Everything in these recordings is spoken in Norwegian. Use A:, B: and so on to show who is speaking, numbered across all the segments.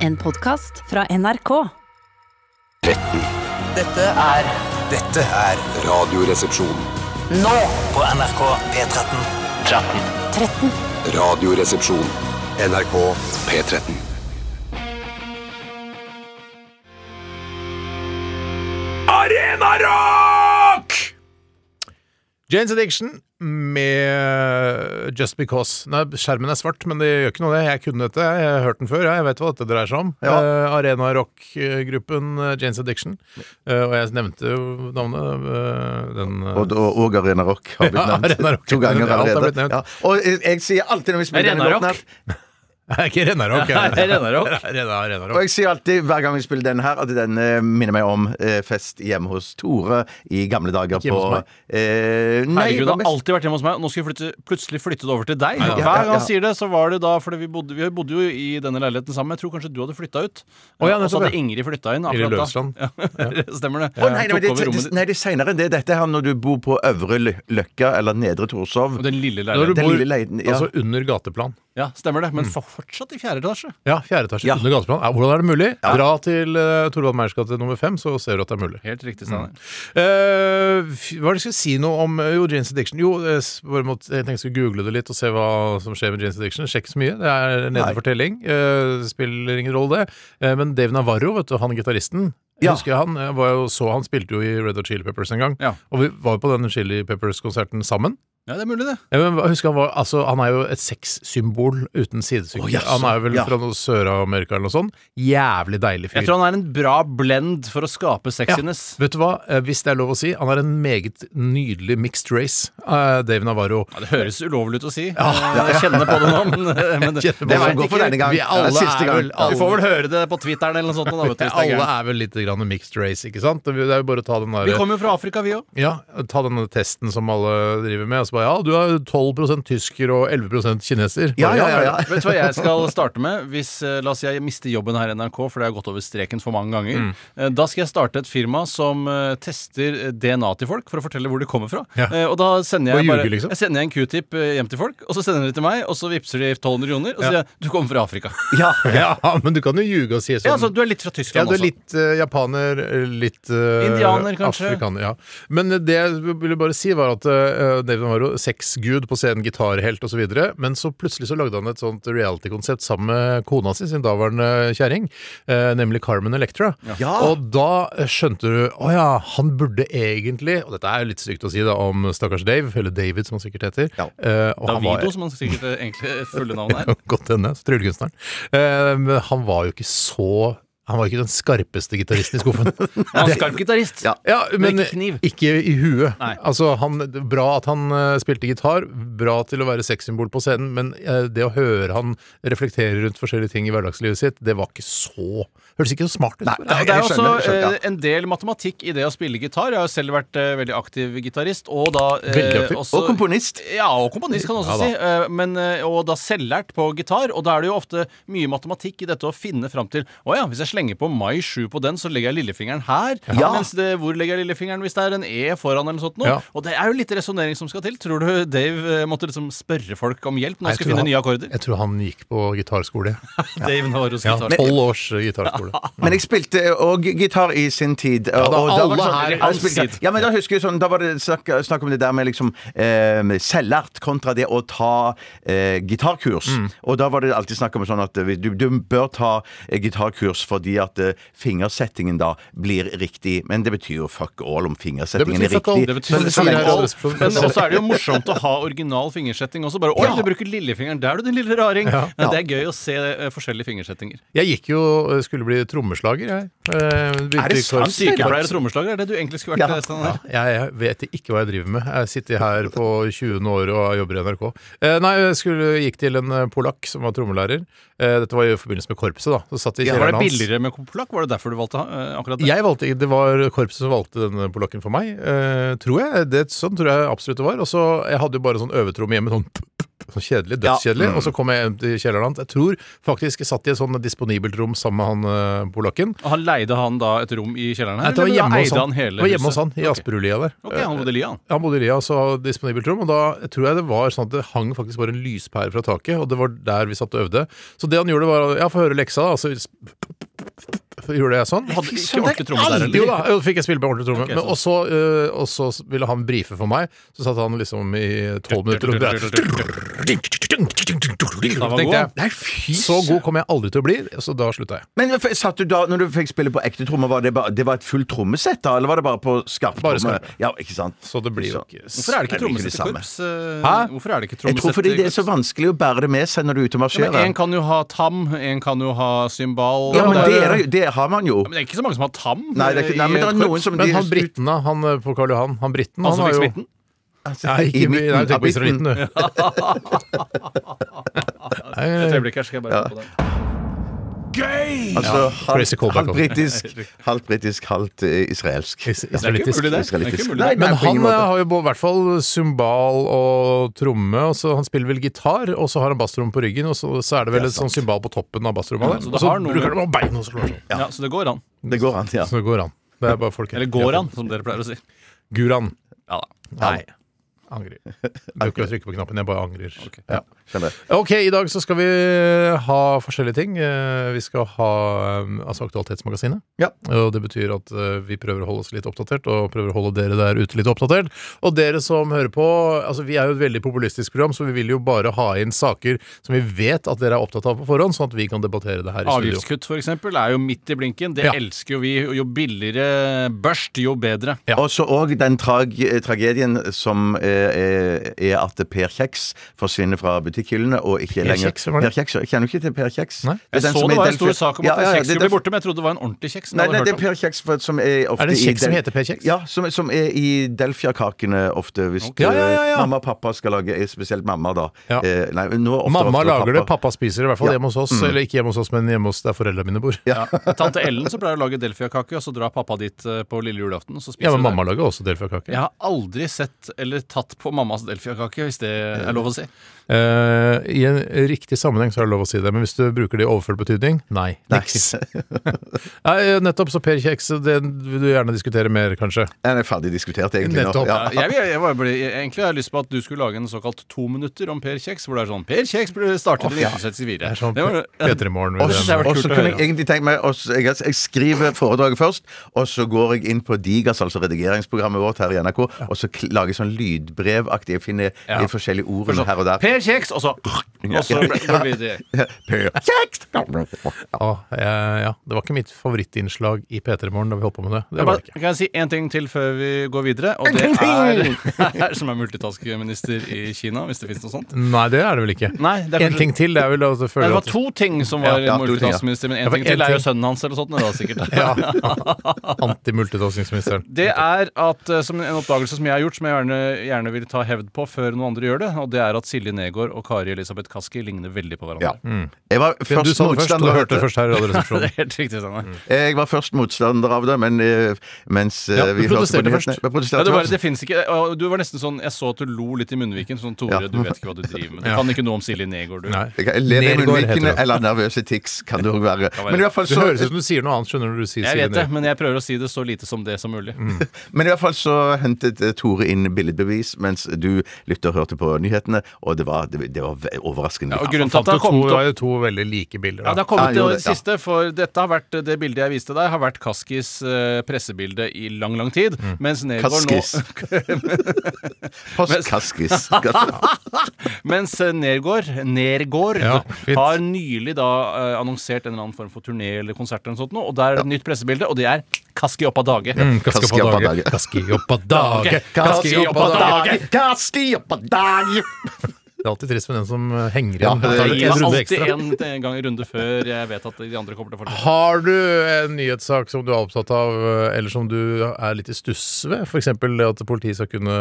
A: En podkast fra NRK.
B: Dette er
C: Dette er Radioresepsjon.
B: nå på NRK P13. 13.
C: Radioresepsjon. NRK P13. Arena Rock!
D: Janes Addiction med Just Because. Nei, skjermen er svart, men det gjør ikke noe det. Jeg kunne dette, jeg har hørt den før. jeg. Jeg vet hva dette dreier seg om.
E: Ja.
D: Eh, Arena Rock-gruppen eh, Janes Addiction. Eh, og jeg nevnte jo navnet. eh, den eh,
E: Og, og, og Arena Rock har blitt
D: Ja,
E: nevnt
D: Arena Rock.
E: to
D: Alt
E: ganger
D: har blitt
E: allerede.
D: nevnt.
E: Ja. Og jeg, jeg sier alltid når vi spiller
F: Arena
E: denne låten
F: Rock?
E: her,
D: Nei, ikke Arena Rock.
F: Nei, Arena Rock.
D: Arena, Arena
E: og
D: Rock.
E: jeg sier alltid hver gang vi spiller denne her, at den eh, minner meg om eh, fest hjemme hos Tore i gamle dager
D: hjemme
E: på
D: hos meg.
E: eh, nei, det
F: Herregud, det
E: var
F: har
E: mest-
F: alltid vært hjemme hos meg, og nå skal jeg flytte, plutselig flytte det over til deg.
E: ja,
F: Hver
E: ja,
F: gang
E: ja.
F: han sier det, så var det da fordi vi bodde, vi bodde jo i denne leiligheten sammen. Jeg tror kanskje du hadde flytta ut.
D: Å, ja,
F: og så
D: nettopp,
F: hadde Ingrid flytta inn.
D: Ingrid
F: akkurat
D: Løvstrand.
F: da. Ja, stemmer det.
E: Å, nei, nei,
F: Tok
E: men det,
F: over
E: det,
F: rommet ditt.
E: nei, det er seinere enn det. Dette her når du bor på Øvre Lø- Løkka eller Nedre Torshov.
F: Og Den lille
D: Når du
F: leiligheten. Mm.
E: Den
D: bor
E: lille leiden, ja.
D: altså under gateplan.
F: Ja, stemmer det. Men for, fortsatt i fjerde etasje.
D: Ja, fjerde etasje
E: Ja.
D: under gateplan. Ja, hvordan er det mulig? Dra til uh, Torvald Meyers gate nummer fem, så ser du at det er mulig.
F: Helt riktig, Steinar.
D: Eh, f- hva var det jeg skulle si noe om eh, jo, Jane's Addiction? Jo, eh, s- bare må, jeg tenkte jeg skulle google det litt og se hva som skjer med Jane's Addiction. Sjekk så mye. Det er nede for telling. Eh, spiller ingen rolle, det. Eh, men Dave Navarro, vet du, han gitaristen jeg
E: Ja.
D: husker han, jeg var jo, så han spilte jo i Red Hot Chili Peppers en gang.
F: Ja.
D: Og vi var jo på den Chili Peppers-konserten sammen. Eh,
F: Ja, det er mulig, det.
D: Jeg husker han, var, altså, han er jo et sexsymbol uten sidestykke.
E: Å, jaså.
D: han er jo vel
E: Ja.
D: fra noe Sør-Amerika eller noe sånt. Jævlig deilig fyr.
F: Jeg tror han er en bra blend for å skape sexiness.
D: Vet du hva, Eh, hvis det er lov å si, han er en meget nydelig mixed race, eh, Dave Navarro.
F: Ja, det høres ulovlig ut å si. Eh, Jeg kjenner på det nå, men, men
D: Jeg kjenner på
E: Det
D: det.
E: var en god for denne gang.
D: Vi alle
E: Det er siste
D: er
E: gang.
D: vel- alle-
F: Vi får vel høre det på Twitteren eller noe sånt. Da, vet du, hvis det er
D: Alle
F: gærent.
D: er vel litt grann en mixed race, ikke sant? Det er jo bare å ta den
F: vi
D: der
F: kommer jo fra Afrika, vi òg.
D: ja, ta denne testen som alle driver med. Og så bare, ja, du er 12 tysker og 11 kineser.
E: Ja, ja, ja, ja.
F: Vet du hva jeg skal starte med? Hvis, eh, la oss si jeg mister jobben her i NRK, for det har gått over streken for mange ganger.
D: Mm.
F: Eh, Da skal jeg starte et firma som eh, tester eh, DNA til folk for å fortelle hvor de kommer fra.
D: Ja.
F: Eh, Og da sender
D: Og
F: jeg, bare,
D: ljuger, liksom.
F: jeg sender en q-tip eh, hjem til folk, og så sender de til meg, og så vippser de 1200 kroner, og så sier jeg du kommer fra Afrika.
E: Ja.
D: Ja, men du kan jo ljuge og si sånn.
F: Ja, altså, du er litt fra
D: Ja,
F: Tyskland
D: du er
F: også.
D: litt eh, japaner, eh, litt eh,
F: Indianer, kanskje?
D: Afrikaner, ja. Men eh, det jeg ville bare si, var at eh, David Navarro, sexgud på scenen, gitarhelt osv., men så plutselig så lagde han et sånt reality-konsept sammen med kona si, sin daværende kjerring, eh, nemlig Carmen Electra.
E: Ja.
D: Og da eh, skjønte du å ja, han burde egentlig Og dette er jo litt stygt å si da om stakkars Dave, eller David som han sikkert heter.
E: Ja.
D: eh, og han var-
F: Davido, som han sikkert eh, egentlig fulle navn er.
D: Godt hende. Tryllekunstneren. Eh, men han var jo ikke så Han var ikke den skarpeste gitaristen i skuffen.
F: Han er skarp gitarist.
E: Ja.
D: Ja, men,
F: Men ikke kniv.
D: ikke i huet.
F: Nei.
D: Altså, han, det- bra at han eh, spilte gitar, bra til å være sexsymbol på scenen, men eh, det å høre han reflektere rundt forskjellige ting i hverdagslivet sitt, det var ikke så Hørtes ikke så smart ut.
E: Nei.
F: Ja, og det er
E: jeg
F: også
E: skjønner, jeg skjønner, ja.
F: eh, en del matematikk i det å spille gitar. Jeg har jo selv vært eh, veldig aktiv gitarist, og da eh,
D: Veldig aktiv.
F: også-
E: Og komponist.
F: Ja, og komponist kan jeg også
D: Ja,
F: si. eh, men, eh, og da selvlært på gitar. Og da er det jo ofte mye matematikk i dette å finne fram til Å ja, hvis jeg slenger på mai 7 på den, så legger jeg lillefingeren her.
E: Ja.
F: Mens det, hvor legger jeg lillefingeren hvis det er en E foran eller noe sånt? Nå?
D: Ja.
F: Og det er jo litt resonnering som skal til. Tror du Dave eh, måtte liksom spørre folk om hjelp når han
D: Jeg
F: skulle
D: tror
F: finne nye
D: han-
F: akkorder?
D: Jeg tror han gikk på gitarskole.
F: Dave Navarros
D: Ja,
F: gitar.
D: Tolv års eh, gitarskole.
E: Men jeg spilte òg gitar i sin tid. Ja,
D: alle
F: her i
E: jeg
F: hans
E: spilte-
F: tid.
E: sånn- Ja, men da husker jeg sånn, da var det snakk, snakk om det der med liksom eh, selvlært kontra det å ta eh, gitarkurs.
D: Mm.
E: Og da var det alltid snakk om sånn at eh, du, du bør ta eh, gitarkurs fordi at eh, fingersettingen da blir riktig. Men det betyr jo fuck all om fingersettingen
D: Det
E: er
D: betyr fuck all.
E: riktig.
D: Det betyr
E: Men
D: fuck
E: så lenge-
D: all.
F: Men også er det jo morsomt å ha original fingersetting også. Bare 'Oi, du bruker lillefingeren der, du, din lille raring'.
E: Ja.
F: Det er gøy å se eh, forskjellige fingersettinger.
D: Jeg gikk jo eh, skulle bli trommeslager, jeg. Eh, begynte
E: Er det
D: i
E: sant?
D: korps.
F: Sykepleier og trommeslager er det du egentlig skulle
E: Ja.
F: vært. Øystein, her.
D: Jeg, jeg vet ikke hva jeg driver med. Jeg sitter her på 20. år og jobber i NRK. Eh, nei, jeg skulle, gikk til en eh, polakk som var trommelærer. Eh, dette var i forbindelse med korpset, da. Så satt i
F: Var
D: kjelleren
F: det
D: hans.
F: billigere med komplakk? Var det derfor du valgte eh, akkurat det?
D: Jeg valgte, det var korpset som valgte denne polakken for meg, eh, tror jeg. Det, sånn tror jeg absolutt det var. Og så, Jeg hadde jo bare sånn øvetromme hjemme, sånn p- p- p- sånn kjedelig, dødskjedelig.
E: Ja. Mm.
D: Og så kom jeg hjem til kjelleren hans. Jeg tror faktisk jeg satt i et sånn disponibelt rom sammen med han eh, polakken.
F: Og han leide han da et rom i kjelleren her?
D: Nei, det var
F: eller
D: hjemme hos
F: eide
D: han,
F: hele
D: det var hjemme hos
F: huset?
D: han i
F: Ok.
D: Asperudlia der.
F: Ok, han bodde i lia, han.
D: Han bodde i Lia, så hadde disponibelt rom, og da tror jeg det var sånn at det hang faktisk bare en lyspære fra taket, og det var der vi satt og øvde. Så det han gjorde, var Ja, få høre leksa, da. og Så gjorde jeg sånn.
F: Hadde ikke ordentlig tromme der
D: Jo
F: heller.
D: da, jo, fikk jeg spille på ordentlig tromme.
F: Ok,
D: Men
F: sånn.
D: også, øh, og så ville han brife for meg. Så satt han liksom i tolv minutter og bare
F: var
D: Tenkte
F: god.
D: jeg, Nei, fy Så god kommer jeg aldri til å bli, så da slutta jeg.
E: Men f- satt du da, når du fikk spille på ekte trommer, var det, ba, det var et fullt trommesett da, eller var det bare på skarp
D: Bare
E: tromme?
D: skarpe.
E: Ja, ikke sant?
D: Så det blir jo
E: Så-
D: ikke
F: Hvorfor er
E: Nei, det er
F: det ikke
E: ikke det
F: trommesett i
E: samme.
F: korps? eh,
E: Hæ?
F: Hvorfor er det ikke
E: Jeg tror fordi
F: trommesett
E: det er så vanskelig å bære det med seg når du er ute og
F: ja,
E: marsjerer.
F: men En kan jo ha tam, en kan jo ha symbal
E: Ja, men
D: Ja,
E: det,
D: det er-
E: er, jo- det har man jo.
F: Men det er ikke så mange som har tam. eh,
E: Nei, det er ikke, nei, men det er noen som
D: Men
E: de-
D: han briten, da? Han øh, på Karl Johan? Han briten?
F: Han som
D: han har jo
F: fikk Altså, smitten?
D: Nei, ikke,
E: I
D: i midten. Nei,
E: midten
D: du tenker
E: av
D: på israelitten,
E: midten.
D: du.
F: Et øyeblikk her, skal jeg bare
E: Ja.
F: få på den.
E: Altså,
D: Crazy
E: halvt,
D: callback
E: halvt
D: også.
E: britisk, halvt britisk, halvt eh, israelsk.
D: Is-
F: Det er ikke
D: israelittisk.
F: mulig, det. det. er
E: Israelittisk.
F: ikke mulig.
E: Nei,
D: Men
E: på
D: han
E: ingen
D: eh,
E: måte.
D: har jo bo- i hvert fall cymbal og tromme, og så han spiller vel gitar, og så har han bassrom på ryggen, og så, så er det vel et sånn cymbal på toppen av bassrommet der.
F: så det
D: Og så
F: har noe
D: bruker han
F: med-
D: bein og slår sånn.
F: Ja, Så det går an.
E: Det går an, ja.
D: Så det går an. Det er bare folk
F: Eller går an, som dere pleier å si.
D: Guran.
F: Ja da.
D: Nei. Angrer. Du ikke å trykke på knappen, jeg bare angrer. Ja.
E: Skjønner.
D: Ok, i dag så skal vi eh, ha forskjellige ting. Eh, Vi skal ha eh, altså Aktualitetsmagasinet.
E: Ja.
D: Og det betyr at eh, vi prøver å holde oss litt oppdatert, og prøver å holde dere der ute litt oppdatert. Og dere som hører på, altså vi er jo et veldig populistisk program, så vi vil jo bare ha inn saker som vi vet at dere er opptatt av på forhånd, sånn at vi kan debattere det her i studio.
F: Avgiftskutt for eksempel er jo midt i blinken. Det
D: Ja.
F: elsker jo vi. Og Jo billigere børst, jo bedre.
D: Ja.
E: Og så òg den trag tragedien som eh, er- er at Per Kjeks forsvinner fra butikkhyllene og ikke
D: Per
E: lenger
D: Kjeks, hvem var det?
E: Per Kjeks, jeg Kjenner du ikke til Per Kjeks?
D: Nei.
E: er
F: Jeg
E: den som er
F: så det
E: i
F: var en stor
E: Delfia-
F: sak om
E: Ja,
F: at
E: ja, ja,
F: kjeks
E: det er
F: skulle bli
E: Delfia-
F: borte, men jeg trodde det var en ordentlig kjeks.
E: Nei, nei, det er Per Kjeks for, som er ofte
D: Er det en
E: i
D: kjeks som
E: Del-
D: heter Per Kjeks?
E: Ja, som, som er i Delfia-kakene ofte, hvis
D: Ja, ja, ja, ja.
E: mamma og pappa skal lage eh, Spesielt mamma, da.
D: Ja.
E: Eh, nei, nå ofte,
D: Mamma
E: ofte,
D: lager det, pappa spiser det, i hvert fall
E: Ja.
D: hjemme hos oss. Eller ikke hjemme hos oss, men hjemme hos der foreldrene mine bor.
F: Mm. Ja. Tante Ellen som pleier å lage delfiakake, og så drar pappa dit eh, på lille julaften. Og så spiser
D: Ja, men
F: vi
D: mamma
F: der.
D: lager også delfiakake.
F: Jeg har aldri sett eller tatt på mammas delfiakake, hvis det er lov å si.
D: Eh, I en riktig sammenheng så er det lov å si det, men hvis du bruker det i overført betydning nei. Niks. Nei, eh, nettopp, så Per Kjeks, det vil du gjerne diskutere mer, kanskje.
E: Den er ferdig diskutert, egentlig. nå.
D: Nettopp.
E: Ja.
F: Ja, Jeg, vil- jeg, var bare- jeg, egentlig har jeg lyst på at du skulle lage en såkalt to minutter om Per Kjeks, hvor det er sånn Per Kjeks ble startet i
E: ja.
F: 1964.
D: Det er sånn
F: Det var-
D: P3 Morgen.
E: Og
F: synes jeg
E: så
F: det var kult å
E: kunne
F: høre.
E: jeg egentlig tenkt meg å s- jeg, jeg skriver foredraget først, og så går jeg inn på Digas, altså redigeringsprogrammet vårt her i NRK, og så kl- lager jeg sånn lydbrevaktig. Jeg finner
F: Ja.
E: de forskjellige
F: For
E: ordene
F: sånn,
E: her og der.
F: Per Kjeks, og så Og så ble- går vi til-
E: Per Kjeks!
D: Ja, eh, ja, det var ikke mitt favorittinnslag i P3 Morgen da vi holdt på med det. Det
F: Jeg
D: var det
F: bare,
D: ikke.
F: kan jeg si én ting til før vi går videre? Og det er, er som er multitaskminister i Kina, hvis det fins noe sånt.
D: Nei, det er det vel ikke.
F: Nei, det er
D: en
F: kanskje-
D: ting til, det er vel at du
F: Nei,
D: føler
F: Det var
D: at
F: to ting som var
E: Ja, ja, to ting, ja.
F: multitaskminister, men
D: Ja,
F: én
D: for
F: ting
D: en
F: til er jo
D: ting.
F: sønnen hans eller sånt. Da, sikkert.
D: ja. Antimultitaskingsministeren.
F: Det er at, eh, som en oppdagelse som jeg har gjort, som jeg gjerne, gjerne vil ta hevd på før noen andre gjør det, og det er at Silje Negård og Kari Elisabeth Kaski ligner veldig på
E: Ja.
F: hverandre.
E: Jeg var
D: Mm. Du
E: først
D: sa det først, og
E: motstander
D: du
E: av
D: hørte det
E: dette.
D: først her i
F: Det
D: Radioresepsjonen.
F: er helt riktig, Steinar.
D: Mm.
E: Jeg var først motstander av det, men eh, mens eh,
D: Ja, du
E: vi hørte på
D: protesterte
E: nyhetene
D: først.
E: Jeg
F: Ja,
E: protesterte
F: det var,
E: først.
F: det finnes ikke, og du var nesten sånn Jeg så at du lo litt i munnviken. Sånn, Tore,
E: Ja.
F: du vet ikke hva du driver med. Du
D: Ja.
F: kan ikke noe om Silje Negård, du.
D: Nei.
E: Jeg kan- Lever i
D: Nergård heter
E: munnvikene
D: det.
E: eller nervøse tics kan det òg være. Men i hvert fall
D: Du
E: så
D: høres ut som du sier noe annet, skjønner du, når du sier
F: Jeg
D: Silje
F: vet det,
D: Nordnes.
F: men jeg prøver å si det så lite som det som mulig.
E: Men i hvert fall så hentet eh, Tore inn billedbevis mens du lytter og hørte på nyhetene, og det var, det, det var ve- overraskende.
F: Ja, og
E: Ja,
F: grunnen til
D: Fant
F: at det
D: du
F: har
D: to,
F: kommet
D: var
F: opp
D: jo to veldig like bilder.
F: ja,
D: da.
F: det har kommet
E: Ja,
F: til
E: jo,
F: det
E: det- ja.
F: siste, for dette har vært det bildet jeg viste deg, har vært Kaskis eh, pressebilde i lang, lang tid.
D: Mm.
F: Mens Negård
E: Kaskis.
F: nå
E: Postkaskis. Ja.
F: Mens eh, Nergård, Nergård
D: Ja, fint.
F: har nylig da eh, annonsert en eller annen form for turné eller konsert eller noe sånt nå, og der er det et nytt pressebilde, og det er Kaski opp av dage.
D: Kaski
E: Kaski
D: opp
E: opp
D: av
E: av
D: dage.
E: dage.
D: Kaski opp av dage. Kaski opp av dage.
E: Kaski opp av dage!
D: Det er alltid trist med den som eh, henger
E: Ja,
D: igjen.
E: det
D: Tar
F: Jeg
D: en
F: gir
D: runde
F: meg alltid
D: ekstra.
F: en, en gang i runde før jeg vet at de andre kommer til å fortsette.
D: Har du en nyhetssak som du er opptatt av, eh, eller som du er litt i stuss ved? F.eks. det at politiet skal kunne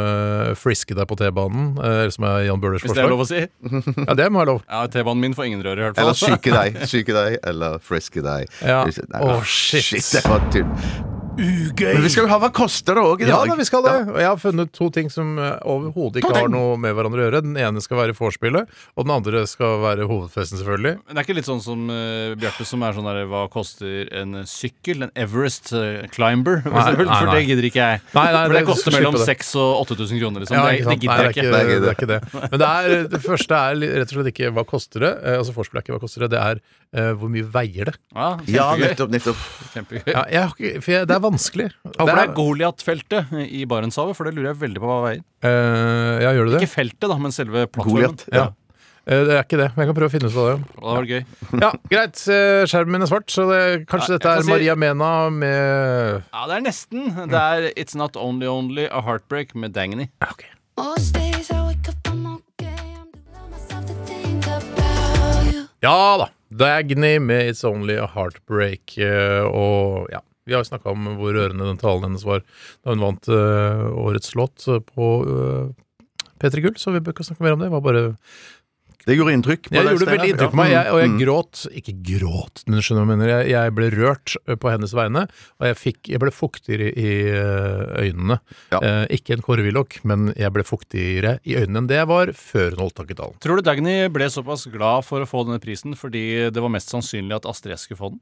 D: friske deg på T-banen, eh, som er Jan Bøhlers
F: Hvis det er
D: forslag.
F: lov å si.
D: Ja, det må være lov.
F: Ja, T-banen min får ingen røre, i hvert fall.
E: Eller syke deg. Syke deg, eller friske deg.
D: Ja.
E: Nei,
D: Å,
E: men-
D: shit.
E: shit. Det var tynn.
B: ugøy.
E: Men vi skal jo ha hva koster det òg i
D: Ja da,
E: dag.
D: vi skal det. Og jeg har funnet to ting som eh, overhodet ikke har noe med hverandre å gjøre. Den ene skal være vorspielet, og den andre skal være hovedfesten, selvfølgelig.
F: Men det er ikke litt sånn som eh, Bjarte, som er sånn der Hva koster en eh, sykkel? En Everest eh, Climber? for
D: Nei,
F: eksempel,
D: nei,
F: For
D: nei.
F: det gidder ikke jeg.
D: Nei, nei,
F: for det,
D: det-
F: koster
D: slipp
F: mellom
D: det.
F: 6000 og 8000 kroner, liksom.
D: Ja,
F: det,
D: ikke
F: det
D: sant?
F: gidder jeg ikke.
D: Nei, det, er ikke, det er ikke det. Men det, er, det første er li- rett og slett ikke hva koster det, eh, altså vorspielet er ikke hva koster det, det er eh, hvor mye veier det.
F: Ja,
E: Ja,
F: kjempegøy.
E: nettopp, nettopp.
F: kjempegøy.
D: Ja, jeg, har ikke- for jeg, det er vanskelig.
F: Håper det
D: Det
F: er
D: er-
F: Goliat-feltet i Barentshavet, for det lurer jeg veldig på hva veier.
D: Eh, ja, gjør du det?
F: Ikke feltet, da, men selve plattformen.
E: Goliat.
D: Ja. Eh, Det er ikke det, men jeg kan prøve å finne ut av det.
F: Det var gøy.
D: Ja, Greit, eh, skjermen min er svart, så det, kanskje
F: Ja,
D: dette er
F: jeg kan si-
D: Maria Mena med
F: Ja, det er nesten. Det er It's Not Only Only A Heartbreak med Dangny.
G: Most days I wake up, I'm okay. I'm doing myself to think about you.
D: Ja da! Dagny med It's Only a Heartbreak. eh, Og ja, vi har jo snakka om hvor rørende den talen hennes var da hun vant eh, årets låt eh, på eh, P3 Gull, så vi bør ikke snakke mer om det. det var bare
E: Det gjorde inntrykk. på
D: Jeg
E: deg,
D: gjorde
E: Steinar. Mm.
D: veldig inntrykk på meg, Mm. jeg, og jeg gråt Ikke gråt, men du skjønner hva jeg mener. Jeg, jeg ble rørt eh, på hennes vegne, og jeg, fikk, jeg ble fuktigere i eh, øynene.
E: Ja.
D: Eh, ikke en Kåre Willoch, men jeg ble fuktigere i øynene enn det jeg var før hun holdt tak i talen.
F: Tror du Dagny ble såpass glad for å få denne prisen fordi det var mest sannsynlig at Astrid S skulle få den?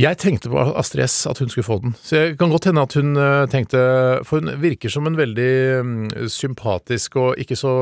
D: Jeg tenkte på Astrid S, at hun skulle få den. Så jeg kan godt hende at hun eh, tenkte For hun virker som en veldig mm, sympatisk og ikke så,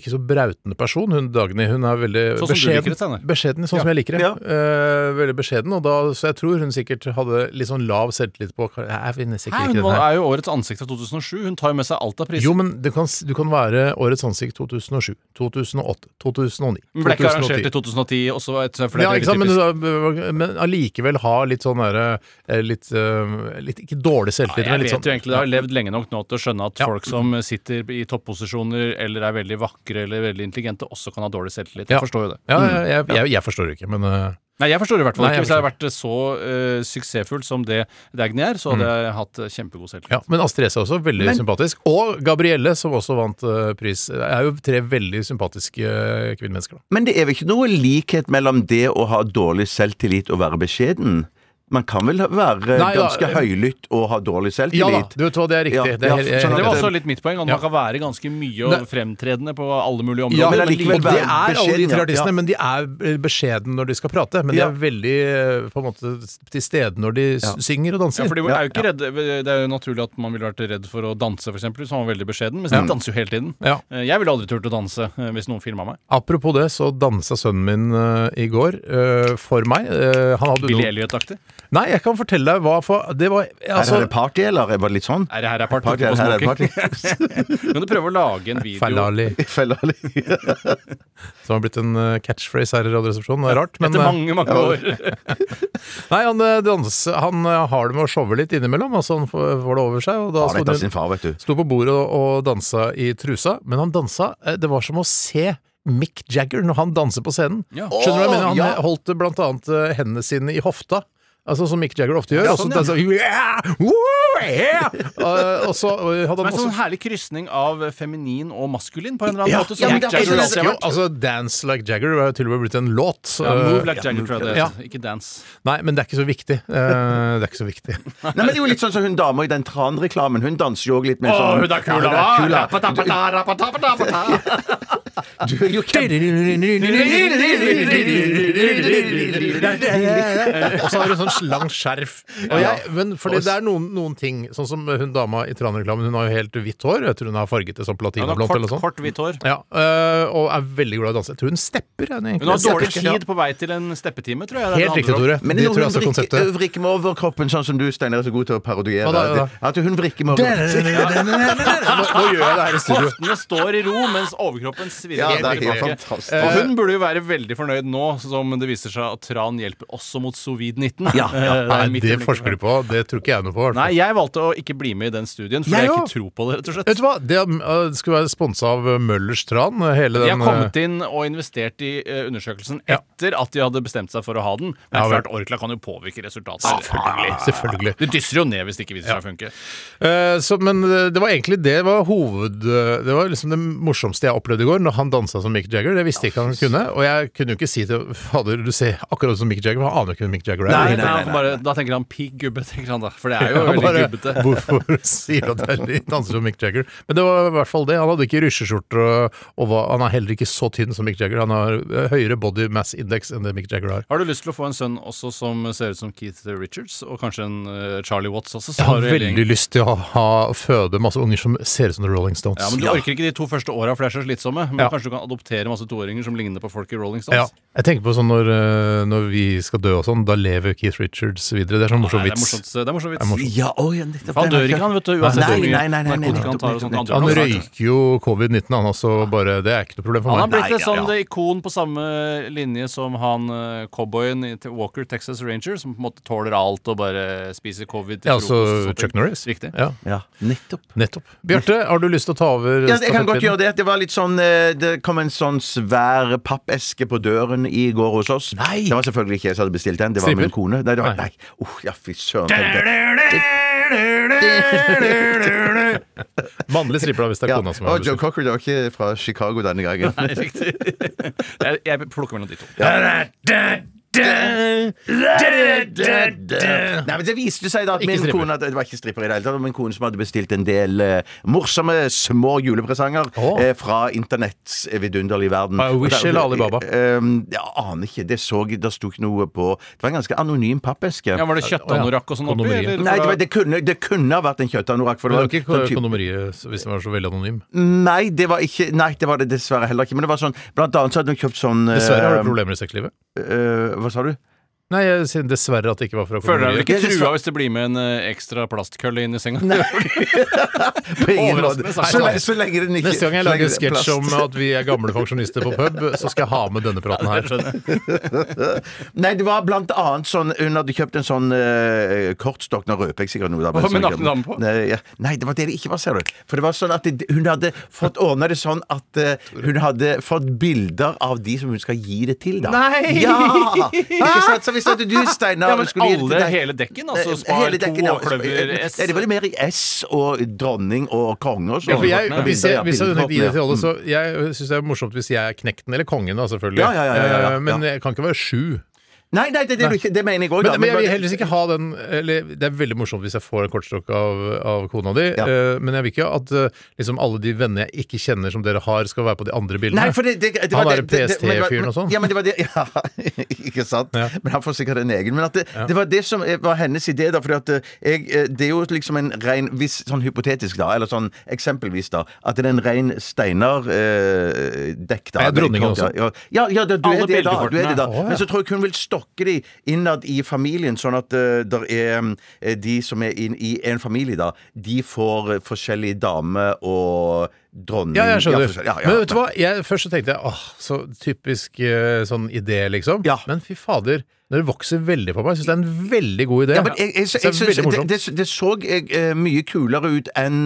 D: ikke så brautende person, hun Dagny. Hun er veldig
F: Sånn som du liker det, Steinar.
D: beskjeden, beskjeden, sånn som jeg liker det.
E: Ja.
D: Eh, veldig beskjeden, og da, så jeg tror hun sikkert hadde litt sånn lav selvtillit på Jeg vinner sikkert
F: Nei,
D: ikke
F: hun
D: den her.
F: er jo årets ansikt av 2007. Hun tar jo med seg alt av priser.
D: Jo, men du kan, s- du kan være Årets ansikt 2007, 2008, 2009
F: Men ble ikke
D: 2010.
F: arrangert i 2010 også, vet du, for det
D: Ja,
F: er
D: ikke sant,
F: veldig
D: men,
F: typisk.
D: du- men allikevel ha litt sånn derre eh, litt, eh, litt Ikke dårlig selvtillit,
F: Jeg
D: men litt
F: vet
D: sånn
F: jo egentlig, det har levd lenge nok nå til å skjønne at
D: Ja.
F: folk som sitter i topposisjoner eller er veldig vakre eller veldig intelligente, også kan ha dårlig selvtillit. Jeg
D: Ja.
F: forstår jo det. Mm.
D: Ja, jeg, jeg, jeg, jeg forstår det ikke, men eh,
F: Nei, jeg forstår det i hvert fall
D: Nei,
F: ikke.
D: jeg
F: Hvis jeg hadde vært så eh, suksessfull som det Dagny er, så hadde jeg hatt eh, kjempegod selvtillit.
D: Mm. ja. Men Astrid S er også veldig sympatisk. Og Gabrielle, som også vant eh, pris. Er jo tre veldig sympatiske eh, kvinnemennesker, da.
E: Men det er vel ikke noe likhet mellom det å ha dårlig selvtillit og være beskjeden? Man kan vel være
D: Nei, da-
E: ganske høylytt og ha dårlig
D: Ja da,
E: selvtillit?
D: du vet hva, det er riktig.
E: Ja,
D: det er,
E: ja,
D: helt- jeg-
E: sånn at
F: Det var
E: det-
F: også litt mitt poeng, at
D: Ja.
F: man kan være ganske mye og
D: Det-
F: fremtredende på alle mulige
D: Ja, men
F: områder.
E: men
D: og
E: allikevel
D: det
E: være
D: er alle de tre
E: beskjeden, ja.
D: artistene,
E: Ja.
D: men de er eh, beskjeden når de skal prate. Men de
E: Ja.
D: er veldig eh, på en måte til stede når de s-
E: Ja.
D: synger og danser.
F: Ja, for de er jo ikke redde, Det er jo naturlig at man ville vært redd for å danse, f.eks., hvis man var veldig beskjeden. Mens de danser jo hele tiden.
D: Ja.
F: Eh, Jeg ville aldri turt å danse eh, hvis noen filma meg.
D: Apropos det, så dansa sønnen min eh, i går eh, for meg. Eh, han hadde
F: Billy
D: noe-
F: Elliot-aktig.
D: Nei, jeg kan fortelle deg hva for Det var
E: Er
D: altså,
E: det party, eller? Var det litt sånn?
F: Er det her er part
E: Party,
F: på
E: her er det
F: smoking?
E: party.
F: Kan du prøve å lage en video
D: Fellali,
E: Feller litt.
D: som har blitt en eh, catchphrase her i Radioresepsjonen. Det er rart, men
F: etter
D: eh,
F: mange, mange år?
D: Nei, han, eh, dans, han eh, har det med å showe litt innimellom. Altså, han får får det over seg. Og da
E: Har
D: sto
E: dette
D: altså, det-
E: av sin far, vet du.
D: Sto på bordet og, og dansa i trusa, men han dansa eh, Det var som å se Mick Jagger når han danser på scenen.
F: Ja.
D: Skjønner du hva jeg mener? Han
E: ja.
D: holdt blant annet eh, hendene sine i hofta. Altså Som Mick Jagger ofte gjør.
F: Ja,
D: og så
F: sånn, ja.
D: dansa- yeah, woo, yeah! Eh, og så eh, hadde han
F: Det er en sånn
D: også
F: herlig krysning av feminin og maskulin på en eller annen måte.
D: ja,
F: Som
D: men
F: Mick
D: det er-
F: Jagger
D: jeg
F: alltid har
D: elsker jo,
F: vært.
D: altså, Dance Like Jagger har jo til og med blitt en låt.
F: Ja, move
D: Eh,
F: like Jagger, tror jeg det
D: ja.
F: heter. Ikke dance.
D: Nei, men det er ikke så viktig. Eh, det er ikke så viktig.
E: Nei, men det er jo litt sånn som hun dama i den Tran-reklamen. Hun danser jo òg litt med sånn Ja, hun er kul, da. Du er jo
D: Og så har hun sånn lang skjerf. Og jeg, men fordi det er noen, noen ting, sånn som hun dama i Tran-reklamen, hun har jo helt hvitt hår. Jeg tror hun har farget det som
F: Hun har
D: platinablondt eller
F: kort,
D: noe sånt.
F: kort hvitt hår.
D: liksom. Ja, øh, og er veldig glad i å danse. Jeg tror hun stepper. Hun, egentlig.
F: Hun har dårlig
D: Ja.
F: tid på vei til en steppetime, tror jeg. det er
D: Helt
F: det det
D: riktig,
F: handler om.
D: Tore.
E: Men
D: det
E: når
D: tror jeg
E: hun
D: også er
E: vrikker,
D: konseptet.
E: vrikker med overkroppen, sånn som du, Steinar, er så god til å parodiere
D: Hva da, hva da?
E: At hun vrikker med overkroppen.
D: Nå, nå gjør jeg det her i studio.
F: Hoftene står i ro mens overkroppen svirrer.
E: Ja, det er
F: helt
D: Eh,
E: helt
F: tilbake.
E: fantastisk.
F: Og hun burde jo være veldig fornøyd nå som det viser seg at tran hjelper også mot sovid-19.
E: Ja, ja.
F: Eh,
D: Nei,
F: er mitt
D: det
F: øyeblikk.
D: forsker du på. Det tror ikke jeg noe på. i hvert fall.
F: Nei, jeg valgte å ikke bli med i den studien, for
D: Jeg
F: jeg, har
D: òg.
F: ikke tro på det, rett og
D: Vet
F: slett.
D: du hva? Det øh, skulle være sponsa av øh, Møllers Tran. øh, Hele
F: De
D: den
F: har kommet inn og investert i eh, undersøkelsen
D: Ja.
F: etter at de hadde bestemt seg for å ha den. Men
D: Ja, vel.
F: klart, Orkla kan jo påvirke resultatet. Selvfølgelig.
D: øh, Selvfølgelig.
F: Det dysser jo ned hvis det ikke viser seg å funke.
D: Eh, så, men eh, det var egentlig det var hoved... eh, Det var liksom det morsomste jeg opplevde i går, når han dansa som Mick Jagger. Det visste jeg ikke han kunne. Og jeg kunne jo ikke si til Fader, du ser akkurat ut som Mick Jagger, for han aner jo ikke hvem Mick Jagger er.
E: Nei, nei, nei,
F: han
E: nei,
F: bare,
E: nei.
F: da tenker han pigg gubbe, tenker han da. For det er jo
D: Ja,
F: veldig
D: bare,
F: gubbete.
D: Hvorfor sier du at det er litt danser som Mick Jagger? Men det var i hvert fall det. Han hadde ikke rysjeskjorter, og, og var, han er heller ikke så tynn som Mick Jagger. Han har eh, høyere body mass index enn det Mick Jagger har.
F: Har du lyst til å få en sønn også som ser ut som Keith Richards, og kanskje en eh, Charlie Watts også? så
D: Jeg har
F: du hele
D: veldig
F: gjengen.
D: lyst til å ha, føde masse unger som ser ut som The Rolling Stones.
F: Ja, men Du orker ikke de to første åra, for det er så slitsomme. Men
D: Ja.
F: kanskje du kan adoptere masse toåringer som ligner på folk i Rolling
D: Ja.
F: Stones?
D: Jeg tenker på sånn når, eh, når vi skal dø og sånn, da lever Keith Richards videre. Det er sånn morsom
F: Nei, det er
D: vits.
F: morsomt. Det er morsom vits.
E: Ja, å, ja, nettopp,
F: For han
E: det er
F: dør ikke, han, vet du, uansett
E: Nei,
F: hvor mye
E: nei, nei, nei, nei,
F: narkotika han
E: nettopp,
F: tar og
E: nettopp,
F: sånt. Han dør
D: Han
F: nok snart.
D: røyker jo covid-19, han også. Bare, det er ikke noe problem for
F: Han
D: meg.
F: har blitt
E: Nei,
F: et
E: ja,
F: sånn
E: ja.
F: ikon på samme linje som han eh, cowboyen i Te- Walker Texas Ranger, som på en måte tåler alt og bare spiser covid til
D: Ja, altså
F: frokost og sånne ting.
D: Chuck Norris.
F: Riktig.
D: Ja,
E: Ja, nettopp.
D: nettopp. Bjarte, har du lyst til å ta over?
E: Ja, jeg kan godt
D: stafettpinnen?
E: gjøre det. Det var litt sånn eh, Det kom en sånn svær pappeske på døren i går hos oss.
D: Nei!
E: Det var selvfølgelig ikke jeg som hadde bestilt den. Det var min
D: Striper?
E: kone. Nei, det var,
D: Nei.
E: nei. Oh, ja, fy søren. helvete.
D: Mannlig stripper, da, hvis det er
E: Ja.
D: kona som har
E: Og Joe
D: bestilt.
E: Cocker det var ikke fra Chicago denne gangen.
F: Nei, riktig. Jeg, jeg plukker mellom de to.
E: Nei, men Det viste seg da at
D: Ikke
E: min
D: stripper.
E: kone at det var ikke stripper i det hele tatt. Det var min kone som hadde bestilt en del eh, morsomme små julepresanger
D: Åh.
E: eh, fra internetts vidunderlige verden.
D: By Wish
E: Og der-
D: eller Alibaba?
E: Eh, um, jeg aner ikke. Det så jeg, det sto ikke noe på Det var en ganske anonym pappeske.
F: Ja, var det kjøttanorakk og sånn oppi?
D: Kondomeriet.
F: eller?
E: Nei, det, var, det, kunne, det kunne ha vært en kjøttanorakk. for
D: Men det var
E: det var
D: ikke
E: sånn typ-
D: kondomeriet hvis den var så veldig anonym.
E: Nei, det var ikke Nei, det var det dessverre heller ikke. Men det var sånn Blant annet så hadde hun kjøpt sånn eh,
D: Dessverre har du problemer i sexlivet.
E: eh, Hva sa du?
D: Nei, jeg sier dessverre at det ikke var fra
F: Føler deg vel
D: kondomeriet.
F: ikke
E: Ja, det
F: trua hvis det blir med en eh, ekstra plastkølle inn i senga?
E: På ingen måte.
F: Overraskende
E: Så,
F: seier.
E: le- så lenge den ikke
D: Neste gang jeg
E: så lenge
D: lager
E: det er plast.
D: sketsj om at vi er gamle pensjonister på pub, så skal jeg ha med denne praten her.
E: Nei, det var blant annet sånn Hun hadde kjøpt en sånn uh, kortstokk Nå røper jeg sikkert noe. Da, men
F: Hva med
E: sånn-
F: nakne damer på?
E: Nei, ja. Nei, det var det det ikke var, ser du. For det var sånn at det, hun hadde fått ordna det sånn at eh, hun hadde fått bilder av de som hun skal gi det til, da.
F: Nei!
E: Ja! Ikke sant? Så hvis at du, Steinar
F: Ja, men
E: skulle gi det til
F: alle,
E: deg-
F: hele dekken? Altså
E: Eh,
F: spar
E: hele dekken,
F: to
E: ja.
F: og kløver S?
E: Ja, det var litt mer i S og dronning og konge og sånn.
D: Ja, for jeg, hvis jeg, hvis jeg hadde tenkt å gi det til
E: Ja. Mm.
D: alle, så jeg syns det er morsomt hvis jeg er knekten eller kongen, da, selvfølgelig.
E: Ja, ja, ja, ja, ja.
D: Eh, Men jeg kan ikke være sju.
E: Nei, nei, det, det, er du ikke- det mener jeg òg,
D: Men, men jeg vil helst ikke ha den eller, Det er veldig morsomt hvis jeg får en kortstokk av, av kona di,
E: Ja.
D: eh, men jeg vil ikke at eh, liksom alle de venner jeg ikke kjenner som dere har, skal være på de andre bildene.
E: Nei, for det, det, det
D: Han
E: var
D: er
E: det- det- det- men-
D: PST-fyren og sånn.
E: Ja, men det var det Ja, ikke sant?
D: Ja.
E: Men han får sikkert en egen. Men at det, det var det som eh, var hennes idé, da. Fordi at eh, jeg, eh, det er jo liksom en rein Hvis sånn hypotetisk, da, eller sånn eksempelvis, da, at det er en rein eh, Steinar-dekk, da.
D: Er jeg dronningen
E: Ja,
D: også?
E: Ja, ja, ja da, du,
F: Alle
E: er det, da, du er det
D: bildekortene. Å,
E: da.
D: ja.
E: Men så tror jeg ikke hun vil stokke de innad i familien, sånn at eh, der er eh, de som er inn i en familie, da, de får eh, forskjellig dame og dronning
D: Ja, jeg skjønner.
E: forskjell- ja, ja.
D: Men vet du hva? Jeg, først så tenkte jeg åh, så typisk eh, sånn idé, liksom.
E: Ja.
D: Men fy fader, det vokser veldig på meg. Jeg syns det er en veldig god idé.
E: Ja, men jeg, jeg,
D: Så
E: jeg, jeg
D: det
E: synes
D: er veldig
E: det,
D: morsomt.
E: det, det så jeg, eh, mye kulere ut enn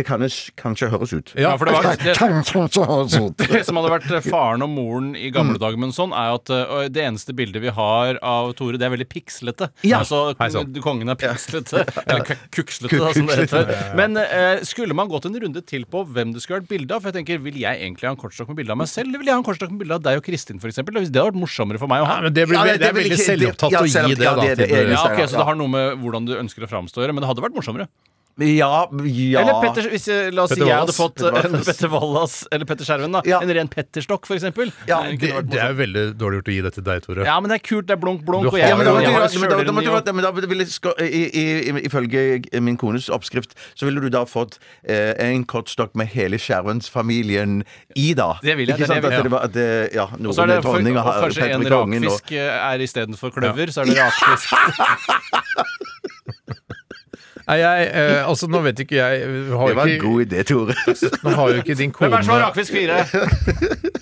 E: det kan, kanskje høres ut.
D: ja,
F: Ja, for det var det,
E: Kanskje høres ut.
F: det som hadde vært eh, faren og moren i
E: Mm.
F: gamle dager med en sånn, er jo at ø, det eneste bildet vi har av Tore, det er veldig pikslete.
E: Ja. sånn.
F: Altså,
D: Hei sann.
F: du- kongen er pikslete. Eller kuk- kukslete, da, som det
E: Kukslete,
F: heter. Men ø, skulle man gått en runde til på hvem det skulle vært bilde av? For jeg tenker, vil jeg egentlig ha en kortstokk med bilde av meg selv, eller vil jeg ha en kortstokk med bilde av deg og Kristin, for eksempel? Hvis det hadde vært morsommere for meg å
D: ja,
F: ha.
D: men det, blir,
E: Ja,
D: det,
E: det- det
D: er
E: vil
D: veldig
E: ikke- det-
D: selvopptatt
E: ja,
D: å gi
E: selv-
D: det,
E: ja,
D: da.
E: det er det
D: til-
E: eneste.
F: Ja, ok, Så
E: Ja.
F: det har noe med hvordan du ønsker å framstå å gjøre, men det hadde vært morsommere.
E: Ja, ja.
F: Eller Petter, hvis jeg, la oss si
D: Petter
F: jeg hadde
D: Wallas.
F: fått
E: Petter
F: en
E: Wallas.
F: Petter Wallas eller Petter Skjerven, da.
E: Ja.
F: En ren Petterstokk, for eksempel.
E: Ja,
F: Den kunne
D: Det,
F: vært morsom.
D: det er veldig dårlig gjort å gi det til deg, Tore.
F: Ja, men det er kult. Det er blunk, blunk.
D: Du
F: Og
D: har-
F: jeg,
E: Ja, men da måtte du-
F: jeg
E: men da-
F: har kjøler
E: da måtte
F: den i
E: du
F: år.
E: vært- men da ville ska- i- i- i- Ifølge min kones oppskrift så ville du da fått eh, en kortstokk med hele Skjervens-familien i, da.
F: Det vil jeg,
E: Ikke
F: det er
E: sant?
F: det jeg vil.
E: At det var, at det, ja,
F: Og så er
E: Norden,
F: det for,
E: dronning og
F: og
E: ha-
F: kanskje en
E: Petter kongen og
F: rakfisk eh, er istedenfor kløver, så er det rakfisk.
D: Nei, jeg, eh, altså, nå vet ikke jeg har
E: Det var en
D: ikke,
E: god idé, Tore.
D: Nå har jo ikke din
F: Hvem
D: kone
F: er det som har rakfisk fire?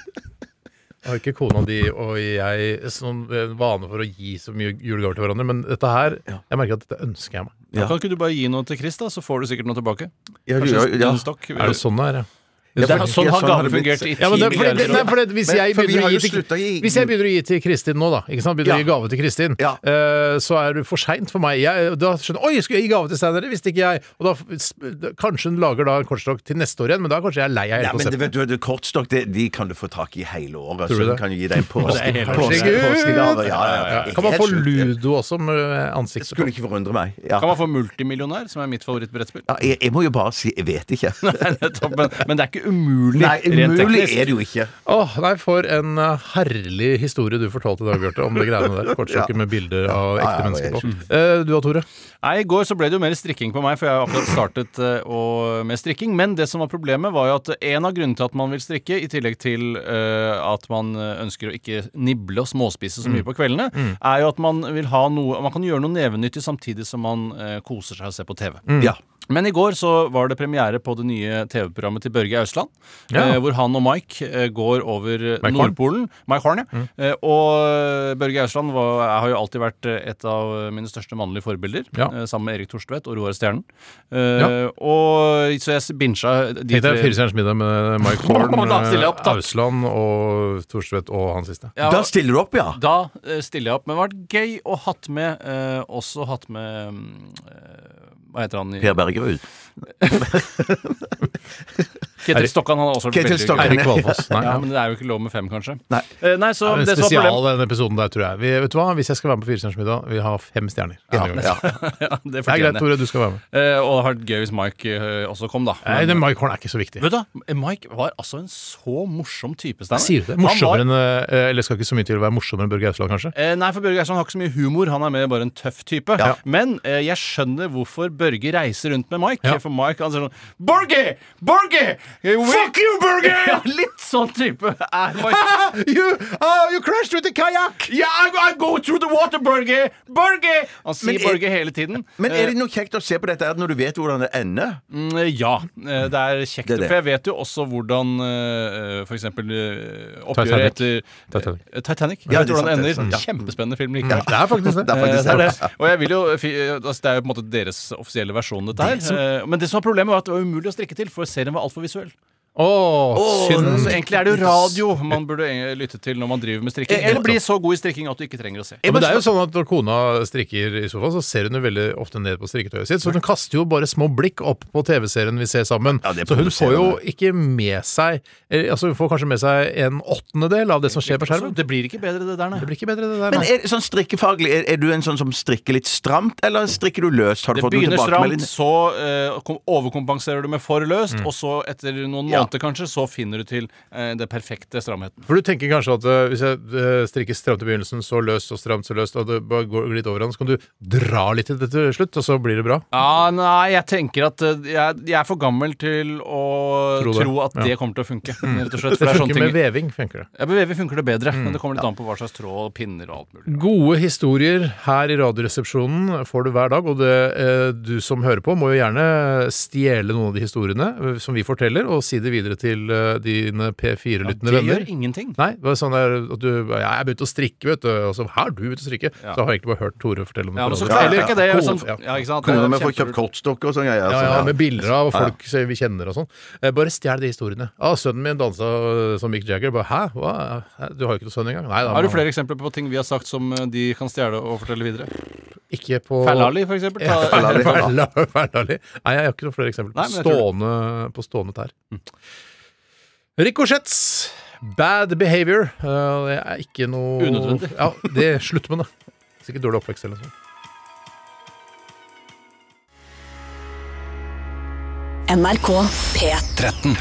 D: har ikke kona di og jeg sånn eh, vane for å gi så mye julegaver til hverandre, men dette her Jeg merker at dette ønsker jeg meg.
E: Ja.
F: Kan ikke du bare gi noe til Chris, da, så får du sikkert noe tilbake?
E: Ja, du-
F: Kanskje
E: ja,
F: en
E: ja.
F: stokk?
D: Er det sånn det er, ja?
F: Det er,
E: fordi-
F: sånn har
E: sånn har
F: gaver
E: det blitt.
F: fungert i ti
D: Ja, men det, fordi,
F: milliarder
D: nei,
F: år.
D: fordi at hvis,
E: Men-
D: jeg
E: for vi
D: begynner
E: har
D: å
E: jo
D: gi
E: sluttet å
D: til,
E: gi-
D: hvis jeg begynner å gi til Kristin nå, da ikke sant? Begynner å
E: Ja.
D: gi gave til Kristin,
E: Ja.
D: eh, så er det for seint for meg. Jeg, da skjønner Oi, skulle jeg gi gave til Steinar? Det visste ikke jeg. Og da, f- da- kanskje hun lager da en kortstokk til neste år igjen, men da er kanskje jeg er lei av hele
E: Nei, men det,
D: konseptet.
E: vet du, det, kortstokk det, de kan du få tak i hele året.
D: Tror du
E: Så
D: det?
E: de kan jo gi deg en påske,
F: Det er helt-
E: påske, påske,
D: Herregud!
E: påskegaver. Ja, ja, ja.
D: Ja, kan man
E: Helt
D: få
E: sjukt.
D: ludo også med eh, ansiktet på?
E: Skulle ikke forundre meg. Ja.
F: Kan man få Multimillionær, som er mitt favorittbrettspill?
E: Ja, jeg, jeg må jo bare si jeg vet ikke.
F: Nei, nettopp, men, men det er ikke umulig,
E: Nei,
F: rent
E: umulig
F: teknisk.
E: er det jo ikke.
D: Åh, nei, For en eh, herlig historie du fortalte i dag, Bjarte, om det greiene der. Kortstokket med bilder av
E: Ja,
D: ekte
E: ja,
D: mennesker
E: det
D: på.
E: er
D: Eh, du da, Tore?
F: Nei, I går så ble det jo mer strikking på meg, for jeg har akkurat startet eh, å, med strikking. Men det som var problemet, var jo at en av grunnene til at man vil strikke, i tillegg til eh, at man eh, ønsker å ikke nible og småspise så mye på kveldene, er jo at man vil ha noe Man kan gjøre noe nevenyttig samtidig som man eh, koser seg og ser på TV.
E: Ja.
F: Men i går så var det premiere på det nye TV-programmet til Børge Ausland.
D: Ja.
F: Eh, hvor han og Mike eh, går over
D: Mike Horn. Mm.
F: Nordpolen. Mike Horn, ja. Eh, og Børge Ausland var, har jo alltid vært eh, et av mine største mannlige forbilder.
D: Ja.
F: Eh, sammen med Erik Torstvedt og Roar Stjernen. Eh,
D: Ja.
F: og, så jeg bincha de
D: Tenk deg Firestjerners middag med Mike Horn, eh,
F: Da stiller jeg opp, takk.
D: Ausland og Thorstvedt og han siste.
F: Ja,
E: Da stiller du opp, ja.
F: da eh, stiller jeg opp. Men det har vært gøy å hatt med eh, også hatt med mm, eh, Hva heter han? i-
E: Per Bergerud.
F: Ketil Stokkan. Han har også vært
E: Ketil
F: veldig gøy.
E: Stokkan.
D: Eirik Valfoss. Nei,
F: Ja,
D: ja.
F: men det er jo ikke lov med fem, kanskje.
E: Nei.
F: Eh, nei så
D: Det er
F: det
D: en
F: som var
D: spesial
F: problemet-
D: denne episoden der, tror jeg. Vi, vet du hva? Hvis jeg skal være med på Firestjerners middag, vil jeg ha fem stjerner.
E: Ja,
D: Denne gangen.
E: ja.
F: Ja, det
D: Det er greit,
F: fortjener jeg.
D: Tore. Du skal være med.
F: Eh, og det har vært gøy hvis Mike eh, også kom, da.
D: Nei,
F: Men-
D: den Mike Horn er ikke så viktig.
F: Vet du, hva? Mike var altså en så morsom type. Steinar.
D: Sier du det?
F: Han var-
D: Morsommere enn eh, Eller skal ikke så mye til å være morsommere enn Børge Ausland, kanskje?
F: Eh, nei, for Børge Eidsvoll har ikke så mye humor. Han er mer bare en tøff type.
D: Ja.
F: Men eh, jeg skjønner hvorfor Børge reiser rundt med Mike.
D: Ja.
F: For Mike han sier sånn Børge! Børge! Fuck you, Børge! Eh, Ja, litt sånn type er Mike.
D: You,
F: uh,
D: oh, you crashed with a kajakk!
F: yeah, I, I go through the water, Børge! Børge! Han sier
E: Men er-
F: Børge hele tiden.
E: Men
F: Eh,
E: er det noe kjekt å se på dette her når du vet hvordan det ender?
F: Mm, Ja, eh, det er kjekt.
E: Det er det.
F: For jeg vet jo også hvordan eh, for eksempel eh,
D: Titanic.
F: oppgjøret etter
D: Titanic.
F: eh, Titanic. Jeg
E: Ja,
F: vet
E: det er
F: hvordan
E: sant, det
F: det ender.
E: er sant, ja.
F: Kjempespennende film. Like.
D: Det er faktisk det.
E: Det er
F: Eh,
E: faktisk
F: det er
E: det.
F: det. Og jeg vil jo fi- altså, Det er jo på en måte deres offisielle versjon, dette her. Eh, Men det som var problemet, var at det var umulig å strikke til, for serien var altfor visuell.
D: Åh,
E: Mm.
D: synd.
F: Så egentlig er det jo radio man burde eh, lytte til når man driver med
E: Eh,
F: strikking. Eller bli så god i strikking at du ikke trenger å se.
D: Ja, men det er jo sånn at Når kona strikker i sofaen, så ser hun jo veldig ofte ned på strikketøyet sitt. Så hun kaster jo bare små blikk opp på TV-serien vi ser sammen.
E: Ja, det
D: så hun får jo
E: provoserer
D: ikke med seg eh, Altså Hun får kanskje med seg en åttendedel av det som skjer på skjermen.
F: Det blir ikke bedre, det der, nei.
D: Det blir ikke bedre, det der.
E: Men
D: Nei.
E: er, sånn strikkefaglig, er, er du en sånn som strikker litt stramt, eller strikker du løst? Har du
F: Det
E: fått noen
F: begynner stramt,
E: tilbakemelding?
F: så eh, kom- overkompenserer du med for løst,
D: Mm.
F: og så etter noen
E: Ja.
F: måneder kanskje, så finner du til eh, det perfekte stramheten.
D: For du tenker kanskje at eh, hvis jeg eh, strikker stramt i begynnelsen, så løst og stramt så løst, og det bare går litt over hverandre, så kan du dra litt til det til slutt, og så blir det bra.
F: Ja, nei, jeg tenker at eh, jeg, jeg er for gammel til å
D: Tro
F: tro,
D: det. Mm.
F: at det kommer til å funke. Rett og slett,
D: Det
F: for det er
D: funker
F: sånne
D: med Mm.
F: ting.
D: veving, funker det.
F: Ja, Med vev funker det bedre, men det kommer litt an på hva slags tråd og pinner og alt mulig.
D: Gode historier her i Radioresepsjonen får du hver dag, og det, eh, du som hører på, må jo gjerne stjele noen av de historiene eh, som vi forteller, og si det videre til eh, dine P4-lyttende
F: Det
D: venner.
F: gjør ingenting.
D: Nei, det var sånn der at du ja, 'Jeg begynte å strikke, vet du.' Og så 'Her, du begynte å strikke.'
F: Ja.
D: Så har jeg egentlig bare hørt Tore fortelle om
F: Ja, men så
D: på radio.
F: klarer jeg
D: Eller-
F: ikke det.
D: Kone-
F: Sånn,
D: ja.
F: ja, ikke sant?
E: Kona mi får
F: Kjempe-
E: kjøpt kortstokker og sånn greier.
D: Ja,
E: så-
D: ja, med bilder av
E: Ja, ja.
D: folk som vi kjenner og sånn. Eh, Bare stjel de historiene. Ah, sønnen min dansa øh, som Mick Jagger. Bare, Hæ? Hva? Hæ? Du har jo ikke noen sønn engang? Nei da.
F: Har du
D: men-
F: flere eksempler på ting vi har sagt som eh, de kan stjele og fortelle videre?
D: Ikke på
F: Ferlali, for eksempel.
D: Ja,
F: Ta-
E: Ferlali.
D: Ferla- Ferlali. Nei, jeg har ikke noen flere eksempler på,
F: liksom. Nei, men jeg tror
D: stående, på stående tær. Ricochetts Bad Behavior. Eh, Det er ikke noe
F: Unødvendig.
D: Ja, det slutt med det. Sikkert dårlig oppvekst eller noe sånt.
A: NRK P3.
B: 13.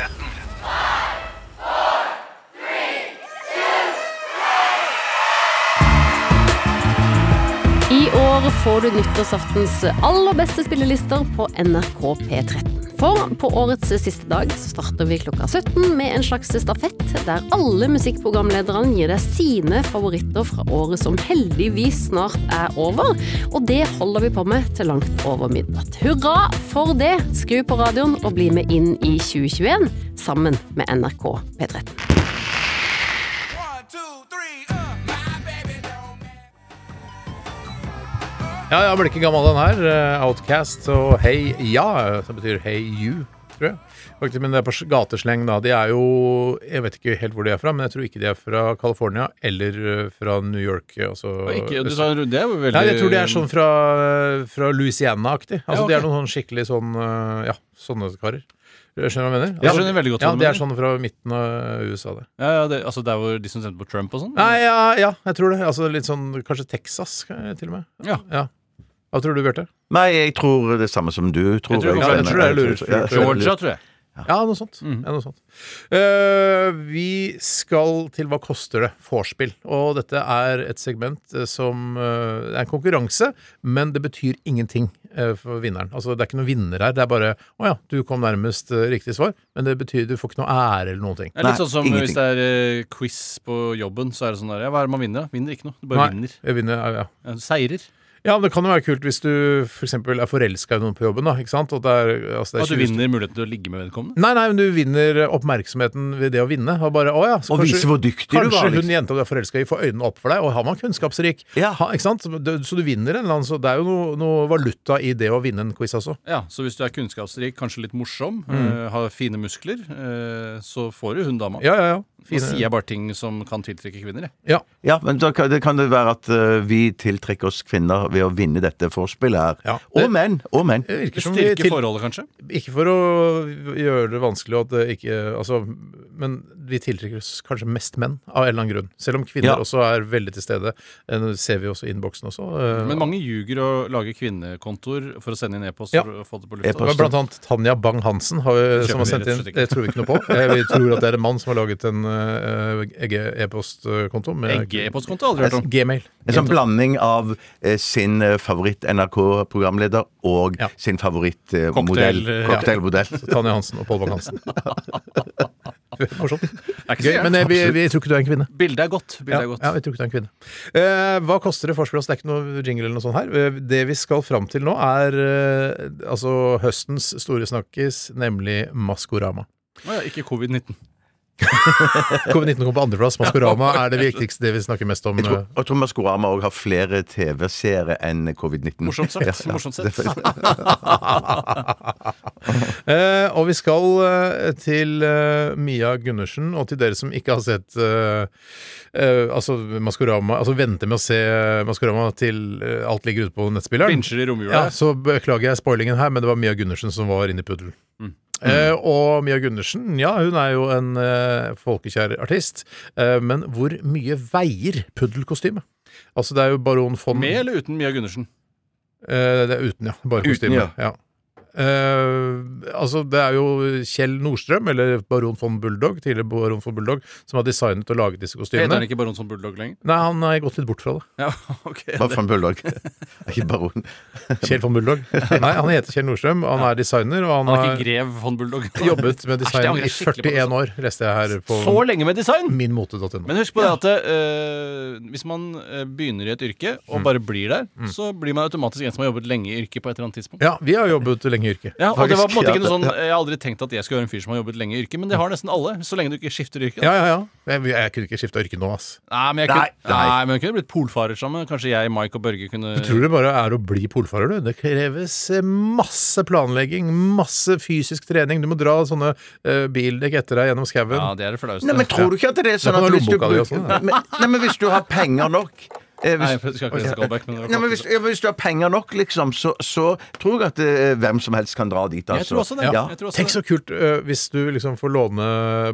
H: I år får du nyttårsaftens aller beste spillelister på NRK P13. For på årets siste dag så starter vi klokka 17 med en slags stafett der alle musikkprogramlederne gir deg sine favoritter fra året som heldigvis snart er over. Og det holder vi på med til langt over midnatt. Hurra for det! Skru på radioen og bli med inn i 2021 sammen med NRK P13.
D: Ja, jeg blir ikke gammel, den her. Eh, Outcast og Hey Ja, som betyr Hey You. tror jeg. Faktisk, men det er på s- gatesleng, da. De er jo Jeg vet ikke helt hvor de er fra, men jeg tror ikke de er fra California eller eh, fra New York. Altså,
F: Ikke, du
D: øst-
F: sa, det er jo veldig
D: Nei, jeg tror de er sånn fra, fra Louisiana-aktig. Altså,
F: Ja, ok.
D: De er noen sånn skikkelig sånn eh, Ja, sånne karer. Skjønner du hva jeg mener? Altså,
F: Jeg skjønner veldig godt hva
D: ja,
F: du
D: De er
F: mener.
D: sånn fra midten av USA, det.
F: ja, ja, det, Altså der hvor de som stemte på Trump og sånn?
D: Nei, ja, ja, jeg tror det. Altså litt sånn Kanskje Texas, kan jeg- til og med.
F: Ja.
D: Hva tror du, Bjarte?
E: Nei, jeg tror det samme som du tror.
F: Jeg tror- ja, jeg
D: tror det er lurt.
E: Ja,
F: Georgia, tror jeg.
D: Ja, noe sånt.
F: Mhm.
D: Ja, noe sånt. Eh, vi skal til Hva koster det? vorspiel. Og dette er et segment eh, som eh, Det er en konkurranse, men det betyr ingenting eh, for vinneren. Altså, det er ikke noen vinner her. Det er bare 'Å ja, du kom nærmest eh, riktig svar', men det betyr du får ikke noe ære eller noen ting.
F: Det er litt
E: Nei,
F: sånn som
E: ingenting.
F: hvis det er eh, quiz på jobben, så er det sånn der ja, Hva er det man vinner, da? Vinner ikke noe. Du bare
D: Nei,
F: vinner.
D: Jeg vinner, ja, ja.
F: Ja, du Seirer.
D: ja, men det kan jo være kult hvis du f.eks. eksempel er forelska i noen på jobben, da, ikke sant? Og det er, altså, det er
F: At
D: 20
F: du vinner muligheten til å ligge med vedkommende.
D: Nei, nei, men du vinner oppmerksomheten ved det å vinne. Og bare, å ja, så
E: Og vise hvor dyktig du
D: kanskje
E: var,
D: Kanskje
E: liksom.
D: hun jenta du er forelska i, får øynene opp for deg, og han var kunnskapsrik.
E: Ja.
D: Ha, ikke sant? Så du- Så du vinner en eller annen, så det er jo noe, noe valuta i det å vinne en quiz også.
F: Ja, Så hvis du er kunnskapsrik, kanskje litt morsom, eh, har fine muskler, eh, så får du hun dama.
D: Mm. Ja, ja, ja.
F: Nå sier jeg bare ting som kan tiltrekke kvinner, jeg.
D: Ja.
E: Ja, men da kan det, kan det være at eh, vi tiltrekker oss kvinner ved å vinne dette forspillet her.
D: Ja.
E: Og menn! Og menn.
D: Det virker som vi
F: Styrke
D: til,
F: forholdet, kanskje.
D: Ikke for å gjøre det vanskelig, og at det ikke, altså, men vi tiltrekker oss kanskje mest menn, av en eller annen grunn. Selv om kvinner
E: Ja.
D: også er veldig til stede. Eh, Det ser vi også i innboksen også. eh,
F: Men mange ljuger og lager kvinnekontoer for å sende inn e-post
D: Ja.
F: for å få det på lufta.
E: E-post.
D: Det var blant annet Tanja Bang-Hansen har,
F: Kjøper
D: som har sendt
F: vi
D: inn
F: rett og slett ikke.
D: Det tror vi ikke noe på. Eh, Vi tror at det er en mann som har laget en eh, egge- e-postkonto. med-
F: Egge-e-postkonto har jeg aldri hørt om.
D: Gmail.
E: En sånn blanding av eh, sin eh, favoritt-NRK-programleder og
D: Ja.
E: sin favorittmodell.
F: Cocktail, eh,
E: Cocktailmodell.
D: Tanja Hansen og Pål Bang-Hansen. Morsomt.
F: Er ikke så
D: Gøy,
F: gærent.
D: men eh, vi, vi tror ikke du er en kvinne.
F: Bildet er godt. Bildet
D: Ja,
F: er godt.
D: ja, vi tror ikke du er en kvinne. Eh, hva koster det forspill? oss? Det er ikke noe jingle eller noe sånt her. Eh, Det vi skal fram til nå, er eh, altså høstens store snakkis, nemlig Maskorama.
F: Å ja, ikke covid-19.
D: Covid-19 kom på andreplass. Maskorama er det viktigste, det vi snakker mest om.
E: Jeg tror,
D: eh,
E: jeg tror Maskorama òg har flere TV-seere enn covid-19.
F: Morsomt sagt. Morsomt sett.
D: Eh, og vi skal eh, til eh, Mia Gundersen, og til dere som ikke har sett eh, eh, altså Maskorama Altså venter med å se Maskorama til eh, alt ligger ute på nettspilleren.
F: Binsjer i romjula.
D: Ja, så beklager jeg spoilingen her, men det var Mia Gundersen som var inni puddelen. Eh, og Mia Gundersen, ja, hun er jo en eh, folkekjær artist. Eh, men hvor mye veier puddelkostymet? Altså, det er jo baron von
F: Med eller uten Mia Gundersen?
D: Eh, det er uten, ja. Bare
E: Uten,
D: kostyme.
E: ja.
D: Ja. Eh, altså, det er jo Kjell Nordstrøm, eller baron von Bulldog, tidligere baron von Bulldog, som har designet og laget disse
F: Heter
D: kostymene.
F: han ikke Baron som Bulldog lenger?
D: Nei, han har gått litt bort fra det.
F: Ja, ok.
E: Hva for en bulldog? Ikke baron.
D: Kjell von Bulldog. Nei, han heter Kjell Nordstrøm, og han er designer, og han
F: Han er ikke
D: har
F: grev von Bulldog.
D: jobbet med
F: Æsj, det
D: design i
F: angrer jeg skikkelig på.
D: 41 år, leste jeg her på
F: Så lenge med design!
D: minmote.no.
F: Men husk på det at eh, hvis man eh, begynner i et yrke
E: Mm.
F: og bare blir der, så blir man automatisk en som har jobbet lenge i yrket på et eller annet tidspunkt.
D: Ja, vi har jobbet lenge i yrket.
F: Ja, og det var på en måte
E: Faktisk,
F: ikke
E: ja, Mm.
F: noe sånn Jeg har aldri tenkt at jeg skulle være en fyr som har jobbet lenge i yrket, men det har nesten alle. Så lenge du ikke skifter yrke. da.
D: Ja, ja, ja. Jeg, jeg kunne ikke skifta yrke nå, ass.
F: Nei, men jeg kunne,
E: Nei, nei.
F: Nei, men jeg kunne blitt polfarer sammen. Kanskje jeg, Mike og Børge kunne
D: Tror du det bare er å bli polfarer, du? Det kreves eh, masse planlegging, masse fysisk trening. Du må dra sånne eh, bildekk etter deg gjennom skauen.
F: Ja, det er det flaueste.
E: Nei, men tror du ikke at det er
D: Det
E: sånn
D: kan
E: at
D: være
E: hvis du,
D: lommeboka di også,
E: bruker- men, nei, men hvis du har penger nok eh,
F: Nei,
E: hvis,
F: jeg skal ikke lese comeback, men det var
E: Nei, men
F: flott.
E: hvis, ja, men hvis du har penger nok, liksom, så, så tror jeg at eh, hvem som helst kan dra dit. Altså.
F: Jeg tror også det.
E: Ja.
F: Jeg tror også
D: Tenk så kult eh, hvis du liksom får låne,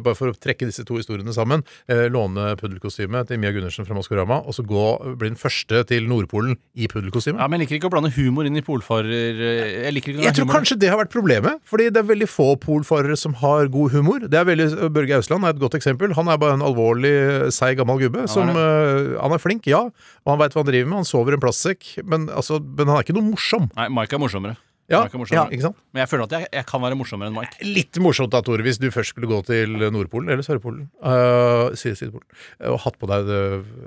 D: bare for å trekke disse to historiene sammen, eh, låne puddelkostymet til Mia Gundersen fra Maskorama, og så gå, bli den første til Nordpolen i puddelkostyme.
F: Ja, men Jeg liker ikke å blande humor inn i polfarer... eh, Jeg liker ikke
D: Jeg tror
F: humoren.
D: kanskje det har vært problemet, fordi det er veldig få polfarere som har god humor. Det er veldig, Børge Ausland er et godt eksempel. Han er bare en alvorlig, seig gammel gubbe. som, eh, han er flink, ja, og han veit hva han driver med. Han sover i en plastsekk, men, altså, men han er ikke noe morsom.
F: Nei, Mike er morsommere.
D: Ja,
F: Mike er
D: ja,
F: morsommere.
D: ikke sant?
F: Men jeg føler at jeg, jeg kan være morsommere enn Mike.
D: Litt morsomt da, Tore, hvis du først skulle gå til Nordpolen eller Sørpolen, øh, Syd- Sydpolen, og hatt på deg det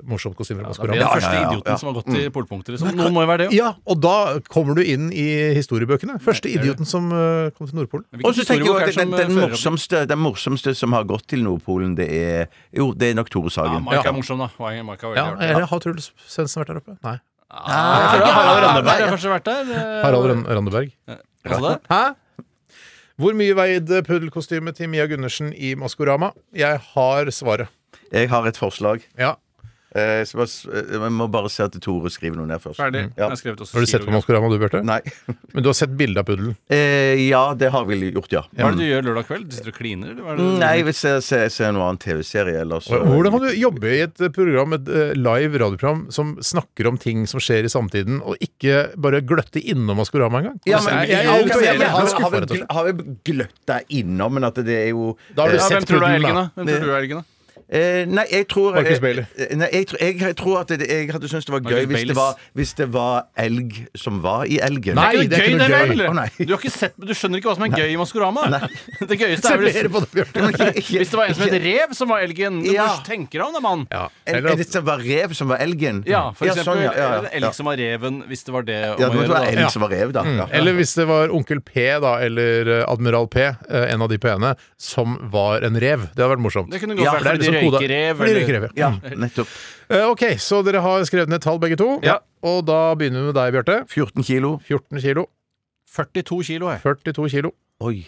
D: morsomt kostyme fra
F: Da blir jeg den
D: Maskorama.
F: første idioten som har gått til polpunkter. Liksom. Noen må jo være det, jo.
D: Ja, og da kommer du inn i historiebøkene. Første idioten som øh, kom til Nordpolen.
F: Hvilken
E: Og så tenker jeg
F: historiebok
E: jo
F: er det
E: at den,
F: som,
E: den,
F: eh, fører opp-
E: morsomste, den morsomste som har gått til Nordpolen, det er Jo, det er nok Tore
F: Ja,
E: Sagen.
F: Mike
D: Ja.
F: er morsom, da. Mike er veldig
D: Ja,
F: artig.
D: eller har Truls Svendsen vært der oppe? Nei.
F: Jeg føler at Harald Rønneberg har kanskje vært der. eh,
D: Harald Rønn- Randeberg.
F: altså det.
D: Hæ? Hvor mye veide puddelkostymet til Mia Gundersen i Maskorama? Jeg har svaret.
E: Jeg har et forslag.
D: Ja.
E: Eh, så bare s- eh, Jeg må bare se at Tore skriver noe ned først.
F: Ferdig.
E: Ja.
F: Jeg har skrevet også
D: Har du sett på
F: kilogram.
D: Maskorama, du, Bjarte?
E: Nei.
D: Men du har sett bilde av puddelen?
E: Eh, ja, det har vi gjort, ja.
F: Hva er det du gjør lørdag kveld? Sitter du og kliner, eller hva er det du
E: Mm, Nei, hvis jeg ser, ser noen annen TV-serie eller så
D: Hvordan kan du jobbe i et program, et eh, live radioprogram som snakker om ting som skjer i samtiden, og ikke bare gløtte innom Maskorama engang?
E: ja, men,
D: Jeg- jeg-
E: ja, ok,
D: jeg- jeg-
E: men
D: jeg-
E: har,
D: jeg-
E: har, vi,
D: rett og slett.
E: gl- har vi gløtta innom, men at det er jo
D: Da har du
E: eh,
F: Ja,
D: sett
F: hvem tror du er
D: puddelen,
F: elgen,
D: da.
F: da? Hvem tror du er elgen, da?
E: Eh, nei, jeg tror
D: Marcus
E: eh,
D: Bailey.
E: eh, Nei, jeg, tr- jeg, jeg tror at det, jeg hadde syntes det var
F: Marcus
E: gøy hvis det
F: Baileys.
E: var, hvis det var elg som var i elgen.
D: Nei, det er ikke noe gøy.
F: vel?
E: Å, nei.
F: Du, har ikke sett, du skjønner ikke hva som er gøy i Maskorama? Det gøyeste er
D: Observerer
F: vel
D: på det, Bjarte.
F: Hvis det var en som het Rev, som var elgen Du
E: Ja.
F: bare tenker deg om, da, mann.
D: Ja.
E: En,
D: Eller
E: en,
D: at,
E: det var rev som var elgen?
F: Ja, for eksempel.
E: sånn, ja, ja,
F: eller
E: ja.
F: en elg som var reven, hvis det var det om
E: Ja, det
F: å
E: måtte
F: gjøre.
E: være
F: da.
E: elg som var rev, da. Ja.
D: Mm. eller hvis det var Onkel P da, eller eh, Admiral P, eh, en av de P-ene, som var en rev. Det hadde vært morsomt.
F: Det kunne gått
E: Ja, for
F: for
D: det
F: fordi
D: er
F: de
D: liksom koda-
F: røyker rev.
D: fordi de
F: eller-
D: røyker rev, ja.
E: ja, nettopp.
D: Eh, Ok, så dere har skrevet ned tall begge to.
F: Ja.
D: Og da begynner vi med deg, Bjarte.
E: 14 kilo.
D: 14 kilo.
F: 42 kilo, jeg.
D: 42 kilo.
E: Oi.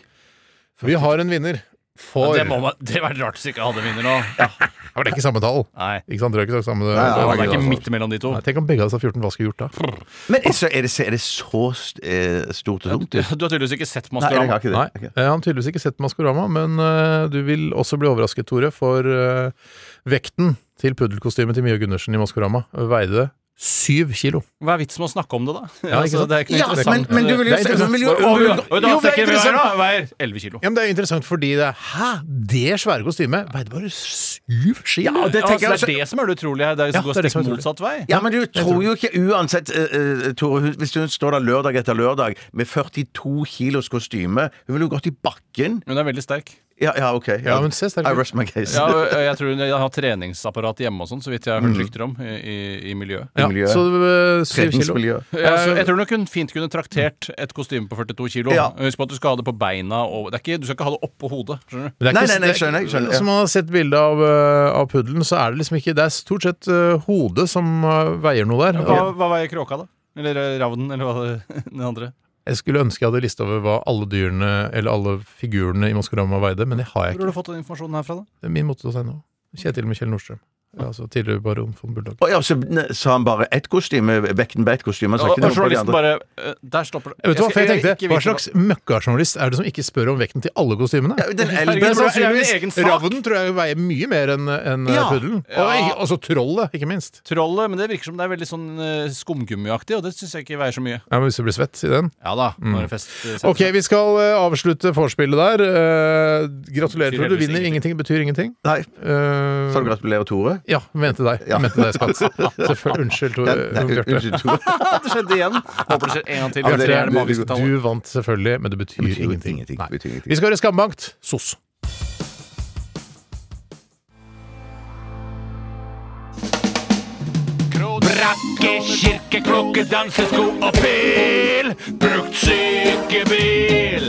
D: Vi har en vinner for
F: Det, må man, det var rart hvis ikke hadde vinner nå.
D: Ja, men Det er ikke samme tall.
F: Nei.
D: Ikke sant? Dere har ikke sagt samme
E: nei,
F: Det
E: nei.
F: er ikke
D: altså.
F: midt mellom de to.
D: Nei, Tenk om begge hadde sagt 14. Hva skulle vi gjort da?
E: Men er, så, er, det, er det så st- eh, stort og tungt?
F: Du har tydeligvis ikke sett
E: Nei, jeg
F: Maskorama.
E: har ikke det.
D: Nei,
E: Ok.
D: eh, Han har tydeligvis ikke sett Maskorama, men eh, du vil også bli overrasket, Tore, for eh, vekten til puddelkostymet til Mia Gundersen i Maskorama veide syv kilo.
F: Hva er vitsen med å snakke om det, da?
D: Ja, ikke
F: altså,
D: sant?
F: det er ikke noe
E: Ja, men,
F: interessant.
E: men du vil jo
D: Det er
E: se men vil jo-
F: Oi, oi, oi,
E: Jo,
F: oi,
E: det er
F: da tenker vi her,
E: interessant.
F: da, Veier 11 kilo.
D: Ja, men Det er interessant fordi det Hæ! Det svære kostymet veide bare syv kilo!
E: Ja, det tenker
F: Ja,
E: jeg
F: altså, det
E: også.
F: er det som er det utrolige her. Det er jo
D: Ja,
F: som går
D: det er det
F: stikk
D: som er utrolig.
F: motsatt vei.
E: Ja, men du tror jo ikke uansett, eh, eh, Tore, hun- hvis hun står der lørdag etter lørdag med 42 kilos kostyme Hun vil jo gått i bakken.
F: Hun er veldig sterk.
E: Ja, ja OK. Ja.
D: Ja, men se sterk
E: I
D: ut.
E: rest my case.
F: Ja, og jeg tror hun har treningsapparat hjemme og sånn, så vidt jeg har hørt rykter om i, i, i miljøet.
D: Mm. Ja, Altså-
E: miljøet.
D: så eh, syv kilo.
E: Tredjensmiljø.
F: Ja, så jeg tror nok hun fint kunne traktert et kostyme på 42 kilo.
E: Ja.
F: Husk på at du skal ha det på beina og det er ikke, Du skal ikke ha det oppå hodet. skjønner du?
D: Men det er
E: Nei,
D: ikke-
E: nei, nei,
D: det er-
E: skjønner, jeg, skjønner, ja.
D: Som man har sett bilde av, eh, av puddelen, så er det liksom ikke Det er stort sett eh, hodet som eh, veier noe der.
F: Hva,
D: Og
F: hva veier kråka, da? Eller eh, ravnen, eller hva det den andre?
D: jeg skulle ønske jeg hadde lista over hva alle dyrene, eller alle figurene i Maskorama veide, men det har jeg
F: Hvor har
D: ikke.
F: du fått den informasjonen herfra, da?
D: Det er min måte å si nå. Kjetil med Kjell Nordstrøm. Ja, Altså tidligere baron von Bulldog.
E: Og ja, så ne- sa han bare ett kostyme, vekten på ett kostyme. Han sa ikke
F: Og, og
E: noe på de
F: journalisten
E: andre.
F: bare eh, Der stopper det.
D: Jeg vet hva, for
F: skal-
D: jeg
F: ikke
D: tenkte, Hva
F: vite
D: slags møkkajournalist er det som ikke spør om vekten til alle kostymene?
E: Ja, den
F: Herregud,
E: eldre
F: det er jo en
D: sannsynligvis-
F: egen sak.
D: Ravnen tror jeg veier mye mer enn enn, eh,
E: Ja.
D: puddelen.
F: Ja.
D: Og altså trollet, ikke minst.
F: Trollet, men det virker som det er veldig sånn eh, skumgummiaktig, og det syns jeg ikke veier så mye.
D: Ja, men Hvis du blir svett i den
F: Ja da, når det fest eh, setter
D: Ok,
F: seg.
D: vi skal eh, avslutte vorspielet der. Eh, gratulerer, Tore.
F: Betyr
D: Du
F: heldigvis
D: vinner ingenting. Betyr ingenting.
E: Nei,
D: Eh,
E: sa du gratulerer, Tore?
D: ja, mente deg. Mente deg, skatt. Selvfølgelig. Unnskyld, Tore.
E: Nei,
D: Bjarte.
E: unnskyld, Tore.
F: Det skjedde igjen. Håper det skjer en gang til.
E: Ja, det
F: Bjarte, det
E: er
F: er det magiske
E: du-
F: tallet.
D: Du vant selvfølgelig, men det betyr,
E: betyr jo
D: ingenting.
E: ingenting.
D: Nei.
E: Det betyr ingenting.
D: Vi skal høre Skambankt. SOS.
I: Brakke, kirkeklokke, dansesko og pil. Brukt sykebil.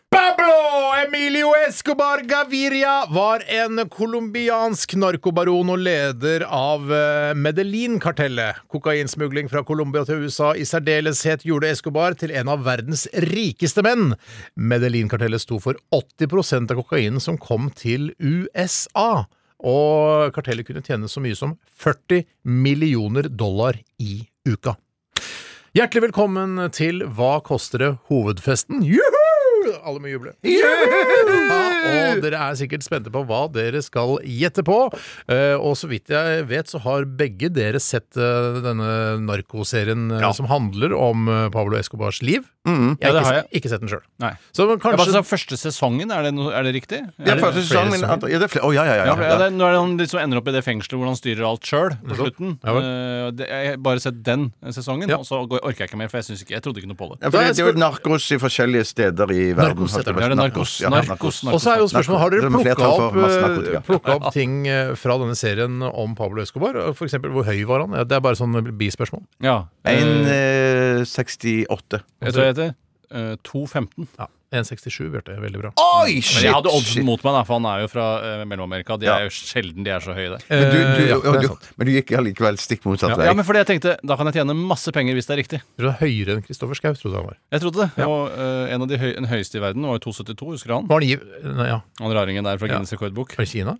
D: Pablo Emilio Escobar Gaviria var en colombiansk narkobaron og leder av eh, Medellin-kartellet. Kokainsmugling fra Colombia til USA i særdeleshet gjorde Escobar til en av verdens rikeste menn. Medellin-kartellet sto for 80 av kokainen som kom til USA. Og kartellet kunne tjene så mye som 40 millioner dollar i uka. Hjertelig velkommen til Hva koster det? hovedfesten. Juhu! Alle må juble. Ja, og dere er sikkert spente på hva dere skal gjette på. Eh, og så vidt jeg vet, så har begge dere sett eh, denne narkoserien eh, som handler om eh, Pablo Escobars liv. Jeg
F: Ja,
D: har
F: det
D: ikke,
F: har
D: sett- ikke sett den sjøl.
F: Nei.
D: Så
F: Ja, hva
D: kanskje
F: slags første sesongen, er det, no, er det riktig?
E: Det er
D: det
E: første
D: flere
E: sesong, men
D: sanger?
E: andre- ja, det er flere. Å, ja, ja, ja.
F: Ja, for- ja,
E: ja.
F: det, er- når han liksom ender opp i det fengselet hvor han styrer alt sjøl på slutten.
D: Ja vel.
F: Eh, det, jeg har bare sett den sesongen,
D: Ja.
F: og så går- orker jeg ikke mer, for jeg, synes ikke, jeg trodde ikke noe på det.
E: Ja, for det, det er jo narkos i forskjellige steder i verden.
D: Narkos heter det.
F: Ja, det er narkos,
E: Ja,
F: narkos, narkos.
D: Og så er jo spørsmålet, har
E: Det
D: dere
E: er med
D: plukka
E: flertall
D: opp,
E: for masse narkotika.
D: eh, plukket opp ting eh, fra denne serien om Pablo Escobar? For eksempel, hvor høy var han? eh, Ja, Det er bare sånn bispørsmål.
F: Ja.
E: En
F: eh,
E: eh, 68.
F: vet du hva jeg heter? eh, 2,15.
D: Ja, 1,67, Bjarte. Veldig bra.
E: Oi,
F: Men jeg hadde
E: shit!
F: oddsen mot meg, da, for han er jo fra eh, Mellom-Amerika. De
E: Ja.
F: er jo sjelden de er så høye der.
E: Men du, du,
D: Eh, ja, det er
E: du,
D: sant.
E: men du gikk allikevel stikk motsatt vei.
F: Ja, men fordi jeg tenkte, Da kan jeg tjene masse penger hvis det er riktig.
D: Du er høyere enn Kristoffer Schau, trodde jeg han var.
F: Jeg trodde det. Og eh, en av de høy, den høyeste i verden var jo 2,72. Husker du han?
D: Var han giv... Nei, ja.
F: Han raringen der fra
D: Ja.
F: Guinness rekordbok.
D: Var det Kina?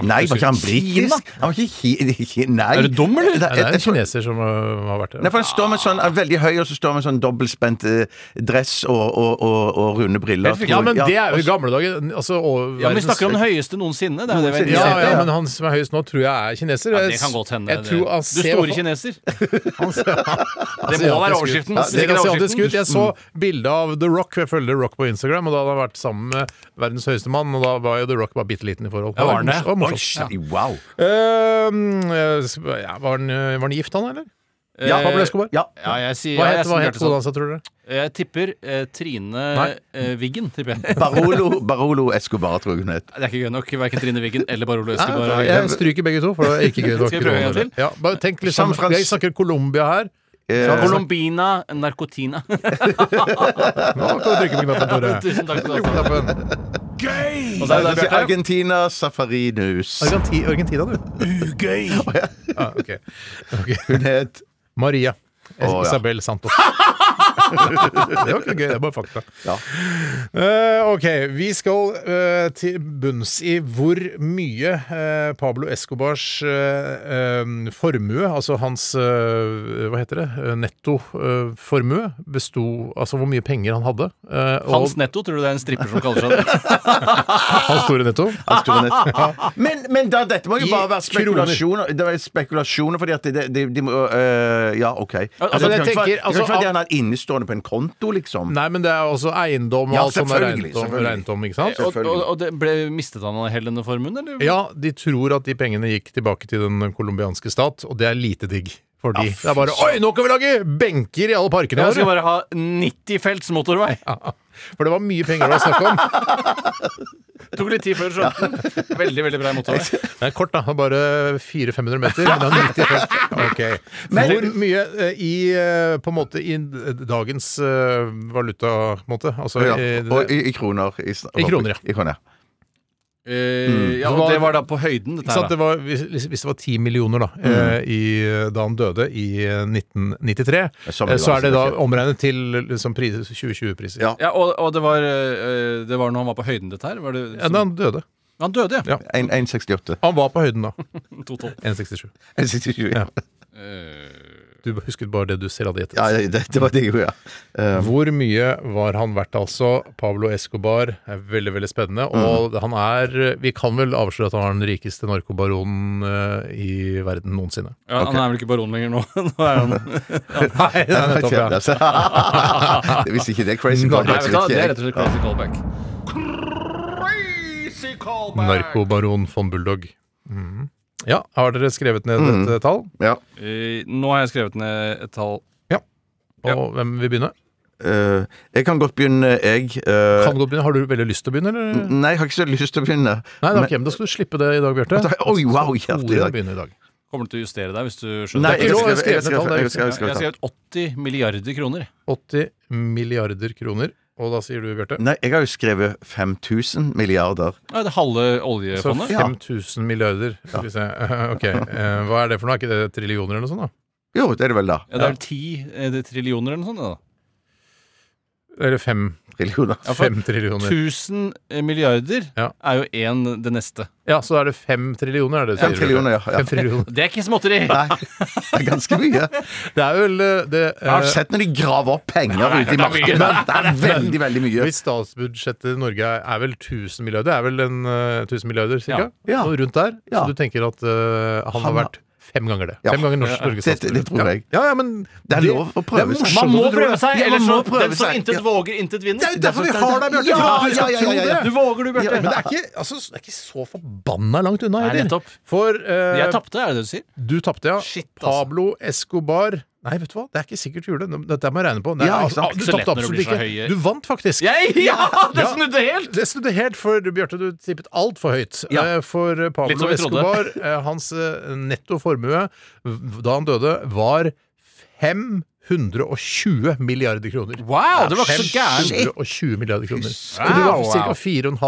E: Nei, var ikke han britisk? Han var ikke hi- hi- Nei.
F: Er du dum, eller?
D: Nei,
E: Nei,
D: det er en
E: jeg-
D: kineser som øh, har vært
E: Nei,
D: der.
E: for Han står med sånn, han er veldig høy, og så står han med sånn dobbeltspent eh, dress og, og, og, og runde briller. tror
D: Ja,
E: jeg.
D: men det er jo i
E: og-
D: gamle dager. Altså, og,
F: Ja, men Vi snakker om den høyeste noensinne. Det er jo det
D: ja,
F: vi er interessert i.
D: ja, men han som er høyest nå, tror jeg er kineser.
F: Ja, det kan godt hende.
D: Jeg tror han ser
F: det. du
D: i
F: store
D: hvert fall-
F: kineser.
D: Han ser-
F: Det må være overskriften.
D: Ja,
F: Hvis ikke
D: det
F: det er
D: er asiatisk
F: overskriften.
D: ut.
F: Mm.
D: Jeg så bilde av The Rock, for jeg følger The Rock på Instagram, og da hadde han vært sammen med verdens høyeste mann, og da var jo The Rock bare bitte liten i forhold.
F: Ja, var han det?
D: var
E: Oi,
D: morsomt.
E: shit, Wow.
D: Ehm, eh, ja, var, han, eh, var han gift, han, eller?
F: Ja.
D: Pablo Escobar?
E: Ja.
F: Eh, Ja, jeg sier
D: Hva
F: ja,
D: het,
F: jeg sånn.
D: hva
F: sier
D: het
F: Bjarte
D: kona
F: Sand.
D: hans, tror dere?
F: Jeg tipper eh, Trine
D: Nei.
F: eh, Wiggen, tipper jeg.
E: Barolo, Barolo Escobar, tror jeg hun het.
F: Det er ikke gøy nok. Verken Trine Wiggen eller Barolo Escobar.
D: Nei, jeg stryker begge to, for det er ikke gøy. nok.
F: Skal jeg prøve en gang til?
D: Ja, bare tenk litt
E: San
D: sammen.
E: Frans-
D: Jeg snakker Colombia her.
E: Eh,
F: Colombina Narcotina.
D: Nå kan du trykke på knappen, Tore.
F: Tusen takk skal du
D: Trykke på
F: ha.
D: knappen.
F: Og så er det deg, Bjarte.
E: Argentina Safarinus.
D: Argenti- Argentina, du.
B: Ugøy!
D: Ja, ok. Ok.
E: Hun het
D: Maria.
E: ja.
D: Isabel Santos. det var ikke noe gøy, det er bare fakta.
E: Ja.
D: Eh, ok, vi skal eh, til bunns i hvor mye eh, Pablo Escobars eh, eh, formue, altså hans eh, hva heter det, nettoformue, besto Altså hvor mye penger han hadde. eh, og
F: Hans Netto, tror du det er en stripper som kaller seg det?
D: hans store netto.
E: men, men da, dette må jo
D: I
E: bare være
D: kroner.
E: spekulasjoner. Det er spekulasjoner fordi at det- det- de må øh, Ja, OK.
D: Altså, jeg
E: det kan ikke være-
D: tenker,
E: det kan
D: altså,
E: ikke være det han har innestående på en konto, liksom.
D: Nei, men det er også eiendom og
E: Ja,
D: alt som er
E: selvfølgelig,
D: regnet om,
E: selvfølgelig.
D: regnet om, ikke sant?
F: Og, og, og det ble, mistet han hele denne formuen, eller?
D: Ja, de tror at de pengene gikk tilbake til den colombianske stat, og det er lite digg. Fordi det er bare Oi, nå kan vi lage benker i alle parkene
F: Jeg skal
D: våre!
F: bare ha 90 felts motorvei.
D: For det var mye penger det var snakk om.
F: Tok litt tid før du skjønte den. Veldig, veldig bra motorvei.
D: Det er kort, da. Bare 400-500 meter. Men det er 90 felt. Ok. Hvor mye eh, i eh, på en måte i dagens eh, valuta, på en måte? Altså
E: Ja,
D: eh, det-
E: og i, i kroner. I, sn-
D: I kroner, ja.
E: I kroner.
F: Eh, ja, og det var da på høyden, dette
D: Ikke sant?
F: her.
D: Det
F: da.
D: var, hvis, hvis det var 10 millioner da,
E: Mm.
D: eh, i, da han døde i eh, 1993,
E: Samme
D: eh, så er det da
E: dag,
D: omregnet til liksom, pris- 2020-priser.
E: Ja.
F: Ja, og, og det var eh, Det var når han var på høyden, dette her? Var det,
D: Ja, da han døde.
F: han døde,
D: Ja.
F: ja.
E: 1,68.
D: Han var på høyden da.
F: 2,12.
D: 1,67.
E: 1,67, ja.
D: Du husket bare det du selv hadde gjettet.
E: ja det, det var det jeg gjorde, ja. Um,
D: Hvor mye var han verdt, altså? Pablo Escobar er veldig veldig spennende.
E: Mm.
D: Og han er Vi kan vel avsløre at han er den rikeste narkobaronen eh, i verden noensinne.
F: Ja, Han er vel ikke baron lenger nå? nå er han
D: Nei, det er nettopp, ja.
E: altså. Hvis ikke det er crazy
D: Nei,
F: Nei,
E: callback,
F: vet
E: så
F: du, hva,
E: vet
F: Det
E: ikke
F: er
E: jeg.
F: rett og slett crazy callback.
D: Narkobaron von Bulldog. Mhm. Ja, har dere skrevet ned
E: Mm.
D: et eh, tall?
E: Ja.
F: Eh, nå har jeg skrevet ned et tall.
D: Og hvem vil begynne?
E: Uh, jeg kan godt begynne, jeg. Uh,
D: Kan godt begynne. Har du veldig lyst til å begynne, eller?
E: Nei, jeg har ikke så lyst til å begynne.
D: Nei, da,
E: Men-
D: ok, men da skal du slippe det i dag, Bjarte.
E: Oi, wow, hjertelig
D: Tore
E: takk.
D: begynner i dag.
F: Kommer du til å justere deg hvis du
E: Nei,
F: skjønner?
D: Det er ikke
E: jeg
D: lov,
E: skrev-
D: jeg skrev
E: jeg
D: ned tall, det er riktig.
E: skrev- jeg skrev- jeg
F: Jeg har
E: skrev-
F: skrevet 80 milliarder kroner.
D: 80 milliarder kroner. Og da sier du, Bjarte?
E: Nei, jeg har jo skrevet 5000 milliarder.
F: Ja, det halve
D: Så
F: oljefondet.
D: 5000 milliarder. Skal vi se. Ok, eh, Hva er det for noe? Er ikke det trillioner eller noe sånt? da?
E: Jo, det er det vel, da.
F: Ja, det er ti eh, det er trillioner eller noe sånt. det da.
D: Eller fem,
E: Millioner.
F: for-
D: fem trillioner.
F: 1000 eh, milliarder
D: Ja.
F: er jo én det neste.
D: Ja, så er det fem trillioner, er det?
E: Fem
D: sier du,
E: trillioner, ja,
D: Bjarte?
E: ja.
D: Fem trillioner.
F: Det er ikke småtteri!
E: Nei, det er ganske mye.
D: Det er vel eh, det
E: Jeg har
D: eh,
E: sett når de graver opp penger ute i markedet. Det er veldig, veldig mye.
D: Hvis statsbudsjettet i Norge er, er vel 1000 milliarder, det er vel en eh, 1000 milliarder cirka?
E: Ja.
D: Noe rundt der.
E: Ja.
D: Så du tenker at eh, han,
E: Han
D: har
E: har-
D: vært fem ganger det?
E: Ja.
D: Fem ganger norsk Norges
E: Det- det- det tror jeg.
D: Ja. Ja, ja, men
E: Det er lov å prøve
D: det er morsomt
E: seg.
F: Man
D: at
F: må
D: du tror
F: prøve
D: det.
F: seg,
E: Ja,
F: ellers
E: man
F: så
E: må prøve
F: den som
E: seg.
F: intet
E: Ja.
F: våger, intet
D: Det
F: vinner.
D: er jo derfor vi har deg, Bjarte!
E: Ja,
D: for at du skal
E: ja, ja, ja,
D: tro
E: ja.
D: det.
F: Du våger, du, Bjarte.
D: Men det er ikke, altså, det er ikke så forbanna langt unna.
F: Nei,
D: heller.
F: nettopp.
D: For eh,
F: Jeg tapte, er det det du sier?
D: du tapte, ja.
F: Shit, altså.
D: Pablo Escobar Nei, vet du hva, det er ikke sikkert du gjorde det. Dette må jeg regne på. Nei,
E: Ja, ikke
D: altså,
E: sant.
D: du
F: Så lett
D: tapte
F: når det
D: absolutt
F: blir så
D: ikke.
F: høye-
D: Du vant faktisk.
F: ja! Det
D: Ja.
F: snudde helt!
D: Det snudde helt, for Bjarte, du tippet altfor høyt.
F: Ja.
D: Eh, For eh,
F: Litt som
D: Pablo
F: vi trodde.
D: Escobar, eh, hans eh, netto formue v- da han døde, var 500 120 milliarder kroner.
F: Wow, det var ikke så gærent!
D: 120 milliarder kroner.
F: Wow,
D: Og du var ca.
F: wow.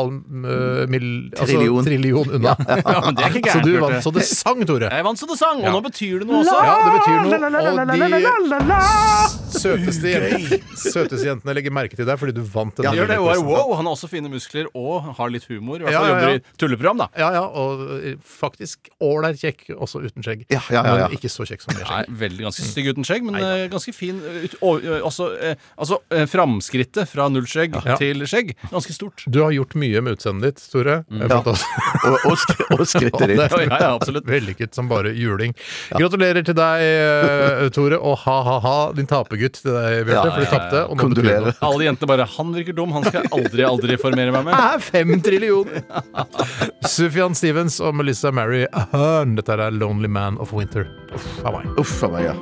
D: 4,5 mill... Altså,
E: Trillion.
D: trillion unna.
F: Ja, men det er ikke
D: så
F: gærent,
D: du
F: Bjarte.
D: vant så det sang, Tore.
F: Jeg vant så det sang, og nå betyr det noe også.
D: Ja, det betyr noe. Og de søteste jentene, søteste jentene legger merke til deg fordi du vant denne
F: Gjør det, og er,
D: julequizen.
F: wow, Han har også fine muskler og har litt humor. I hvert
D: Ja,
F: fall
D: ja, ja.
F: jobber i tulleprogram, da.
D: Ja, ja, og eh, faktisk ålreit kjekk også uten skjegg.
E: Ja, ja, ja, ja.
D: Men ikke så kjekk som med
F: Nei,
D: skjegg.
F: veldig ganske stygg uten skjegg, men eh, ganske fin. eh, Ut, og, eh, også, eh, altså eh, framskrittet fra null skjegg
D: Ja.
F: til skjegg, ganske stort.
D: Du har gjort mye med utseendet ditt, Tore.
F: Mm.
D: Fantastisk.
E: Og, og, sk og skrittet
D: Ja,
E: ditt.
F: Ja, ja, absolutt.
D: Vellykket som bare juling. Gratulerer til deg, eh, Tore, og ha-ha-ha, din tapergutt til deg, Bjarte,
E: Ja,
D: for du tapte. og nå betyr det noe.
E: Kondolerer.
F: Alle jentene bare 'Han virker dum, han skal jeg aldri, aldri formere meg med'.
D: er fem trillioner! Sufjan Stevens og Melissa Mary Ahern. Dette er Lonely Man of Winter. Uff, Hawaii.
E: Uff a meg, ja.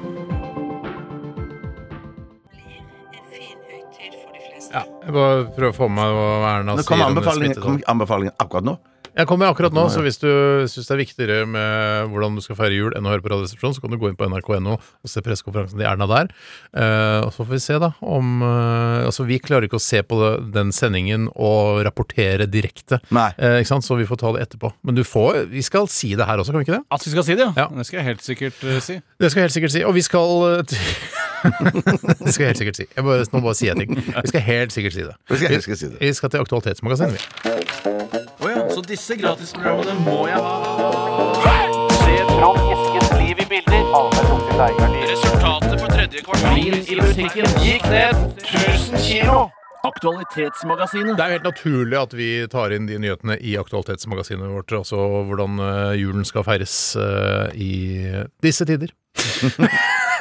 D: Ja, jeg bare prøver å få med meg hva Erna
E: Nå
D: sier.
E: kommer
D: om det
E: anbefalingen,
D: smittetall.
E: kommer anbefalingen akkurat nå.
D: Jeg kommer akkurat nå, så hvis du syns det er viktigere med hvordan du skal feire jul enn å høre på Radioresepsjonen, så kan du gå inn på nrk.no og se pressekonferansen til Erna der. Eh, og så får vi se, da, om eh, Altså, vi klarer ikke å se på det, den sendingen og rapportere direkte,
E: Nei.
D: Eh, ikke sant? så vi får ta det etterpå. Men du får Vi skal si det her også, kan vi ikke det?
F: At vi skal si det, ja.
D: Ja.
F: Det skal jeg helt sikkert eh, si.
D: Det skal jeg helt sikkert si. Og vi skal eh, til- Det skal jeg helt sikkert si. Jeg bare, nå bare sier jeg ting. Vi skal helt sikkert si det.
E: Vi skal- vi skal si det.
D: Vi skal til Aktualitetsmagasinet, vi.
F: Oh, ja. Så disse gratisprogrammene må jeg ha. Resultatet på tredje kvartal i butikken gikk ned 1000 kilo. Aktualitetsmagasinet.
D: Det er jo helt naturlig at vi tar inn de nyhetene i aktualitetsmagasinet vårt, altså hvordan eh, julen skal feires eh, i disse tider.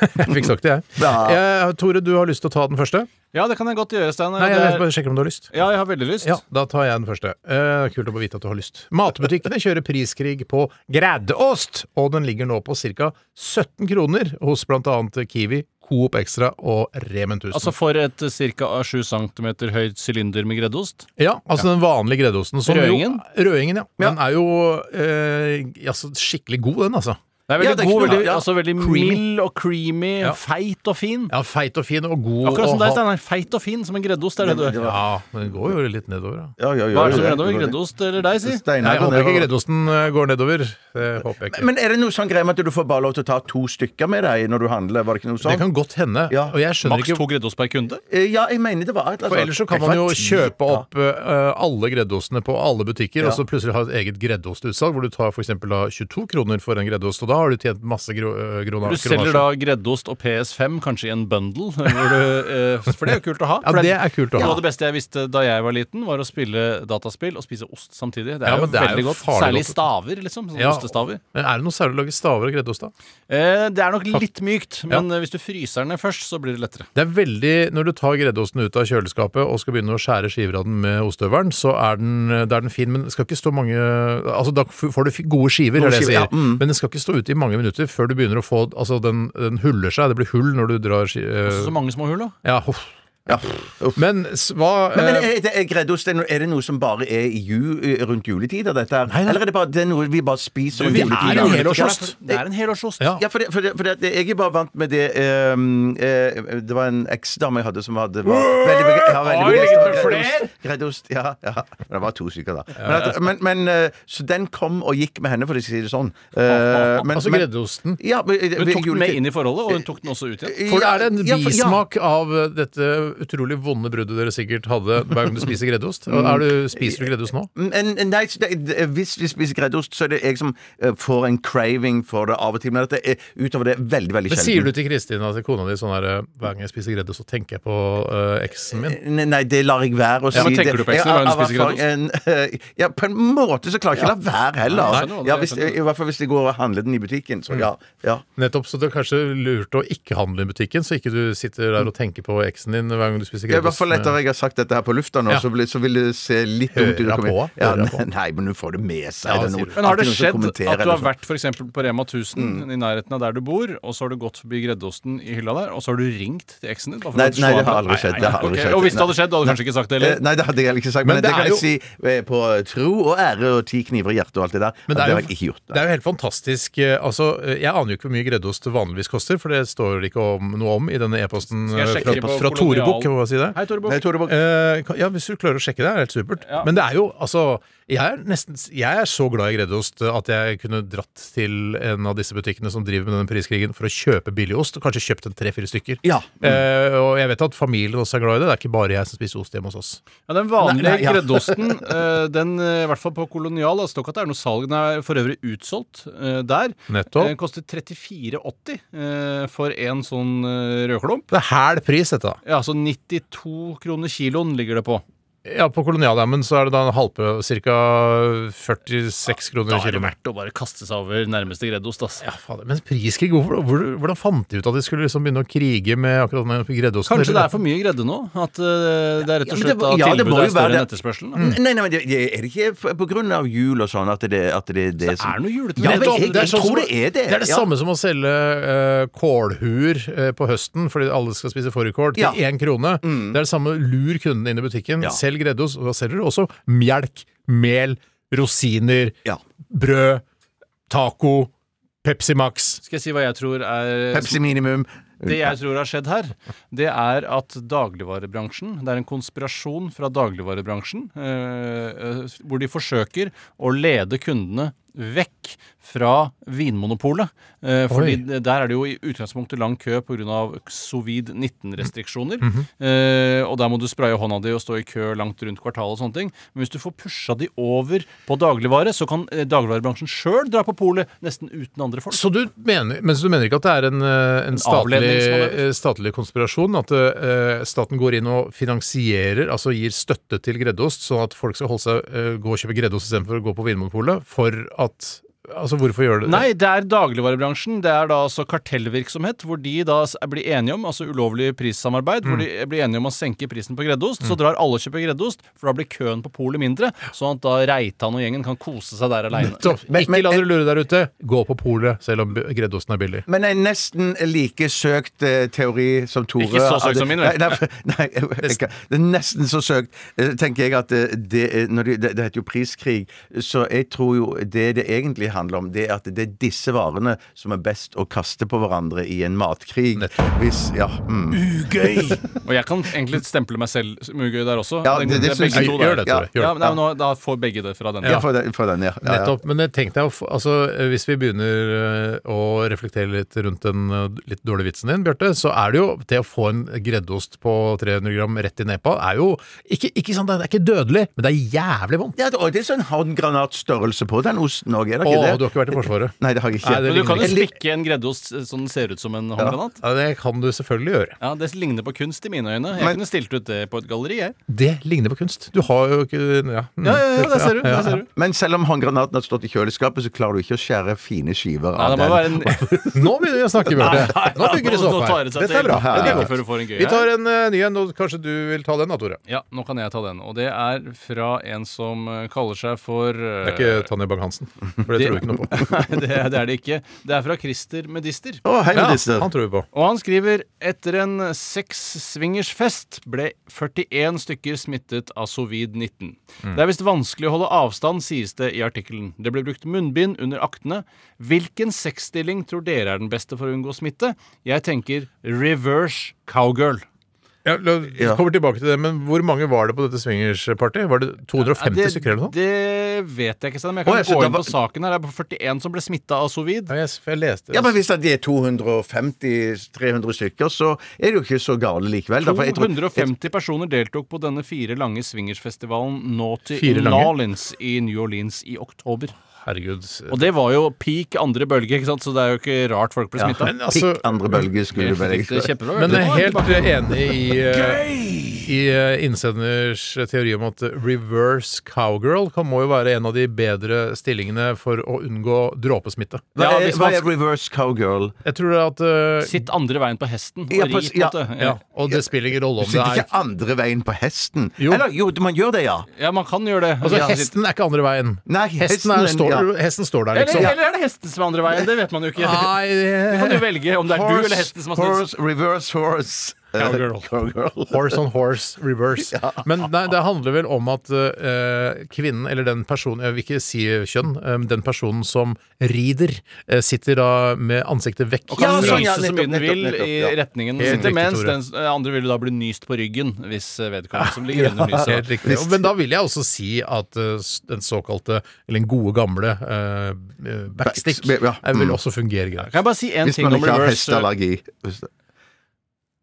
D: jeg fikk sagt det, jeg.
E: Ja.
D: Eh, Tore, du har lyst til å ta den første?
F: Ja, det kan jeg godt gjøre, Stein.
D: Nei,
F: Det
D: jeg
F: er-
D: bare sjekker om du har lyst.
F: Ja, jeg har veldig lyst.
D: Ja, Da tar jeg den første. Eh, kult å få vite at du har lyst. Matbutikkene kjører priskrig på greddeost, og den ligger nå på ca. 17 kroner hos bl.a. Kiwi, Coop Extra og Remen 1000.
F: Altså for et ca. 7 cm høyt sylinder med greddeost.
D: Ja, altså den vanlige greddeosten. som
F: Rødingen?
D: Jo, rødingen, ja. Den er jo eh, altså, skikkelig god, den, altså.
F: Det
E: Ja,
F: er veldig
E: det er ikke
F: god,
E: noe-
F: veldig,
E: ja.
F: altså veldig
D: Creamy.
F: mild og creamy,
D: Ja.
F: feit og fin.
D: Ja, Feit og fin og god.
F: Akkurat som
D: og
F: deg,
D: ha-
F: Steinar. Feit og fin som en greddeost. Er det du er.
D: Ja, men den går jo litt nedover, da.
E: Ja, ja, ja,
F: Hva er det som
E: ja,
F: er nedover?
E: ja.
F: Greddeost eller deg, si?
E: Steinar
D: Nei, jeg
E: går
D: håper ikke
E: nedover.
D: greddosten eh, går nedover. Det håper jeg ikke.
E: Men er det noe sånn greie med at du får bare lov til å ta to stykker med deg når du handler? Var det ikke noe
D: det
E: sånt?
D: kan godt hende.
E: Ja.
D: Og jeg skjønner
F: Maks
D: ikke
F: to greddeost per kunde?
E: Eh, Ja, jeg mener det var et eller annet sånn.
D: For ellers så kan man jo kjøpe opp eh, alle greddeostene på alle butikker, og
E: Ja.
D: så plutselig ha et eget greddeostutsalg, hvor du tar f.eks. 22 kroner for en greddeost, og da har du tjent masse gro eh, grona-
F: Du selger
D: kronasjer.
F: da greddost og PS5 kanskje i en bundle, hvor du, eh, for det er jo kult å ha.
D: Ja,
F: For
D: det er kult å ha.
F: Noe av det beste jeg visste da jeg var liten, var å spille dataspill og spise ost samtidig. Det er
D: Ja,
F: jo
D: men det er jo
F: veldig godt.
D: farlig
F: Særlig
D: godt.
F: staver, liksom. Sånne
D: Ja.
F: ostestaver.
D: Men er det noe særlig å lage staver av greddeost, da?
F: Eh, det er nok litt mykt, men
D: Ja.
F: eh, hvis du fryser den ned først, så blir det lettere.
D: Det er veldig, Når du tar greddeosten ut av kjøleskapet og skal begynne å skjære skiver av den med ostehøvelen, så er den, eh, da er den fin, men det skal ikke stå mange Altså, Da f- får du f- gode skiver, er det jeg
E: skiver,
D: sier.
E: ja, mm.
D: Men den skal ikke stå ute i mange minutter før du begynner å få Altså, den, den huller seg. Det blir hull når du drar ski...
F: Så
D: eh,
F: mange små hull, da.
D: ja, huff.
E: Ja.
D: Men s- hva
E: Men, men
D: eh,
E: er, det, er, greddost, er, det noe- er det noe som bare er i ju, eh, rundt juletider, dette her? Eller er det bare det er noe vi bare spiser rundt
F: Vi er
E: juletider?
F: jo
D: en
F: litt-
D: helårsost.
F: Det er en helårsost.
D: Ja.
E: Ja, for, det, for, det, for det, at jeg er bare vant med det ehm, eh, Det var en eksdame jeg hadde som hadde var veldig bega- ja, veldig
F: Oi,
E: begeistret av
F: ligger det
E: Greddost. Greddost, ja, ja. Men Det var to stykker, da. Men, at, men, men eh, Så den kom og gikk med henne, for å si det sånn. Eh, men-
D: Altså
E: men-
D: greddeosten.
E: Ja, men, eh,
F: Hun tok den med inn i forholdet, og hun tok den også ut igjen.
D: For det er en bismak av eh, dette utrolig vonde bruddet dere sikkert hadde hver gang du spiser greddeost. Og Er
E: Mm.
D: du, spiser du greddeost nå?
E: Nei, så det, det- hvis vi spiser greddost, så er det jeg som eh, får en craving for det av og til. Men at det er, utover det er veldig, veldig
D: Men
E: sjelden.
D: Sier du til Kristin, altså kona di, sånn her eh, Hver gang jeg spiser gredde, så tenker jeg på eh, eksen min?
E: Nei, nei, det lar jeg være å si.
F: Ja, men tenker
E: det.
F: du på eksen
E: Ja,
F: hver gang du
E: av
F: spiser
E: erfaring- en- Ja, på en måte så klarer jeg ikke å la være heller.
F: Nei, jeg skjønner hva du-
E: ja,
F: jeg
E: hvis,
F: skjønner. Mm.
E: I hvert fall hvis de går og handler den i butikken. Så ja. ja.
D: Nettopp, så det er kanskje lurt å ikke handle i butikken, så ikke du sitter der og tenker på eksen din hver hver gang du spiser
E: Ja, I hvert
D: frokost
E: fall etter
D: med-
E: jeg har sagt dette her på lufta nå,
D: Ja.
E: så, blir, så vil det se litt dumt ut. å
D: Hører
E: komme-
D: på,
E: Ja,
D: hører på.
E: nei, men hun får det med seg.
D: Ja,
E: det
D: sier
E: er noe-
D: du.
F: Men har det
E: alltid noen som
F: skjedd at
E: kommenterer
F: du har
E: eller noe Mm.
F: vært for eksempel på Rema 1000 i nærheten av der du bor, og så har du gått forbi Greddeosten i hylla der, og så har du ringt til eksen din? da, for
E: Nei,
F: å slå
E: nei, det
F: av-
E: har aldri skjedd. Det har
F: ok.
E: aldri skjedd.
F: Og hvis det hadde skjedd, hadde du
E: Nei.
F: kanskje ikke sagt det heller?
E: Eh, Nei, det hadde jeg heller ikke sagt. Men,
D: Men
E: det,
D: det
E: kan
D: er
E: jeg
D: jo-
E: si eh, på tro og ære og ti kniver i hjertet og alt det der.
D: Men det
E: at det
D: er,
E: har
D: jo,
E: jeg ikke gjort.
D: det er jo helt fantastisk. eh, Altså, eh, jeg aner jo ikke hvor mye greddeost vanligvis koster, for det står det ikke om, noe om i denne e-posten
F: Skal
D: eh,
F: jeg
D: fra,
F: sjekke på
D: fra Tore
F: Kolonial?
D: Bukk. Jeg må bare si det.
F: Hei, Tore Bukk.
E: Nei, Tore Bukk.
D: Eh, kan- ja, hvis du klarer å sjekke det, er det helt supert.
F: Ja.
D: Men det er jo altså jeg er, nesten, jeg er så glad i greddeost eh, at jeg kunne dratt til en av disse butikkene som driver med denne priskrigen, for å kjøpe billig ost, og kanskje kjøpt en tre-fire stykker.
E: Ja.
D: Eh, og jeg vet at familien også er glad i det. Det er ikke bare jeg som spiser ost hjemme hos oss.
F: Ja, Den vanlige
E: Nei, nei, ja.
F: greddosten, eh, den, eh, i hvert fall på Kolonial, det står ikke at det er noe salg. Den er for øvrig utsolgt eh, der.
D: Nettopp.
F: Den koster 34,80 eh, for en sånn eh, rødklump.
D: Det er hæl pris, dette. da.
F: Ja, så 92 kroner kiloen ligger det på.
D: Ja, På Kolonialdammen så er det da en halvpø, ca. 46 kroner
F: Da
D: i
F: er det
D: kiloen.
F: verdt å bare kaste seg over nærmeste greddost, ass.
D: Ja, fader. Men priskrig, hvorfor, hvor, hvordan fant de ut at de skulle liksom begynne å krige med akkurat den greddeosten?
F: Kanskje det er for mye gredde nå? At eh, det er rett
E: Ja,
F: og
E: men
F: slett
E: det må-
F: at
E: ja, det må jo
F: tilbudet er større
E: være
F: enn
E: det. Mm.
F: etterspørselen? da?
E: Nei, nei, men det, det- er det ikke f- på grunn av jul og sånn at det at det, det,
F: Det er noe julete
E: Ja, men
F: Nettopp.
E: jeg,
D: Det er
E: jeg
D: sånn som-
E: tror det er det.
D: Det er det
E: Ja.
D: samme som å selge eh, kålhuer eh, på høsten fordi alle skal spise fårikål, til
E: Ja. Mm.
D: én krone. Det er det samme lur kunden inn i butikken.
E: Ja.
D: Selg greddeost. Og da selger du også melk, mel, rosiner,
E: Ja.
D: brød, taco, Pepsi Max.
F: Skal jeg si hva jeg tror er
E: Pepsi minimum.
F: Det jeg tror har skjedd her, det er at dagligvarebransjen Det er en konspirasjon fra dagligvarebransjen eh, eh, hvor de forsøker å lede kundene vekk fra Vinmonopolet. Eh, fordi
D: Oi.
F: det- der er det jo i utgangspunktet lang kø pga. sovid-19-restriksjoner. eh, og der må du spraye hånda di og stå i kø langt rundt kvartalet og sånne ting. Men hvis du får pusha de over på dagligvare, så kan eh, dagligvarebransjen sjøl dra på polet nesten uten andre folk.
D: Så du mener, men så du mener ikke at det er en, eh, en statlig,
F: avledningsmanøver?
D: eh, statlig konspirasjon? At eh, staten går inn og finansierer, altså gir støtte til greddeost, sånn at folk skal holde seg, eh, gå og kjøpe greddeost istedenfor å gå på Vinmonopolet? For at Altså, hvorfor gjør det det?
F: Nei, det er dagligvarebransjen. Det er da altså kartellvirksomhet, hvor de da s- blir enige om altså ulovlig prissamarbeid, hvor de blir enige om å senke prisen på greddeost. Så drar alle og kjøper greddeost, for da blir køen på polet mindre, sånn at da Reitan og gjengen kan kose seg der aleine.
D: Så,
E: Men-
D: ikke
E: men-
D: la dere lure der ute. Gå på polet, selv om b- greddeosten er billig.
E: Men en nesten like søkt eh, teori som Tore
F: Ikke så søkt
E: hadde-
F: som min,
E: Nei,
F: vel?
E: nei, for- nei jeg, jeg, kan- det er nesten så søkt, eh, tenker jeg at eh, det, er- når de, det, det heter jo priskrig. Så jeg tror jo det det egentlig handler om, det er at det er disse varene som er best å kaste på hverandre i en matkrig. Hvis Ja. Mm.
D: Uh,
F: Og jeg kan egentlig stemple meg selv som ugøy der også.
E: Ja, det- det
F: er begge
E: synes jeg-
F: to
D: Gjør
F: der.
D: det,
E: Ja.
D: Tore. Gjør det.
F: Ja, men, nei, men nå, da får begge det fra den.
E: Ja, for den, for den ja. Ja, ja.
D: Nettopp. Men jeg tenkte jeg, å få- altså, hvis vi begynner eh, å reflektere litt rundt den eh, litt dårlige vitsen din, Bjarte, så er det jo det å få en greddeost på 300 gram rett i nepa, er jo ikke, ikke sant, det er ikke dødelig, men det er jævlig vondt.
E: Ja, og det er sånn håndgranatstørrelse på den osten òg, er det
D: Å,
E: ikke
D: du
E: det?
D: har ikke vært i Forsvaret.
E: Nei, det har jeg ikke.
D: Nei, det
F: Men du kan jo
E: Jeg lik-
F: spikke en greddeost eh, sånn den ser ut som en håndgranat.
D: Ja, det kan du selvfølgelig gjøre.
F: Ja, Det ligner på kunst i mine øyne. Jeg
E: Men-
F: kunne stilt ut det på et galleri, jeg.
D: Det ligner på kunst. Du har jo ikke Ja, mm.
F: Ja, ja, ja, der ser du. Der ser du.
E: Men selv om håndgranaten har stått i kjøleskapet, så klarer du ikke å skjære fine skiver
F: Nei,
E: av
F: det
E: den.
F: må være en
D: Mm. Nå begynner vi å snakke, Bjarte. Nå bygger det seg opp
F: Nå tar
D: her.
F: det seg
D: Dette er
F: til.
D: bra. Dette er godt.
F: Like før du får en gøy
D: Vi
F: her.
D: tar en eh, ny en, og kanskje du vil ta den da, Tore?
F: Ja, nå kan jeg ta den. Og det er fra en som eh, kaller seg for eh,
D: Det er ikke Tanja Bang-Hansen, for det tror vi ikke noe på.
F: det, er- det er det ikke. Det er fra Christer Medister.
E: Å, hei,
D: Ja,
E: Medister.
D: han tror vi på.
F: Og han skriver etter en sekssvingersfest ble 41 stykker smittet av sovid-19.
D: Mm.
F: Det er visst vanskelig å holde avstand, sies det i artikkelen. Det ble brukt munnbind under aktene. Hvilken sexstilling tror dere er den beste for å unngå smitte? Jeg tenker reverse cowgirl.
D: Ja, la, vi
E: Ja.
D: kommer tilbake til det, men Hvor mange var det på dette swingersparty? Var det 250
F: det,
D: stykker eller noe?
F: Det vet jeg ikke, Stein, men jeg kan
E: Å, jeg
F: gå
E: skjønte
F: inn
E: hva-
F: på saken her. Det er 41 som ble smitta av sovid.
D: Ja, jeg, for jeg leste
E: Ja, men hvis det er 250-300 stykker, så er det jo ikke så gale likevel. da, for jeg tror-
F: 250 personer deltok på denne fire lange swingersfestivalen Naughty
D: Fire
F: in
D: lange?
F: Nolins i New Orleans i oktober.
D: herregud.
F: Og det var jo peak andre bølge, ikke sant? så det er jo ikke rart folk ble smitta.
D: Men altså-
E: Pikk andre bølge skulle bare
F: Kjempebra.
D: Men jeg er
F: vet du.
D: helt enig i, eh, i eh, innsenders teori om at eh, reverse cowgirl kan, må jo være en av de bedre stillingene for å unngå dråpesmitte.
E: Hva
F: Ja,
E: er,
F: hvis
E: hva
F: man
E: er reverse cowgirl?
D: Jeg tror det at eh,
F: Sitt andre veien på hesten og
E: Ja,
F: ri.
E: på-
F: på en
E: ja.
F: måte.
D: ja, Og det spiller ingen rolle om det
E: Sitter
D: er
E: ikke andre veien på hesten?
D: Jo.
E: Eller jo, man gjør det, ja.
F: ja, man kan gjøre det.
D: Altså,
F: Ja.
D: hesten er ikke andre veien.
E: Nei,
D: Hesten, er,
E: hesten,
D: står,
E: ja.
D: hesten står der,
F: Eller,
D: liksom.
F: eller er det hesten som er andre veien? Det vet man jo ikke.
D: Nei,
F: Du kan jo
D: eh,
F: velge om det er du eller hesten som har snudd.
E: horse, reverse horse. Eh,
D: Cowgirl.
E: cowgirl.
D: Horse on horse, reverse. Men nei, det handler vel om at eh, kvinnen, eller den personen, jeg vil ikke si kjønn, eh, men den personen som rider, eh, sitter da med ansiktet vekk.
F: Og kan
E: Ja,
F: nyse
E: sånn, ja,
F: så mye
E: nettopp,
F: den vil
E: nettopp, nettopp,
F: i
E: ja.
F: retningen den
D: Helt
F: sitter,
D: riktig,
F: mens
D: Tore.
F: den s- eh, andre vil jo da bli nyst på ryggen hvis eh, vedkommende som ligger under nyser.
D: Helt riktig. Og- Men da vil jeg også si at eh, s- den såkalte, eller den gode gamle, eh, eh, backstick
E: Backs- ja,
D: eh, vil
E: mm.
D: også fungere greit.
F: Kan jeg bare si én
E: Hvis
F: ting
E: man
F: om
E: ikke har
F: reverse? eh,
E: hesteallergi. Hvis det-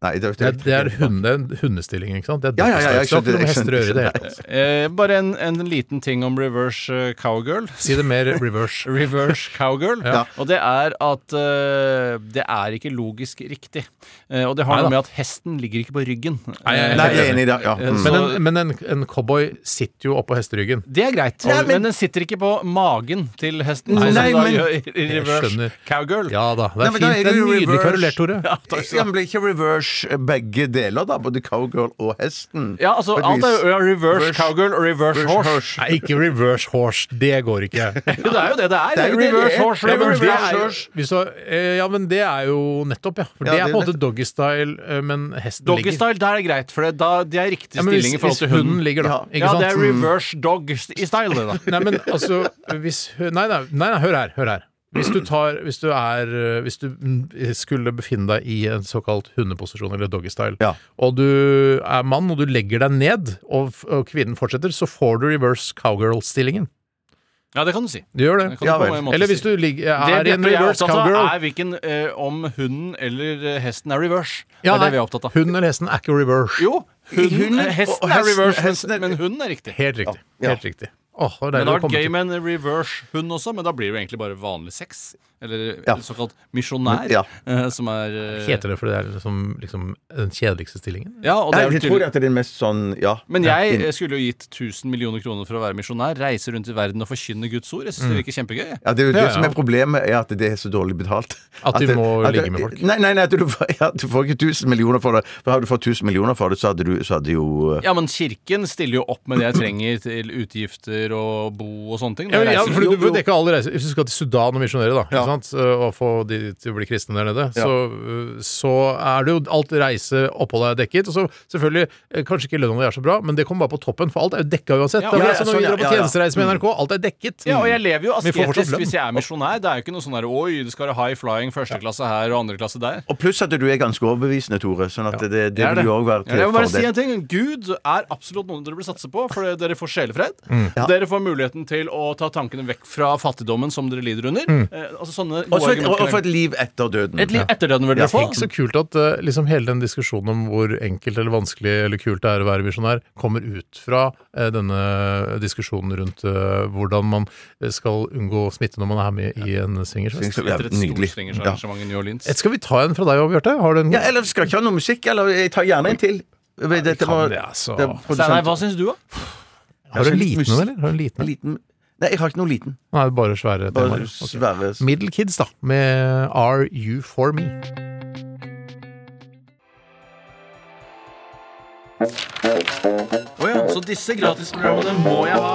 E: Nei, det,
D: Det er, det er hunde, hundestilling, ikke sant? Det er
E: Ja, ja, ja, jeg
D: det har ikke
E: skjønte det,
D: noe med
E: jeg
D: hester å
E: skjønte
D: gjøre i det
E: det.
D: hele tatt.
F: Eh, bare en, en liten ting om reverse eh, cowgirl.
D: Si det mer reverse.
F: Reverse cowgirl.
E: Ja.
F: Og det er at eh, det er ikke logisk riktig. Eh, og det har
D: Nei da.
F: noe med at hesten ligger ikke på ryggen.
D: Nei, jeg er
E: Nei,
F: Eh,
E: jeg er enig i det. Ja.
F: Eh,
E: Mm.
F: så-
D: Men, en, men en, en cowboy sitter jo oppå hesteryggen.
F: det er greit,
E: Nei,
F: men,
E: men-
F: den sitter ikke på magen til hesten.
E: Nei,
F: sånn som
E: nei,
F: den
E: men-
F: gjør i- i
D: Jeg
F: reverse
D: skjønner.
F: cowgirl.
D: Ja da. Det
E: Nei,
D: er
E: men
D: fint.
E: da er
D: Det
E: det
D: er
E: jo
D: nydelig
E: reverse.
D: kverulert, Tore.
E: Ja, men blir ikke reverse eh, begge deler, da? Både cowgirl og hesten?
F: Ja, altså,
E: På et
F: alt er jo
E: vis.
F: ja, reverse
E: Reverse-
F: cowgirl og reverse
E: reverse
F: horse.
E: horse.
D: Nei, ikke reverse horse. Det går ikke.
F: Jo, det er jo det det er.
E: Det er jo det det
F: reverse
E: er.
F: horse.
E: Ja, men
F: reverse
D: Det
E: det er
F: horse.
E: jo-
D: er, hvis du, har- eh, ja, men det er jo nettopp, ja. For
E: Ja,
D: det er
E: det
D: på en
E: er
D: måte doggystyle, eh, men hesten ligger.
F: Doggystyle, der er det greit, for det, da, det er riktig
D: Ja, men hvis,
F: stilling i forhold
D: hvis
F: til hunden. Mm.
D: hunden ligger, da.
E: Ja.
D: Ikke
F: Ja,
D: sant?
F: det er reverse dog i style, det, da.
D: Nei, men altså hvis, hu- nei, nei, nei, nei, hør her. Hør her. Hvis du, tar, hvis, du er, eh, hvis du mm, skulle befinne deg i en såkalt hundeposisjon, eller doggystyle,
E: Ja.
D: og du er mann og du legger deg ned, og, f- og kvinnen fortsetter, så får du reverse cowgirl-stillingen.
F: Ja, det kan du si.
D: Du gjør det.
F: Det kan
E: Ja
F: du på
E: vel.
F: en måte
D: Eller hvis
F: si.
D: du ligger,
F: det
D: er i en
F: Bjarte og
D: reverse
F: jeg er opptatt av,
D: cowgirl.
F: er hvilken eh, om hunden eller eh, hesten er reverse.
D: Ja,
F: det er
D: nei,
F: det vi er opptatt av.
D: Hunden eller hesten er ikke reverse.
F: Jo, hunden,
E: Hunden-
F: hesten
E: og
F: er
E: hesten-
F: reverse,
E: hesten
F: men,
E: er-
F: men hunden er riktig.
D: Helt riktig.
E: Ja.
D: Helt riktig. Åh, det var
F: Men
D: deilig
F: det
D: å
F: hadde
D: komme
F: vært gøy
D: til.
F: med en reverse hund også, men da blir det jo egentlig bare vanlig sex. Eller
E: Ja.
F: såkalt misjonær,
E: Ja.
F: eh, som er eh,
D: Heter det fordi det er liksom, liksom den kjedeligste stillingen?
F: Ja, og
E: Nei,
F: det er jo
E: jeg tror
F: tydelig.
E: at det er mest sånn, ja.
F: Men
E: Ja,
F: jeg
E: inn-
F: eh, skulle jo gitt 1000 millioner kroner for å være misjonær, reise rundt i verden og forkynne Guds ord. Jeg syns
D: Mm.
F: det virker kjempegøy. jeg.
E: Ja, det er jo
D: Ja,
E: det
D: ja.
E: som er problemet, er at det er så dårlig betalt.
D: At de
E: det-
D: må
E: at det-
D: ligge med folk.
E: Nei, nei, nei at du, får- ja, du får ikke 1000 millioner for det. For hadde du fått 1000 millioner for det, så hadde du så hadde jo
F: Ja, men kirken stiller jo opp med det jeg trenger til utgifter og bo og sånne ting.
D: Ja,
F: Jeg
D: ja,
F: reiser-
D: for du
F: Jo,
D: får
F: jo.
D: dekke alle reiser. Hvis du skal til Sudan og misjonere, da,
E: Ja.
D: ikke sant? og få de til å bli kristne der nede, så, så er det jo alt reise, opphold er dekket. Og så selvfølgelig, eh, kanskje ikke lønna di er så bra, men det kommer bare på toppen, for alt er jo dekka uansett.
F: Ja,
D: det er
F: ja, Mm.
D: vel
E: ja,
D: sånn når vi
E: sånn, ja,
D: drar på
E: ja, ja.
D: tjenestereise med NRK, alt er dekket.
F: Ja, og jeg lever jo
D: Vi får fortsatt
F: asketisk
D: lønn.
F: hvis jeg er misjonær. Det er jo ikke noe sånn der Oi, du skal ha high flying første klasse her og andre klasse der.
E: Og pluss at du er ganske overbevisende, Tore. Sånn at det, det
F: Jeg er
E: vil jo òg være
F: Ja, jeg
E: til
F: må bare si
E: fordel.
F: en ting. Gud er absolutt noen dere bør satse på, for det- dere får sjelefred.
E: Mm.
F: Dere får muligheten til å ta tankene vekk fra fattigdommen som dere lider under.
E: Mm.
F: Eh, altså sånne
E: Og
F: gode
E: så et- og- og for
F: argumenter.
E: et liv etter døden.
F: Et liv etter døden vil dere få.
D: Tenk så kult at eh, liksom hele den diskusjonen om hvor enkelt eller vanskelig eller kult det er å være misjonær, kommer ut fra eh, denne diskusjonen rundt eh, hvordan man skal unngå smitte når man er med i en swingersfest.
E: Ja,
F: Etter et
E: nydelig.
F: storstringersarrangement i New Orleans.
D: Et- Skal vi ta en fra deg òg, Bjarte? Har du en
E: Ja, eller skal ikke ha noe musikk, eller jeg tar gjerne en til. Dette
D: kan
E: må-
D: det, altså.
E: det er produsent-
F: Steinar, hva syns du, da?
D: Har du en
E: Kanskje litt
D: liten en,
E: mus-
D: eller? Har du en liten en?
E: Liten Nei, jeg har ikke noe liten.
D: Nei, det er bare svære
E: Bare
D: temaer. Ok.
E: svære
D: Middle Kids, da, med Are You For Me.
F: Å ja, så disse gratisprogrammene må jeg ha.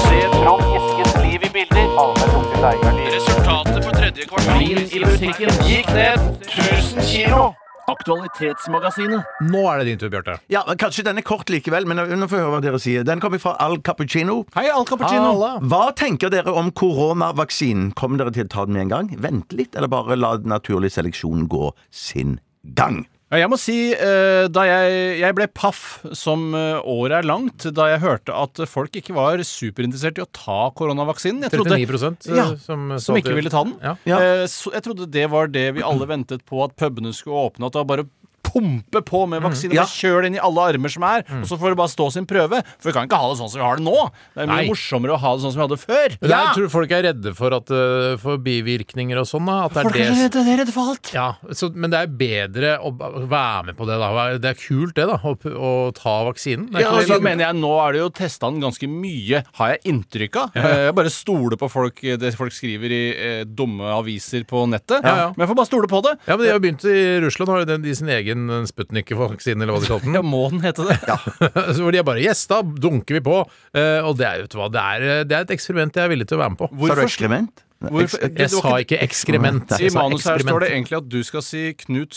F: Se Trond Eskens liv i bilder. Resultatet på tredje kvartal i butikken gikk ned 1000 kilo. Aktualitetsmagasinet.
D: Nå er det din tur, Bjarte.
E: Ja, men Kanskje den er kort likevel, men nå får jeg høre hva dere sier. Den kommer fra Al Cappuccino.
F: Hei, Al Cappuccino.
E: Hva tenker dere om koronavaksinen? Kommer dere til å ta den med en gang? Vente litt, eller bare la naturlig seleksjon gå sin gang?
F: Ja, jeg må si, eh, da jeg, jeg ble paff som eh, året er langt, da jeg hørte at folk ikke var superinteressert i å ta koronavaksinen. Jeg trodde-
D: 39
F: Ja,
D: eh, som, sa
F: Som ikke
D: til-
F: ville ta den.
D: Ja.
E: Ja.
F: Eh, så jeg trodde det var det vi alle ventet på, at pubene skulle åpne. At det var bare pumpe på med vaksine. Bare Kjør den i alle armer som er,
D: Mm.
F: og så får det bare stå sin prøve. For vi kan ikke ha det sånn som vi har det nå. Det er mye
D: Nei.
F: morsommere å ha det sånn som vi hadde før.
D: Men jeg tror folk er redde for, at, eh, for bivirkninger og sånn. da, At det er
F: Folk er
D: det
F: redde, de er redde for alt.
D: Ja, så, men det er bedre å ba- være med på det, da. Det er kult, det, da. Å, p- å ta vaksinen. Det er
F: Ja,
D: ikke
F: og så
D: det-
F: mener jeg, Nå er det jo testa den ganske mye, har jeg inntrykk av. Eh, Jeg bare stoler på folk, eh, det folk skriver i eh, dumme aviser på nettet.
D: Ja, ja.
F: Men jeg får bare stole på det.
D: ja, men De har begynt i Russland, har jo den- de sin egen Sputnik-vaksine, eller hva de kalte den.
F: Ja, må den hete det?
D: Så Hvor de er bare Yes, da dunker vi på. Eh, og det er, vet du hva, det er, eh, det er et eksperiment jeg er villig til å være med på.
E: Sa du
F: Hvorfor-
E: ekskrement? Nei,
F: Hvorfor-
E: eks-
D: Jeg
F: det var
D: sa ikke ekskrement.
F: I
D: jeg sa
F: manuset her står det
D: eksperiment.
F: egentlig at du skal si Knut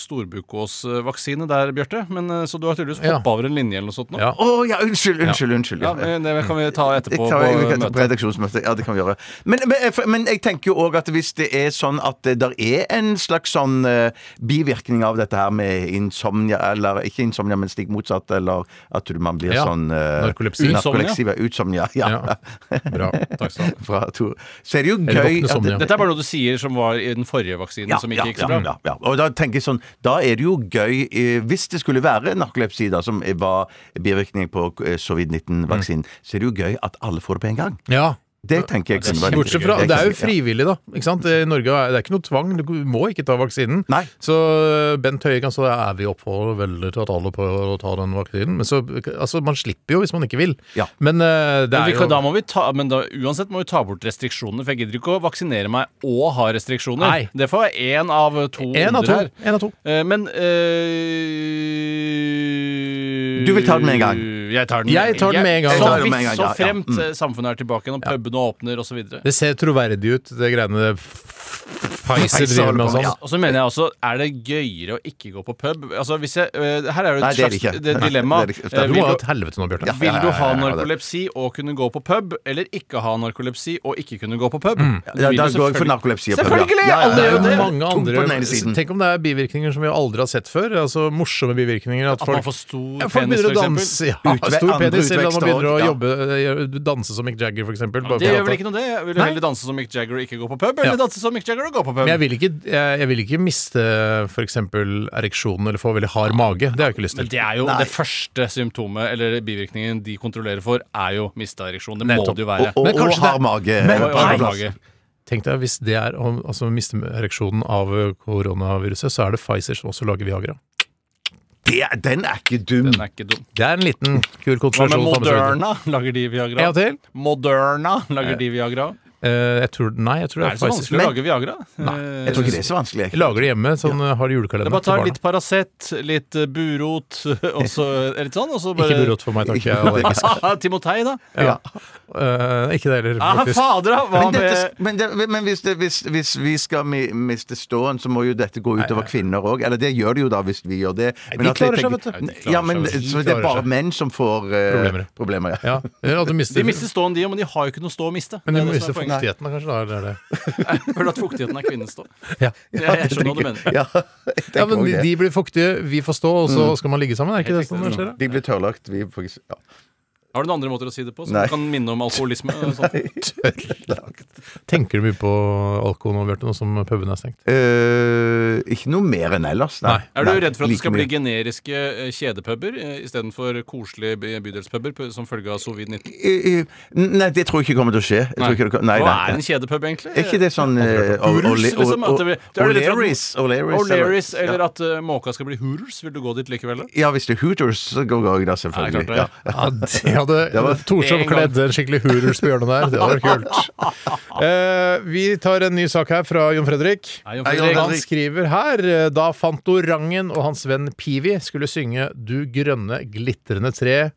F: Storbukås-vaksine der, Bjarte. Men, eh, så du har tydeligvis
D: Ja.
F: hoppa over en linje eller noe sånt nå.
D: Ja.
E: Å ja, unnskyld, unnskyld, unnskyld.
F: Ja,
E: Ja.
F: men Det kan vi ta etterpå.
E: Jeg tar- jeg
F: på
E: kan ta på
F: møtet.
E: redaksjonsmøte. Ja, det kan vi gjøre. Men, men, jeg- men jeg tenker jo òg at hvis det er sånn at det der er en slags sånn eh, bivirkning av dette her med insomnia, eller ikke insomnia, men stikk motsatt, eller at du, man blir
D: Ja.
E: sånn eh,
D: Narkolepsi.
E: narkolepsi, ja, Utsomnia. Ja.
D: Ja. Bra. Takk skal du ha.
E: Fra Tor. Så er det jo
D: Eller
E: gøy
D: våkne
E: at
D: somnia.
E: det,
F: Dette er bare noe du sier som var i den forrige vaksinen,
E: ja,
F: som
E: ja,
F: ikke gikk
E: ja,
F: så bra.
E: ja, ja. Og da tenker jeg sånn Da er det jo gøy eh, Hvis det skulle være narkolepsi, da, som var bivirkning på eh,
D: Mm.
E: covid-19-vaksinen, så er det jo gøy at alle får det på en gang.
D: Ja.
E: Det tenker jeg kunne vært
D: Bortsett fra,
E: gøy.
D: Det er jo
E: Ja.
D: frivillig, da. Ikke sant? I Norge er det er ikke noe tvang. Du må ikke ta vaksinen.
E: Nei.
D: Så eh, Bent Høie kan stå der er vi oppfordrer veldig til at alle prøver å ta den vaksinen. Men så, altså, man slipper jo hvis man ikke vil.
E: Ja.
D: Men eh, det
F: Men,
D: er
F: vi kan, da
D: jo
F: må vi ta, men da, uansett må vi ta bort restriksjonene, for jeg gidder ikke å vaksinere meg og ha restriksjoner.
D: Nei.
F: Det får være én av to
D: En av
F: onder
D: to.
F: her.
D: En av to.
F: Eh, Men eh,
E: Du vil ta den med en gang.
F: Jeg tar den,
D: Jeg tar den med en gang.
F: Så,
D: Jeg tar
E: den med en
F: hvis-
E: gang, Mm.
F: så
E: ja, ja.
F: fremt eh, samfunnet er tilbake igjen, og pubene åpner osv.
D: Det ser troverdig ut, det greiene Pfizer driver med og sånn.
E: Ja.
F: Og så mener jeg også, er det gøyere å ikke gå på pub? Altså, hvis jeg, eh, her er det et
E: Nei, det er det
F: slags
E: ikke.
F: det er et dilemma.
E: Det er det ikke.
F: Eh,
D: Du
F: vil
D: må ha
F: du-
D: et helvete nå, Bjarte.
F: Vil du
E: ja, ja,
F: ha
E: ja, det-
F: narkolepsi og kunne gå på pub, eller ikke ha narkolepsi og ikke kunne gå på pub? Du
E: Mm. Ja, da
F: vil
E: går
F: jo
E: jeg for
F: selvfølgelig-
E: narkolepsi. og prøver,
F: Selvfølgelig,
E: Ja, ja,
F: alle
E: ja,
F: gjør
E: ja.
F: det.
D: mange
E: Tungt på den ene
D: andre
E: siden.
D: Tenk om det er bivirkninger som vi aldri har sett før. Altså Morsomme bivirkninger. At,
F: At man
D: folk,
F: får stor
D: ja, folk
F: penis,
D: begynner å
F: for
D: danse.
F: eksempel.
D: Ja,
E: Utve-
D: stor
E: andre
D: penis, eller at man
E: utvekster
D: begynner å
E: også, ja.
D: jobbe, eh, gjøre- danse som Mick Jagger, for eksempel. bare
F: Det
D: for
F: gjør
D: at-
F: vel ikke noe, det? Jeg vil jo heller danse som Mick Jagger og ikke gå på pub, eller
D: Ja.
F: danse som Mick Jagger og gå på pub.
D: Men jeg vil ikke, jeg, jeg vil ikke miste f.eks. ereksjonen eller få veldig hard mage. Det har jeg ikke lyst
F: Men
D: til.
F: det er jo det første symptomet, eller bivirkningen de kontrollerer for, er jo mista ereksjon. Det må
D: Nettopp.
F: det jo være.
E: Og,
D: Men
E: og, og
D: kanskje det-
E: hard mage.
D: Men-
E: på
F: Og- og-
E: plass.
F: og-
D: Tenk deg hvis det er å altså, miste ereksjonen av ø, koronaviruset, så er det Pfizer som også lager Viagra.
E: Det er- den er ikke dum.
F: Den er ikke dum.
D: Det er en liten kul
F: Hva med
D: konspirasjon. å ta med seg videre.
F: Moderna? Lager de Viagra?
D: En gang til.
F: Moderna lager de Viagra?
D: Eh, jeg tror, nei, jeg tror det
F: Er
D: er,
F: det så
D: Pfizer.
F: vanskelig å lage Viagra? Eh,
E: Jeg tror ikke det er så vanskelig.
D: Jeg lager det hjemme, sånn ø, har
F: Det er
D: julekalender
F: bare
D: til
F: å ta
D: barna.
F: litt Paracet, litt eh, burot, og så eh, litt sånn, og så bare Ah,
D: Ikke burot for meg, takk. Jeg er allergisk.
F: Timotei, da?
D: Ja. Eh, ikke det heller,
F: Ah,
D: faktisk.
F: fader, da! Hva
E: Men, dette,
F: med
E: men, det, men hvis, det, hvis, hvis vi skal mi- miste ståen, så må jo dette gå utover kvinner òg. Eller det gjør det jo da, hvis vi gjør det. Men
D: de
E: at jeg
D: klarer seg,
E: tenker-
D: vet du. Nei, de
F: klarer
E: Ja, men
D: seg. De
E: så det er
D: klarer
E: bare
D: seg.
E: menn som får eh,
D: Problemer.
E: problemer.
D: Ja.
E: ja.
D: eller at du mister-
F: De mister ståen, de, men de har jo ikke noe stå å miste.
D: men de
F: Det er det
D: mister
F: som er poenget.
D: fuktigheten, da, kanskje. Da, eller er det.
F: Jeg føler at fuktigheten er kvinnens stå.
D: Ja.
F: Jeg, jeg skjønner hva du mener.
E: Ja, jeg
D: Ja,
E: tenker
D: men
E: også
D: de,
E: det.
D: de blir fuktige, vi får stå, og så skal man ligge sammen. Er ikke det
F: Mm. Helt
D: sånn
F: riktig.
D: det skjer? da?
E: De blir tørrlagt. Vi får ikke s- ja.
F: Har du noen andre måter å si det på som
E: Nei.
F: kan minne om alkoholisme? og sånt?
D: Tenker du mye på alkohol nå, Bjarte, nå som puben er stengt?
E: Eh, Ikke noe mer enn ellers. Nei.
F: Er du
E: Nei,
F: redd for at det
E: like
F: skal
E: mye.
F: bli generiske eh, kjedepuber eh, istedenfor koselige by- bydelspuber pu- som følge av covid-19?
E: I- i- Eh, Nei, det tror jeg ikke kommer til å skje. Jeg tror ikke det kom- nei,
F: Hva
E: nei.
F: er en kjedepub, egentlig?
E: Er ikke det sånn eh,
F: Hurus,
E: Ole- Ole-
F: liksom, at det blir- Du er redd for at-
E: O'Learys? O'Learys,
F: O'Learys,
E: eller-
F: eller at eh, måka skal bli Hooters? Vil du gå dit likevel? da?
E: Ja, hvis det er Hooters, så går jeg da, selvfølgelig.
F: Ja,
E: Ja,
F: klart
D: Ja, de hadde Torshov
F: En gang.
D: kledd en skikkelig Hooters på hjørnet der. Det hadde vært kult. Eh, vi tar en ny sak her fra Jon Fredrik.
F: Nei, Jon
E: Nei,
F: Fredrik.
E: Jon
D: Han skriver her eh, da Fantorangen og hans venn Pivi skulle synge Du grønne glitrende tre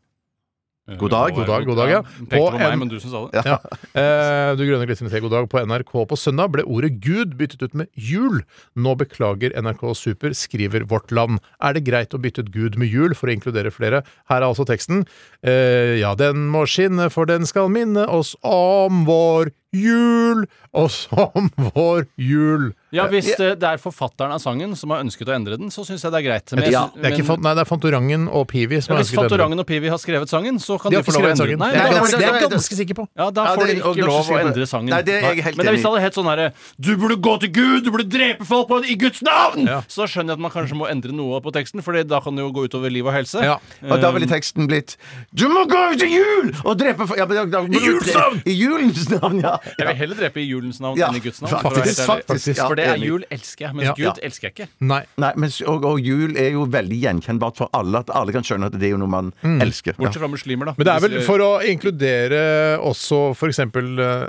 E: God dag.
D: God dag, god dag, ja.
F: Pekte
D: På
F: på meg,
D: en-
F: men du som sa det.
D: ja. eh, Du grønne glitrende tre, god dag på NRK på søndag ble ordet Gud byttet ut med jul. Nå beklager NRK Super, skriver Vårt Land. Er det greit å bytte ut Gud med jul for å inkludere flere? Her er altså teksten. Eh, ja, den må skinne, for den skal minne oss om vår jul, oss om vår jul.
F: Ja, Hvis eh, det, det er forfatteren av sangen som har ønsket å endre den, så syns jeg det er greit. Men jeg
E: Ja,
F: syns-
D: Det er ikke
F: men-
D: Fant- nei, det er Fantorangen og Pivi som
F: ja,
D: har ønsket å
F: Hvis
D: endre den.
F: Fantorangen og Pivi har skrevet sangen, så kan
D: De
F: de,
D: har
F: få lov å
D: forlaget
F: endre
D: sangen.
F: den. Nei,
D: Det er jeg
F: da-
D: ganske- det
E: men-
D: er
E: men-
D: jeg ganske sikker på.
F: Ja,
E: Ja, det-
F: da får de
E: og
F: ikke
E: da
F: lov å
E: skal jeg-
F: endre sangen.
E: Nei, det er jeg helt
F: Men
E: enig
F: hvis det hadde hett sånn herre Du burde gå til Gud! Du burde drepe folk på, i Guds navn!
D: Ja.
F: Så skjønner jeg at man kanskje må endre noe på teksten, for da kan det jo gå utover liv og helse.
D: Ja.
E: Og da ville teksten blitt Du må gå ut i jul og drepe for... ja, men da- da-
D: I julens navn!
E: I julens navn, ja.
F: Jeg vil heller drepe i julens navn
E: Ja,
F: enn i Guds navn. for å være
E: Faktisk,
F: helt ærlig.
E: faktisk, ja,
F: For det er
E: enig.
F: jul elsker jeg, mens
D: Ja.
F: Gud elsker jeg ikke.
D: Nei.
E: Nei, men, s- og, og jul er jo veldig gjenkjennbart for alle. At alle kan skjønne at det er jo noe man elsker. Ja.
F: Mm. Bortsett fra muslimer, da. eh,
D: Men det er vel for å inkludere også f.eks.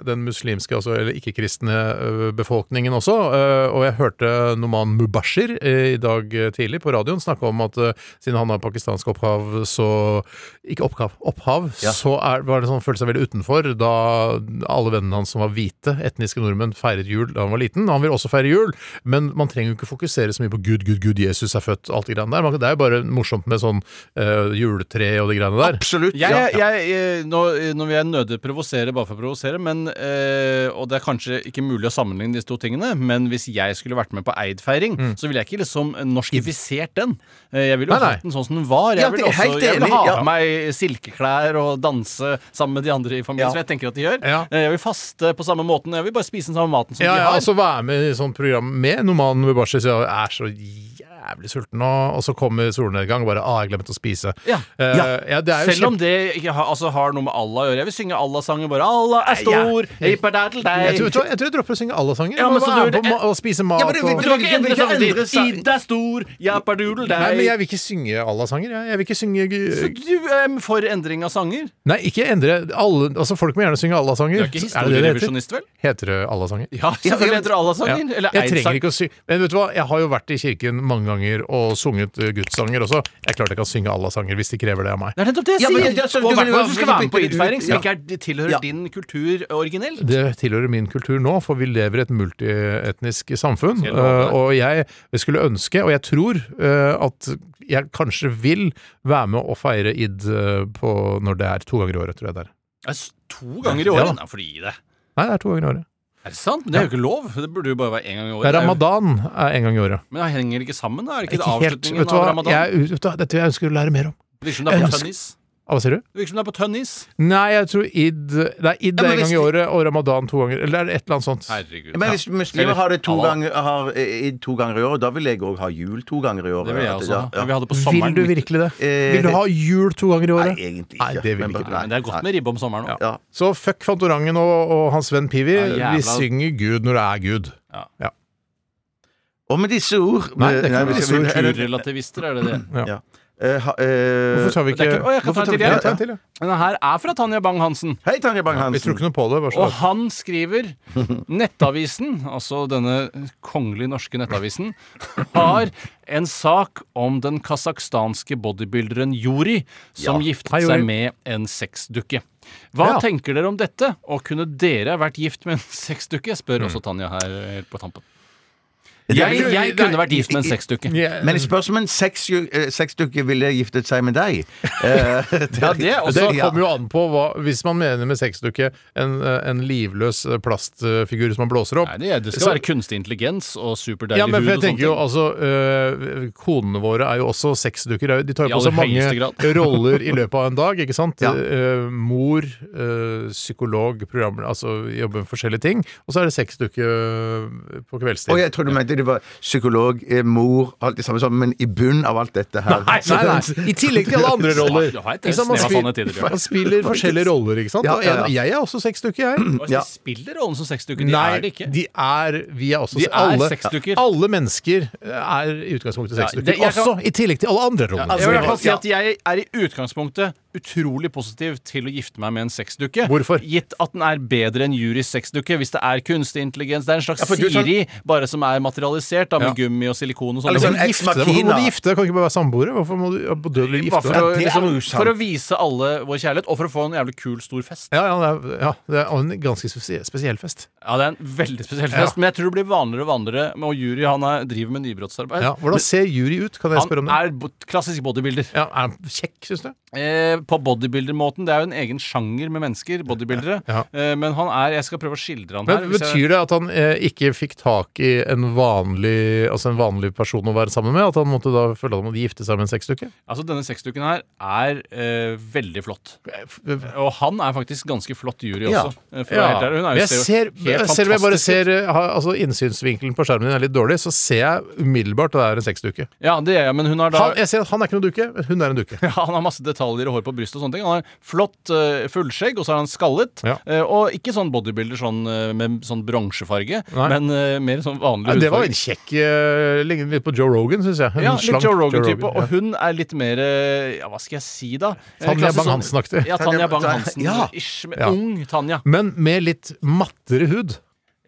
D: den muslimske, altså, eller ikke-kristne ø, befolkningen også. ø, Og jeg hørte Noman Mubashir ø, i dag tidlig på radioen snakke om at ø, siden han har pakistansk opphav, så Ikke opphav, opphav så er, var det sånn, følte seg veldig utenfor da alle vennene hans som var hvite, etniske nordmenn, feiret jul da han var liten. Han vil også feire jul, men man trenger jo ikke fokusere så mye på Gud, Gud, Gud, Jesus er født, alt det greiene der. Man- Det er jo bare morsomt med sånn ø, juletre og de greiene der.
E: Absolutt.
F: Jeg,
E: ja.
F: jeg, eh, nå, nå vil jeg nødig provosere bare for å provosere, men, eh, og det er kanskje ikke mulig å sammenligne disse to tingene, men hvis jeg skulle vært med på Eid-feiring, så ville jeg ikke liksom norskifisert den. Eh, Jeg ville
D: Mm. Nei,
F: jo
D: nei.
F: hatt den sånn som den var.
E: Ja,
F: Jeg ville,
E: det er
F: også,
E: helt
F: jeg ville
E: enig,
F: ha
E: ja.
F: på meg silkeklær og danse sammen med de andre i familien,
E: Ja.
F: som jeg tenker at de gjør.
D: Ja.
F: Eh, Jeg vil faste på samme måten, jeg vil bare spise den samme maten som
D: Ja,
F: de
D: ja,
F: har.
D: altså være med i sånt program med Noman Mubashi, så jeg er så jævlig sulten nå, og så kommer solnedgang, og bare ah, jeg glemte å spise.
F: Ja.
D: Eh, ja, det er jo
F: Selv om det ikke har, altså, har noe med Allah å gjøre. Jeg vil synge Allah-sangen bare. Allah er stor! Hey, på deg til deg.
D: jeg tror, jeg, tror, jeg tror jeg dropper å synge alle sanger.
F: Ja,
D: Ja,
F: men så du-
D: være med på ma og spise mat
E: Ja, men det-
D: og
E: Du kan ikke endre sangen din.
F: Ida er stor, jappadoodle
D: Nei, men jeg vil ikke synge Allah-sanger. Jeg. jeg vil ikke synge
F: Så
D: gu-
F: du er for endring av sanger?
D: Nei, ikke endre alle Altså, folk må gjerne synge
F: Du
D: Allah-sanger.
F: er
D: Er
F: ikke
D: det det det heter?
F: historierevisjonist, vel?
D: Heter det Allah-sanger?
F: Ja, selvfølgelig heter det Allah-sanger.
D: Ja.
F: Eller
D: Jeg trenger
F: Eid-sang.
D: ikke å sy Men vet du hva, jeg har jo vært i kirken mange ganger og sunget eh, gudssanger også. Jeg klart jeg kan synge Allah-sanger hvis de krever det av meg.
F: Det er nettopp det jeg
E: Ja, men
F: sier!
E: det- det- så-
F: og
E: du
F: i
E: vil
F: hvert
E: jo
F: fall hvis du skal være med på
E: ikke-
F: Eid-feiring, som
E: ja.
F: ikke er, tilhører
E: Ja.
F: din kultur originelt.
D: Det tilhører min kultur nå, for vi lever i et multietnisk samfunn.
F: Skal jeg love deg?
D: eh, og jeg, jeg skulle ønske, og jeg tror, eh, at jeg kanskje vil være med å feire id eh, på når det er to ganger i året, tror jeg det er.
F: Altså, to ganger i året?
D: Ja.
F: Nei, for å gi det.
D: Nei, det er to ganger i året.
F: Er det sant? Men det er jo ikke lov. Det burde jo bare være én gang i
D: Det er
F: året.
D: ramadan er en gang i året.
F: Men det henger ikke sammen, da? Er det ikke,
D: Ikke
F: det
D: helt,
F: avslutningen
D: vet du
F: av
D: hva,
F: ramadan?
D: jeg, vet du, hva, dette jeg ønsker å lære mer om.
F: Det virker som det er
D: jeg
F: på
D: skal-
F: tønn is.
D: Ah, Hva sier du?
F: Det virker som det er på tønn is.
D: Nei, jeg tror id Det er id
E: Ja, men
D: en gang
E: hvis
D: i
E: vi-
D: året, og ramadan to ganger. Eller er det et eller annet sånt?
F: Herregud.
E: Men hvis muslimer har det to
F: Allah.
E: ganger, har, eh, i- to ganger i året, da vil jeg òg ha jul to ganger i året.
F: Det vil jeg
E: At-
F: også ha.
E: ja.
F: Vi hadde på
D: Vil
F: sommeren.
D: du virkelig det?
E: Eh,
D: Vil du ha jul to ganger i
E: Nei,
D: året?
E: egentlig
D: Nei,
E: ikke.
D: det vil
E: Men-
D: vi ikke.
E: nei,
F: Men det er
E: nei.
F: godt med ribbe om sommeren òg.
E: Ja.
D: Så fuck Fantorangen og, og hans venn Pivi.
F: Ja,
D: vi
F: jævla-
D: synger Gud når det er Gud.
E: Og med disse ord
D: Nei, det er ikke
E: Nei, vi
D: med
E: skal-
D: disse ord.
E: er det-
F: Kulturrelativister, er det det?
E: eh, ha- eh,
D: Hvorfor tar vi
F: Det
D: ikke
F: er ikke, å, jeg kan ta
E: Hvorfor
F: en til,
E: tar vi-
D: Ja,
F: jeg.
D: ta en til, ja.
F: Denne her er fra Tanja Bang-Hansen.
E: Hei, Tanja Bang-Hansen.
D: Vi tror ikke noe på det. Bare så.
F: Og han skriver Nettavisen, altså denne kongelig norske nettavisen, har en sak om den kasakhstanske bodybuilderen Juri som
D: Hei,
F: giftet
D: Juri.
F: seg med en sexdukke. Hva
D: Ja.
F: tenker dere om dette, og kunne dere vært gift med en sexdukke?
D: Mm.
F: Spør også Tanja her helt på tampen. Jeg, jeg kunne vært gift med en sexdukke.
D: Ja,
E: Men det spørs om en sexju- eh, sexdukke ville giftet seg med deg. Eh,
F: Ja, det er
D: det
F: også
E: ja.
D: kommer jo an på hva Hvis man mener med sexdukke en, eh, en livløs plastfigur som man blåser opp
F: Nei, det, det skal
D: Så-
F: være kunstig intelligens og superdeilig
D: ja, men for
F: hud
D: jeg
F: og sånne
D: tenker jo,
F: ting.
D: altså øh, Konene våre er jo også sexdukker. er jo- De tar jo
F: I
D: på seg
F: aller høyeste
D: mange
F: grad.
D: roller i løpet av en dag, ikke sant?
E: Ja.
D: Eh, mor, eh, psykolog, programmer, altså jobber med forskjellige ting. Og så er det sexdukke øh, på kveldstid.
E: Og jeg tror du mente det var psykolog, eh, mor, alt det samme sånn, men i bunnen av alt dette her
D: Nei, nei, nei. I tillegg til alle andre roller.
F: Ja, du har et
D: Ikke sant? man,
F: snev av
D: spiller,
F: sannhet i det, Bjørn.
D: man spiller forskjellige roller, ikke sant?
E: Ja,
D: Og
E: ja,
D: en-
E: ja.
D: Jeg er også sexdukke, jeg.
F: Og
E: Ja.
F: De spiller rollen som sexdukker, de
D: Nei,
F: er det ikke.
D: de er Vi er også
F: De er
D: alle,
F: sexdukker.
D: alle mennesker eh, er i utgangspunktet
F: Ja,
D: sexdukker.
F: det- jeg kan- altså,
D: også i tillegg til alle andre roller.
F: jeg vil i hvert fall si at jeg er i utgangspunktet utrolig positiv til å gifte meg med en sexdukke.
D: Hvorfor?
F: Gitt at den er bedre enn Juris sexdukke, hvis det er kunstig intelligens. Det er en slags
E: for du er sånn-
F: Siri, bare som er materialisert, da, med
D: Ja.
F: gummi og silikon og
E: Eller
F: sånn.
E: sånn
D: Hvorfor
E: Ex
D: gifte deg? Hvorfor må du gifte deg? Kan du ikke bare være samboere? Hvorfor må du ja, på dødelig
F: Bare
D: gifte
F: for, å,
D: deg?
E: det er
F: liksom,
E: jo sant.
F: for å vise alle vår kjærlighet, og for å få en jævlig kul, stor fest.
D: Ja, ja, det er, ja, det er og en ganske spesiell, spesiell fest.
F: Ja, det er en veldig spesiell fest, men jeg tror det blir vanligere og vanligere. Og Juri han er, driver med nybrottsarbeid.
D: Ja, hvordan ser jury ut? Kan jeg spørre om
F: Eh, Han
D: det?
F: er bo- klassisk bodybuilder.
D: Ja, er han kjekk, syns du?
F: Eh, på bodybuilder-måten. Det er jo en egen sjanger med mennesker, bodybuildere.
D: Ja.
F: Eh, Men han er Jeg skal prøve å skildre han her.
D: Men
F: hvis jeg,
D: Betyr det at han eh, ikke fikk tak i en vanlig, altså en vanlig person å være sammen med? At han måtte da føle at han måtte gifte seg med en sexdukke?
F: altså Denne sexduken her er eh, veldig flott.
D: Ja.
F: Og han er faktisk ganske flott jury
E: Ja.
F: også. eh, For å være helt ærlig. Hun er jo
D: Jeg
F: ser jo
D: ser,
F: helt
D: selv om jeg bare
F: fantastisk ut.
D: ser eh, ha- altså innsynsvinkelen på skjermen din er litt dårlig, så ser jeg umiddelbart at det er en sexdukke.
F: Ja, det er jeg, men hun har da
D: Han, jeg ser at han er ikke noen dukke, men hun er en dukke.
F: Ja, Han har masse detaljer og hår på brystet. og sånne ting Han har flott eh, fullskjegg, og så er han skallet.
D: Ja.
F: Eh, og ikke sånn bodybuilder sånn, eh, med sånn bronsefarge,
D: Nei.
F: men eh, mer sånn vanlig
D: Ja, det var en
F: hudfarge.
D: kjekk eh, Lignet litt på Joe Rogan, syns jeg. En
F: Ja,
D: slank
F: litt Joe Rogan-type.
D: Rogan, ja.
F: Og hun er litt mer eh, Ja, hva skal jeg si, da? Eh,
D: Tanja
F: klassisk sånn-
D: Bang-Hansen-aktig.
F: Ja, Tanja Bang-Hansen.
E: Ja.
F: Ish, men
D: Ja.
F: Ung Tanja.
D: Men med litt mattere hud.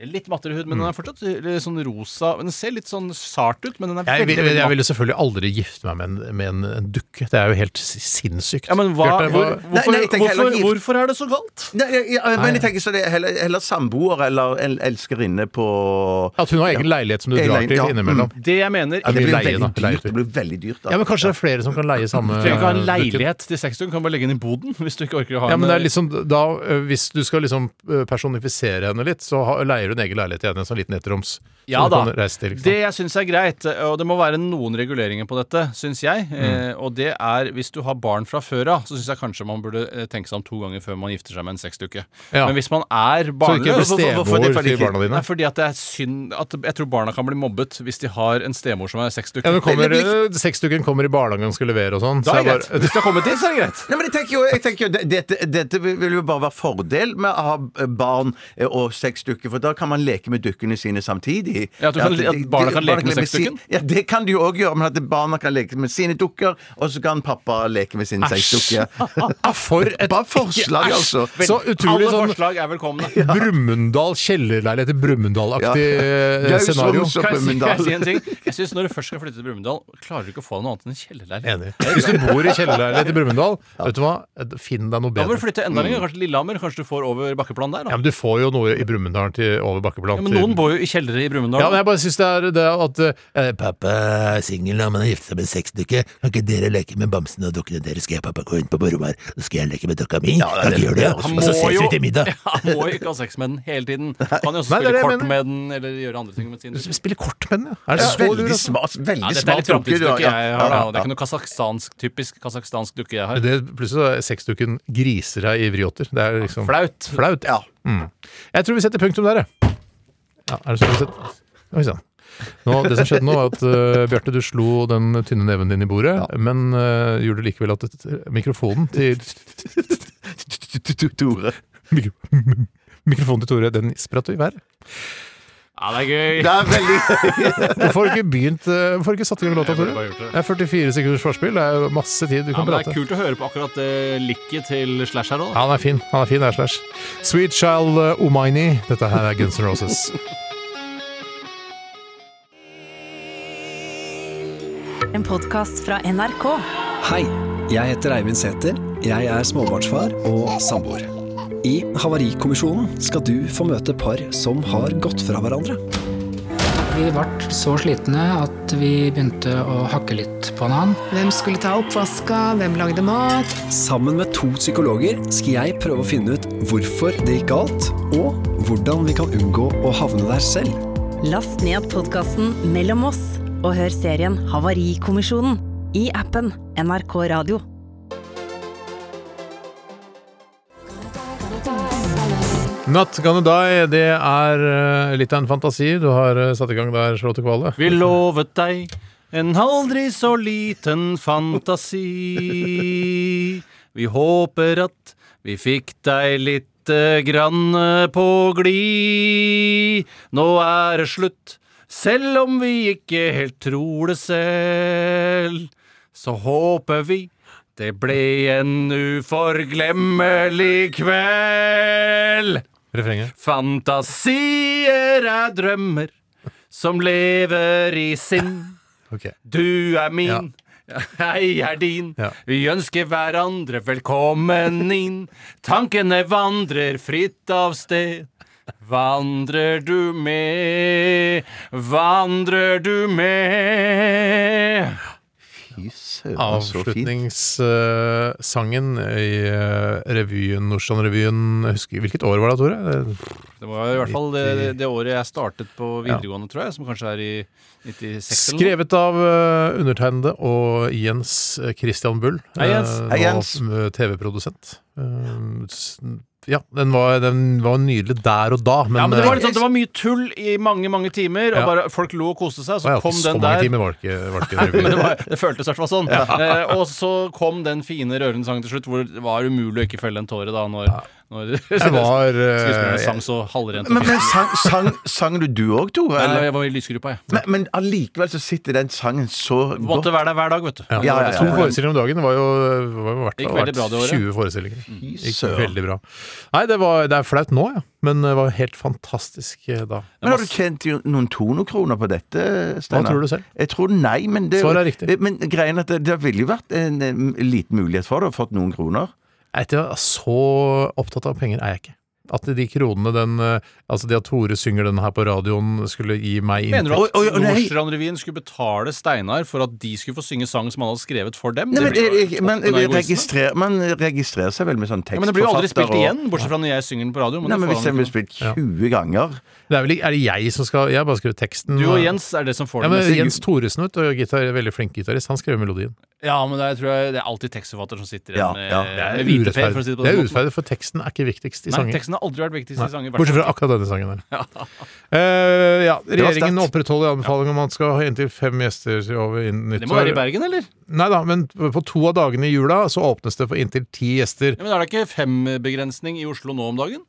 F: Litt mattere hud,
D: Mm.
F: men den er fortsatt eh, sånn rosa. Men Den ser litt sånn sart ut, men den er
D: Jeg,
F: veldig,
D: vil-
F: veldig
D: jeg
F: matt.
D: ville selvfølgelig aldri gifte meg med en, med en, en dukke. Det er jo helt s- sinnssykt.
F: Ja, men hva,
D: Bjarte,
F: hvor,
D: hva-
E: Nei,
F: hvorfor,
E: nei, jeg tenker heller
F: hvorfor,
E: gift.
F: hvorfor er det så galt?
E: Nei, jeg, jeg, men jeg tenker så det er heller, heller samboer eller el elskerinne på
D: At hun har egen leilighet som du
E: Egen
D: drar
E: leilighet,
D: til
E: ja. Mm.
D: innimellom.
F: Det jeg mener
D: Ja, mye
E: Det blir
D: leie,
E: veldig
D: da. Leie
E: dyrt. Det blir veldig dyrt da.
D: Ja, men Kanskje det er flere som kan leie samme
F: Du trenger ikke ha en
D: eh, dukke.
F: leilighet til sexdukken, du kan bare legge den i boden. Hvis du ikke orker å ha
D: Ja, men det er
F: en-
D: liksom da, eh, Hvis du skal liksom eh, personifisere henne litt, så ha- leier du en egen leilighet igjen, en sånn liten ettroms. som
F: Ja
D: du
F: da.
D: kan reise til, ikke sant?
F: Det jeg syns er greit, og det må være noen reguleringer på dette, syns jeg,
D: Mm.
F: eh, og det er hvis du har barn fra før av, så syns jeg kanskje man burde eh, tenke seg om to ganger før man gifter seg med en sexdukke.
D: Ja.
F: Men hvis man er
D: så du ikke blir
F: barnløs
E: hvorfor- hvorfor det
D: stemor
E: fordi
D: til
E: ikke-
D: barna dine.
F: Nei, fordi at det er synd at Jeg tror barna kan bli mobbet hvis de har en stemor som er sexdukke.
D: Ja, men kommer,
E: Det er litt-
D: eh, Sexdukken kommer i barnehagen og skal levere og sånn.
F: Da
D: så
F: er
D: jeg
F: det greit. Hvis det har kommet dit, så er det greit.
E: Nei, men jeg tenker jo, jeg tenker jo det- dette, dette vil jo bare være fordel med å ha eh, barn og seks dukker, for da kan man leke med dukkene sine samtidig.
F: Ja, at du kan-
E: de-
F: at
E: de-
F: barna kan leke med
E: sin-
F: seksdukken?
E: Ja, det kan de jo òg gjøre, men at barna kan leke med sine dukker, og så kan pappa leke med sin seksdukke.
D: Ja, for et
E: Bare forslag, altså.
D: Så utrolig
F: Alle
D: sånn
F: forslag er velkomne.
D: Brumunddal, kjellerleilighet i Brumunddal-aktig eh,
E: Gaus
D: scenario.
E: Olsen på
F: Kan jeg si, kan jeg si
E: Brumunddal.
F: en ting? Jeg synes Når du først skal flytte til Brumunddal, klarer du ikke å få deg noe annet enn en kjellerleilighet.
D: Enig. Hvis du bor i kjellerleilighet i Brumunddal, vet du hva, finn deg noe
F: Da må du
D: bedre.
F: flytte enda lenger. Kanskje Lillehammer? Kanskje du får over bakkeplan der?
D: Ja,
F: da?
D: men Du får jo noe i Brumunddal til over bakkeplan.
F: Ja, Men
D: til-
F: noen bor jo i kjellere i
D: ja,
F: Brumunddal.
D: men jeg bare syns det er det at eh,
J: Pappa er singel, men har giftet seg med seks stykker. Kan ikke dere leke med bamsene og dukkene deres? Skal jeg pappa gå inn på rommet her, så skal jeg leke med dukka mi? kan ikke gjøre det,
F: Han
J: og så ses vi til middag.
F: han må jo ikke ha sex med den hele tiden. Han kan jo også
D: Nei, det er
F: spille
D: det jeg
F: kort
D: mener.
F: med den, eller gjøre andre ting med sin.
D: du spiller kort med den, ja. Er det
E: Ja,
D: så lurt?
E: veldig
D: altså?
E: smart. Veldig
F: Ja, dette er
E: smart dukke,
F: litt
E: du har-
F: framtidsdukke jeg har. da.
E: ja,
F: Det er
E: ja.
F: ikke noe kasakhstansk, typisk kasakhstansk dukke jeg har.
D: Det, plutselig er sexdukken griser deg i vrioter. Det er liksom
F: Flaut.
D: Flaut.
E: Ja.
D: Mm. Jeg tror vi setter punktum der, jeg. Ja, er det sånn vi setter? Oi sann. Nå, det som skjedde nå, var at eh, Bjarte, du slo den tynne neven din i bordet, men eh, gjorde du likevel at et- mikrofonen til
E: Tore.
D: mikro, Mikrofonen til Tore, den spratt i været.
F: Ja, det er gøy.
E: Det er veldig
D: Hvorfor har du ikke begynt eh, Hvorfor har du ikke satt i gang låta, Tore?
F: bare gjort det.
D: Det er 44 sekunders forspill, det er jo masse tid du
F: Ja,
D: kan
F: men det
D: prate.
F: er kult å høre på akkurat det likket til Slash her òg.
D: Ja, han er fin. han er fin, der, Slash. Sweet Child eh, Omaini. Dette her er Guns N' Roses.
A: En podkast fra NRK.
K: Hei, jeg heter Eivind Sæther. Jeg er småbarnsfar og samboer. I Havarikommisjonen skal du få møte par som har gått fra hverandre.
L: Vi ble så slitne at vi begynte å hakke litt på hverandre.
A: Hvem skulle ta oppvaska, hvem lagde mat?
K: Sammen med to psykologer skal jeg prøve å finne ut hvorfor det gikk galt, og hvordan vi kan unngå å havne der selv.
A: Last ned podkasten Mellom oss og hør serien Havarikommisjonen i appen NRK Radio.
D: Not Gonna Die, det er eh, litt av en fantasi du har eh, satt i gang der, Charlotte Kvale.
F: Vi lovet deg en aldri så liten fantasi. Vi håper at vi fikk deg lite grann eh, på glid. Nå er det slutt, selv om vi ikke helt tror det selv. Så håper vi det ble en uforglemmelig kveld.
D: Refrenget.
F: Fantasier er drømmer som lever i sinn.
D: Ok.
F: Du er min, jeg er din.
D: Ja.
F: Vi ønsker hverandre velkommen inn. Tankene vandrer fritt av sted. Vandrer du med, vandrer du med?
E: Fy søren, så fint.
D: Avslutningssangen i eh, revyen, Nordsjøen-revyen jeg husker- Hvilket år var det, Tore? Eh, Det-
F: Det var i hvert fall det, det året jeg startet på videregående, tror jeg, som kanskje er i 96 eller noe.
D: Skrevet av eh, undertegnede og Jens eh, Christian Bull.
F: Hei, Jens.
D: eh,
F: Hei,
D: nå
F: Jens.
D: som, eh, TV-produsent. Eh, s- Ja, den var, den var nydelig der og da, men,
F: ja, men det, var
D: eh,
F: litt sånn, at det var mye tull i mange mange timer, og
D: Ja.
F: bare folk lo og koste seg. Så
D: Å ja,
F: kom
D: så
F: den
D: mange
F: der.
D: timer var det ikke- var det ikke
F: Nei,
D: revy.
F: men det, var, det føltes i hvert fall sånn.
D: Ja.
F: Eh, og så kom den fine, rørende sangen til slutt, hvor det var umulig å ikke felle en tåre da, når, når
D: var, eh,
F: skuespillerne sang så halvrent. og
E: Men, men
F: fint.
E: sang, sang, sang du du òg, Tore? eller?
F: Nei, jeg var i lysgruppa, jeg.
E: Men, men allikevel så sitter den sangen så godt.
F: Måtte være der hver dag, vet du.
E: Ja, ja, ja, ja.
D: To forestillinger om dagen. Det var jo, var jo verdt, det
F: Gikk
D: har
F: veldig bra
D: vært
F: det året. Mm.
D: 20 forestillinger. Gikk
E: søren.
D: veldig bra. Nei, det, var, det er flaut nå, ja. Men det var helt fantastisk eh, da.
E: Men har du tjent jo noen tonokroner på dette, Steinar?
D: tror du selv?
E: Jeg tror nei, men det Eh,
D: Svaret er riktig.
E: Men greien er at det, det ville jo vært en, em, liten mulighet for det, å fått noen kroner.
D: Jeg vet ikke, så opptatt av penger er jeg ikke. At de kronene den eh, Altså det at Tore synger den her på radioen, skulle gi meg
F: Mener du
D: inntekt.
F: at Nordstrand-revyen skulle betale Steinar for at de skulle få synge sang som han hadde skrevet for dem?
E: Nei, men,
F: Det blir jo
E: jeg, jeg, men eh,
F: toppen av
E: jeg
F: egoisme.
E: registrer, man registrerer seg vel med sånn tekstforfatter
F: ja, men det blir jo aldri spilt
E: og-
F: igjen, bortsett fra når jeg synger den på radio. Men
E: Nei,
F: det
E: men
F: får
E: hvis
F: han
E: den blir
F: ikke.
E: spilt 20 ganger
D: Det er vel ikke Er det jeg som skal Jeg har bare skrevet teksten.
F: Du og Jens er det som får
D: ja,
F: det
D: men
F: meste.
D: Jens Thoresen, vet du, og gitar, veldig flink gitarist, han skrev melodien.
F: Ja, men det er, tror jeg, det er alltid tekstforfatter som sitter
D: Ja,
F: igjen med,
D: ja.
F: med
D: Det er
F: hvite per, for å si
D: urettferdig, det
F: det på den
D: er
F: måten.
D: urettferdig, for teksten er ikke viktigst i
F: Nei,
D: sangen.
F: teksten har aldri vært viktigst i sangen. i hvert
D: Bortsett fra
F: fall.
D: akkurat denne sangen her.
F: Ja.
D: Eh, ja,
F: Det var
D: Regjeringen
F: sterkt.
D: opprettholder anbefalingen om at man skal ha inntil fem gjester over innen nyttår.
F: Det må være i Bergen, eller?
D: Nei da, men på to av dagene i jula så åpnes det for inntil ti gjester.
F: Ja, men er det ikke fembegrensning i Oslo nå om dagen?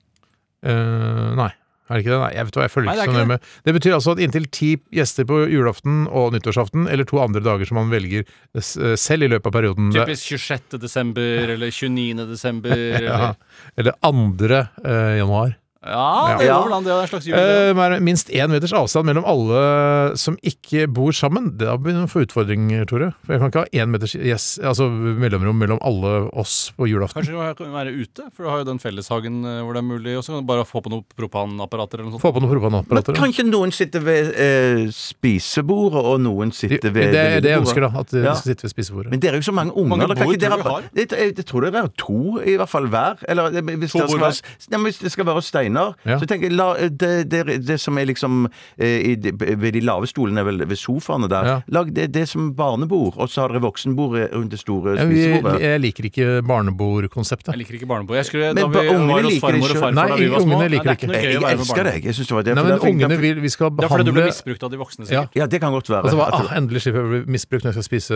D: Eh, nei. Er det ikke det? Nei, jeg vet hva, jeg følger
F: Nei, det er
D: ikke så
F: ikke
D: nøye med. Det betyr altså at inntil ti gjester på julaften og nyttårsaften, eller to andre dager som man velger eh, s- eh, selv i løpet av perioden. Det-
F: Typisk 26. desember eller 29. desember.
D: ja.
F: Eller.
D: Eller andre eh, januar.
F: Ja, det
D: Ja.
F: går hvordan det er en slags jul.
D: Eh, men minst én meters avstand mellom alle som ikke bor sammen. Da begynner vi å få utfordringer, Tore. For jeg kan ikke ha én meters yes, altså mellomrom mellom alle oss på julaften.
F: Kanskje du kan være ute, for du har jo den felleshagen eh, hvor det er mulig. Og så kan du bare få på noen propanapparater eller noe sånt.
D: Få på noen propanapparater.
E: Kan ikke noen sitte ved eh, spisebordet, og noen sitte ved
D: det er det jeg
E: vinbordet?
D: ønsker, da. At de
E: Ja.
D: skal sitte ved spisebordet.
E: Men det er jo ikke så mange unger.
D: Mange
E: eller kan
D: bord
E: ikke dere
D: tror du
E: ha-
D: har?
E: jeg, jeg, jeg tror det er to, i hvert fall hver. Eller, eh, hvis,
D: To
E: det skal
D: bord
E: være, Nei, men hvis det skal være Steinar,
D: Ja.
E: så tenker jeg la, eh, det, det, det som er liksom eh, i, de- ved de lave stolene, vel, ved sofaene der,
D: Ja.
E: lag det, det som barnebord, og så har dere voksenbord rundt det store
D: Ja, vi,
E: spisebordet.
D: jeg liker ikke barnebordkonseptet.
F: Jeg liker ikke barnebord. Jeg skulle,
E: Men
F: da vi
E: ba- ungene
F: var hos
E: liker det
F: farmor og
E: ikke.
F: farfar
E: Nei,
F: da vi var små
D: ungene liker
F: Nei,
D: ikke.
F: det er ikke noe gøy
E: Jeg
F: å være med
E: elsker
F: barn.
E: det. Jeg synes det var det.
D: Nei,
E: for
D: men
E: det er-
D: ungene vil Vi skal
F: Det er fordi du
D: behandle
F: ble misbrukt av de voksne, sikkert.
E: Ja, det kan godt være.
D: Og så bare,
E: At
D: ah,
E: det-
D: endelig slipper jeg å bli misbrukt når jeg skal spise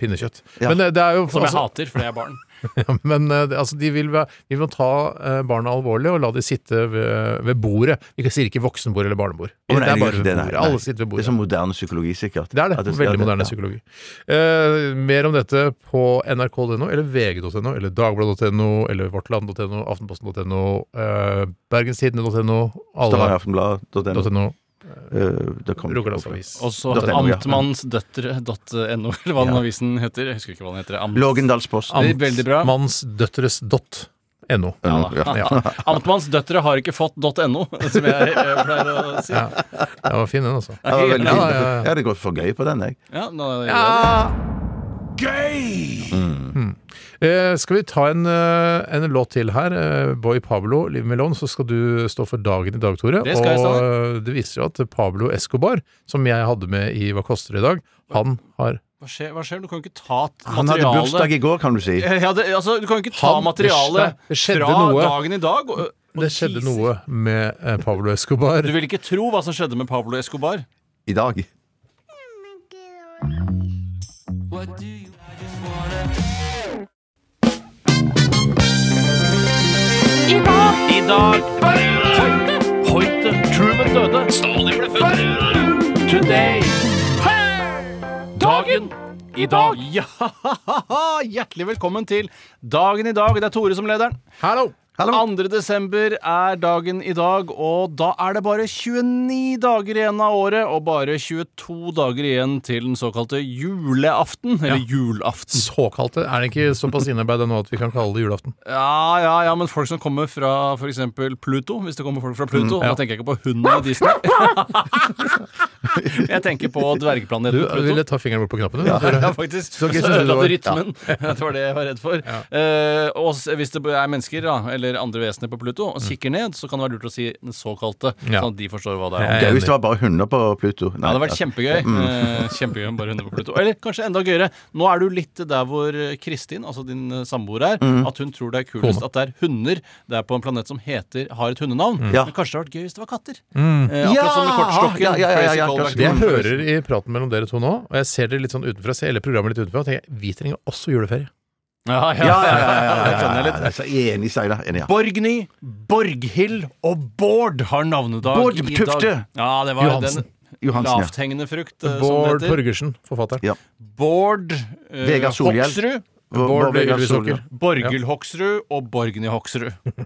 D: pinnekjøtt.
F: Ja.
D: Men det, det er jo
F: Som jeg
D: altså-
F: hater, fordi jeg er barn.
D: Ja, men eh, det- altså, de vil, være- vi må ta eh, barna alvorlig og la de sitte ved, ved bordet. Vi sier ikke voksenbord eller barnebord. det
E: Å, nei,
D: er
E: jeg gjør
D: bare
E: ikke
D: ved
E: det, nei,
D: bordet.
E: nei.
D: Alle sitter ved
E: Det
D: bordet.
E: er sånn moderne psykologi, sikkert.
D: Ah, Det er det.
E: At
D: Veldig
E: ja,
D: moderne
E: ja.
D: psykologi. Eh, mer om dette på nrk.no, eller vg.no, eller dagbladet.no, eller vårtland.no, aftenposten.no, eh, bergenstidene.no, alle
E: Stavangeraftenblad.no.
D: .no,
E: eh,
D: Rogalandsavis.
F: Og så
E: .no, ja.
F: amtmannsdøtre.no, eller hva den avisen heter. Jeg husker ikke hva den heter. Amt-
E: Lågendalsposten.
F: Det er Veldig bra.
D: Amtmannsdøtres.no.
F: Ja, da. Amtmannsdøtre har ikke fått .no, som jeg eh, pleier å si.
D: Ja. Det var fin, den, altså.
E: Ja, det var veldig
D: Ja,
E: fint.
D: ja, ja.
E: Jeg hadde gått for gøy på den, jeg.
F: Ja, nå,
I: Gøy!
D: Mm. Eh, skal vi ta en, eh, en låt til her? Eh, Boy Pablo, Liv Melon, så skal du stå for dagen i dag, Tore.
F: Det skal jeg,
D: og
F: Steinar.
D: eh, det viser seg at Pablo Escobar, som jeg hadde med i Hva koster det i dag, han har
F: Hva skjer? Hva skjer? Du kan jo ikke ta t- materialet
E: Han hadde bursdag i går, kan du si.
F: Ja, det, altså, du kan jo ikke ta
D: Han-
F: materialet
D: det skjedde
F: fra
D: noe.
F: dagen i dag. og-
D: Det skjedde noe med eh, Pablo Escobar.
F: Du vil ikke tro hva som skjedde med Pablo Escobar.
E: I dag.
I: I dag. I dag. Hoite. Hoite. Truman døde. Stalin ble født. Today.
F: Dagen i dag! Ja, Hjertelig velkommen til Dagen i dag. Det er Tore som lederen.
D: Hallo!
F: 2. desember er dagen i dag, og da er det bare 29 dager igjen av året, og bare 22 dager igjen til den såkalte juleaften. Eller julaften.
D: Såkalte. Er det ikke såpass innarbeida nå at vi kan kalle det julaften?
F: Ja, ja, ja, men folk som kommer fra f.eks. Pluto, hvis det kommer folk fra Pluto,
D: Mm, ja.
F: da tenker jeg ikke på hunden i Disney. Jeg tenker på dvergplaneten
D: Du
F: Pluto.
D: ville ta fingeren bort på knappen, du.
F: Ja,
D: Tore.
F: ja, faktisk.
D: Så
F: Så
D: gøy synes du det
F: ødela
D: var.
F: du rytmen. Det var det jeg var redd for. Eh, og s- hvis det er mennesker da, eller andre vesener på Pluto
D: Mm.
F: og kikker ned, så kan det være lurt å si den såkalte,
E: Ja.
F: sånn at de forstår hva det er.
E: Gøy hvis det var bare hunder på Pluto.
F: Ja, det hadde vært
E: altså.
F: kjempegøy.
E: Mm.
F: Eh, kjempegøy med bare hunder på Pluto. Eller kanskje enda gøyere. Nå er du litt der hvor eh, Kristin, altså din eh, samboer, er.
E: Mm.
F: At hun tror det er kulest
E: Kone.
F: at det er hunder. Det er på en planet som heter, har et hundenavn.
D: Mm. Ja.
F: Men kanskje det hadde vært gøy hvis det var katter.
D: Mm.
F: Eh, akkurat som med kortstokken. Crazy callback.
D: Det jeg hører i praten mellom dere to nå, og jeg ser dere litt sånn utenfra, ser hele programmet litt utenfra, og tenker vi trenger også juleferie.
E: Ja,
F: Ja,
E: ja, ja, ja, ja, ja, ja, ja. Jeg er Enig, Steinar. Enig, ja.
F: Borgny, Borghild og Bård har navnedag
E: Bård
F: i dag.
E: Tufte.
F: Ja, det var
E: Johansen.
F: den
E: Johansen, ja.
F: lavthengende frukt. eh, som
D: Bård
F: det heter.
D: Torgersen, forfatteren.
E: Ja.
F: Bård eh,
E: Vegard Solhjell.
F: Hoksrud.
E: Bård- Bård Vegard
F: Ylvis
E: Solhjell.
F: Hoksrud. Borghild Hoksrud og Borgny Hoksrud.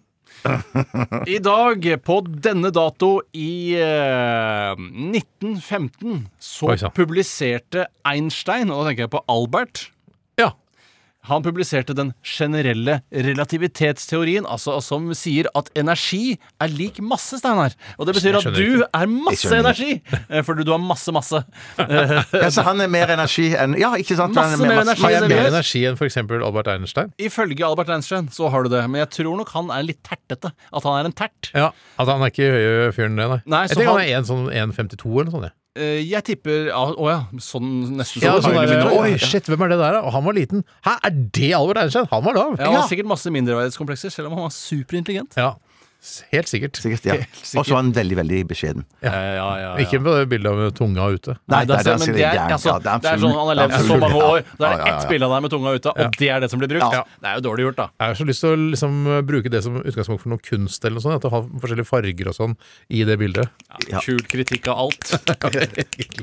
F: I dag, på denne dato i eh, 1915, så
D: Oi sann.
F: publiserte Einstein, og da tenker jeg på Albert
D: Ja.
F: Han publiserte den generelle relativitetsteorien, altså som sier at energi er lik masse, Steinar. Og det betyr
E: Jeg
F: at
E: skjønner
F: du
E: ikke.
F: er
E: Jeg
F: masse
E: skjønner
F: energi, eh, fordi du har masse, masse.
E: Ja, så han er mer energi enn Ja, ikke sant? Han er
F: Masse mer energi
E: masse-
D: Har jeg
F: enn
D: mer
F: jeg-
D: energi enn f.eks. Albert Einstein?
F: Ifølge Albert Einstein så har du det, men jeg tror nok han er litt tertete. At han er en tert.
D: Ja, At han er ikke høye fyren, det, nei.
F: Nei,
D: jeg
F: så
D: tenker han
F: han-
D: er en sånn 1,52 eller noe sånt. jeg.
F: Eh, Jeg tipper Å ja, sånn nesten
D: Ja,
F: sånn.
D: sånn der,
F: Ja,
D: Oi, shit, hvem er det der, da? Og han var liten. Hæ, er det Albert Einstein? Han var lav!
F: Ja, han har sikkert masse mindreverdighetskomplekser, selv om han var superintelligent.
D: Ja, Helt sikkert.
E: Sikkert, ja. Og så er han veldig, veldig beskjeden.
D: Ja.
F: ja.
D: Ikke på det bildet av tunga ute.
E: Nei,
F: Nei, det
E: der-
F: er,
E: der
F: men
E: sier
F: det
E: det
F: er,
E: gæren.
F: altså,
E: Ja, det er en
F: det er
E: full-
F: sånn han har levd
E: ja,
F: så
E: full-
F: mange
E: ja.
F: år. Da er
E: Ja,
F: det
E: ja, ja,
F: ett
E: ja.
F: bilde av deg med tunga
D: Ja.
F: ute, og det er det som blir brukt.
D: Ja.
F: Det er jo dårlig gjort, da.
D: Jeg har så lyst til å liksom bruke det som utgangspunkt for noe kunst eller noe sånt. At det har forskjellige farger og sånn i det bildet.
F: Ja. Kul kritikk av alt.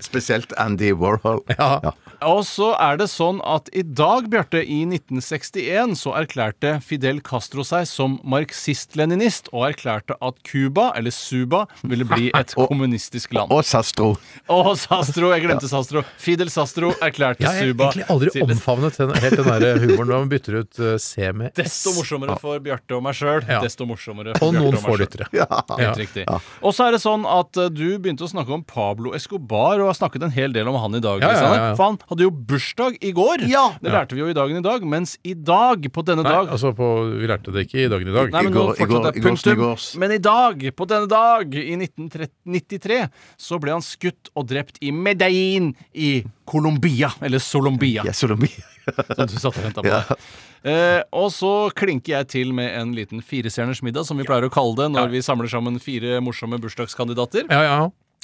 E: Spesielt Andy Warhol.
D: Ja.
F: Og så er det sånn at i dag, Bjarte, i 1961 så erklærte Fidel Castro seg som marxist-leninist, og erklærte at Cuba, eller Suba, ville bli et kommunistisk land.
E: Og Sastro.
F: Og Sastro, jeg glemte Sastro. Fidel Sastro erklærte
D: Jeg har
F: Suba
D: egentlig aldri
F: til
D: omfavnet den, helt den der humoren når man bytter ut eh, C med S.
F: Desto morsommere for Bjarte og meg sjøl.
D: Ja.
F: Desto morsommere
D: Og
F: for
D: noen
F: Bjarte og
D: få
F: meg
D: lyttere.
F: sjøl.
D: Ja.
F: Helt
D: Ja.
F: riktig. Og så er det sånn at eh, du begynte å snakke om Pablo Escobar, og har snakket en hel del om han i dag.
D: Ja, ja, ja,
F: Kristian.
D: ja.
F: For han hadde jo bursdag i går! Det lærte vi jo i dagen i dag. Mens i dag, på denne
D: Nei,
F: dag
D: altså på, vi lærte det ikke i dagen i dag.
F: Nei, men nå fortsatt er punktum. Men i dag, på denne dag, i 1993, så ble han skutt og drept i Medellin i Colombia. Eller Solombia. som du satt og ventet på.
E: Ja.
F: Eh, og så klinker jeg til med en liten firestjerners middag, som vi pleier å kalle det når vi samler sammen fire morsomme bursdagskandidater.
D: Ja, ja.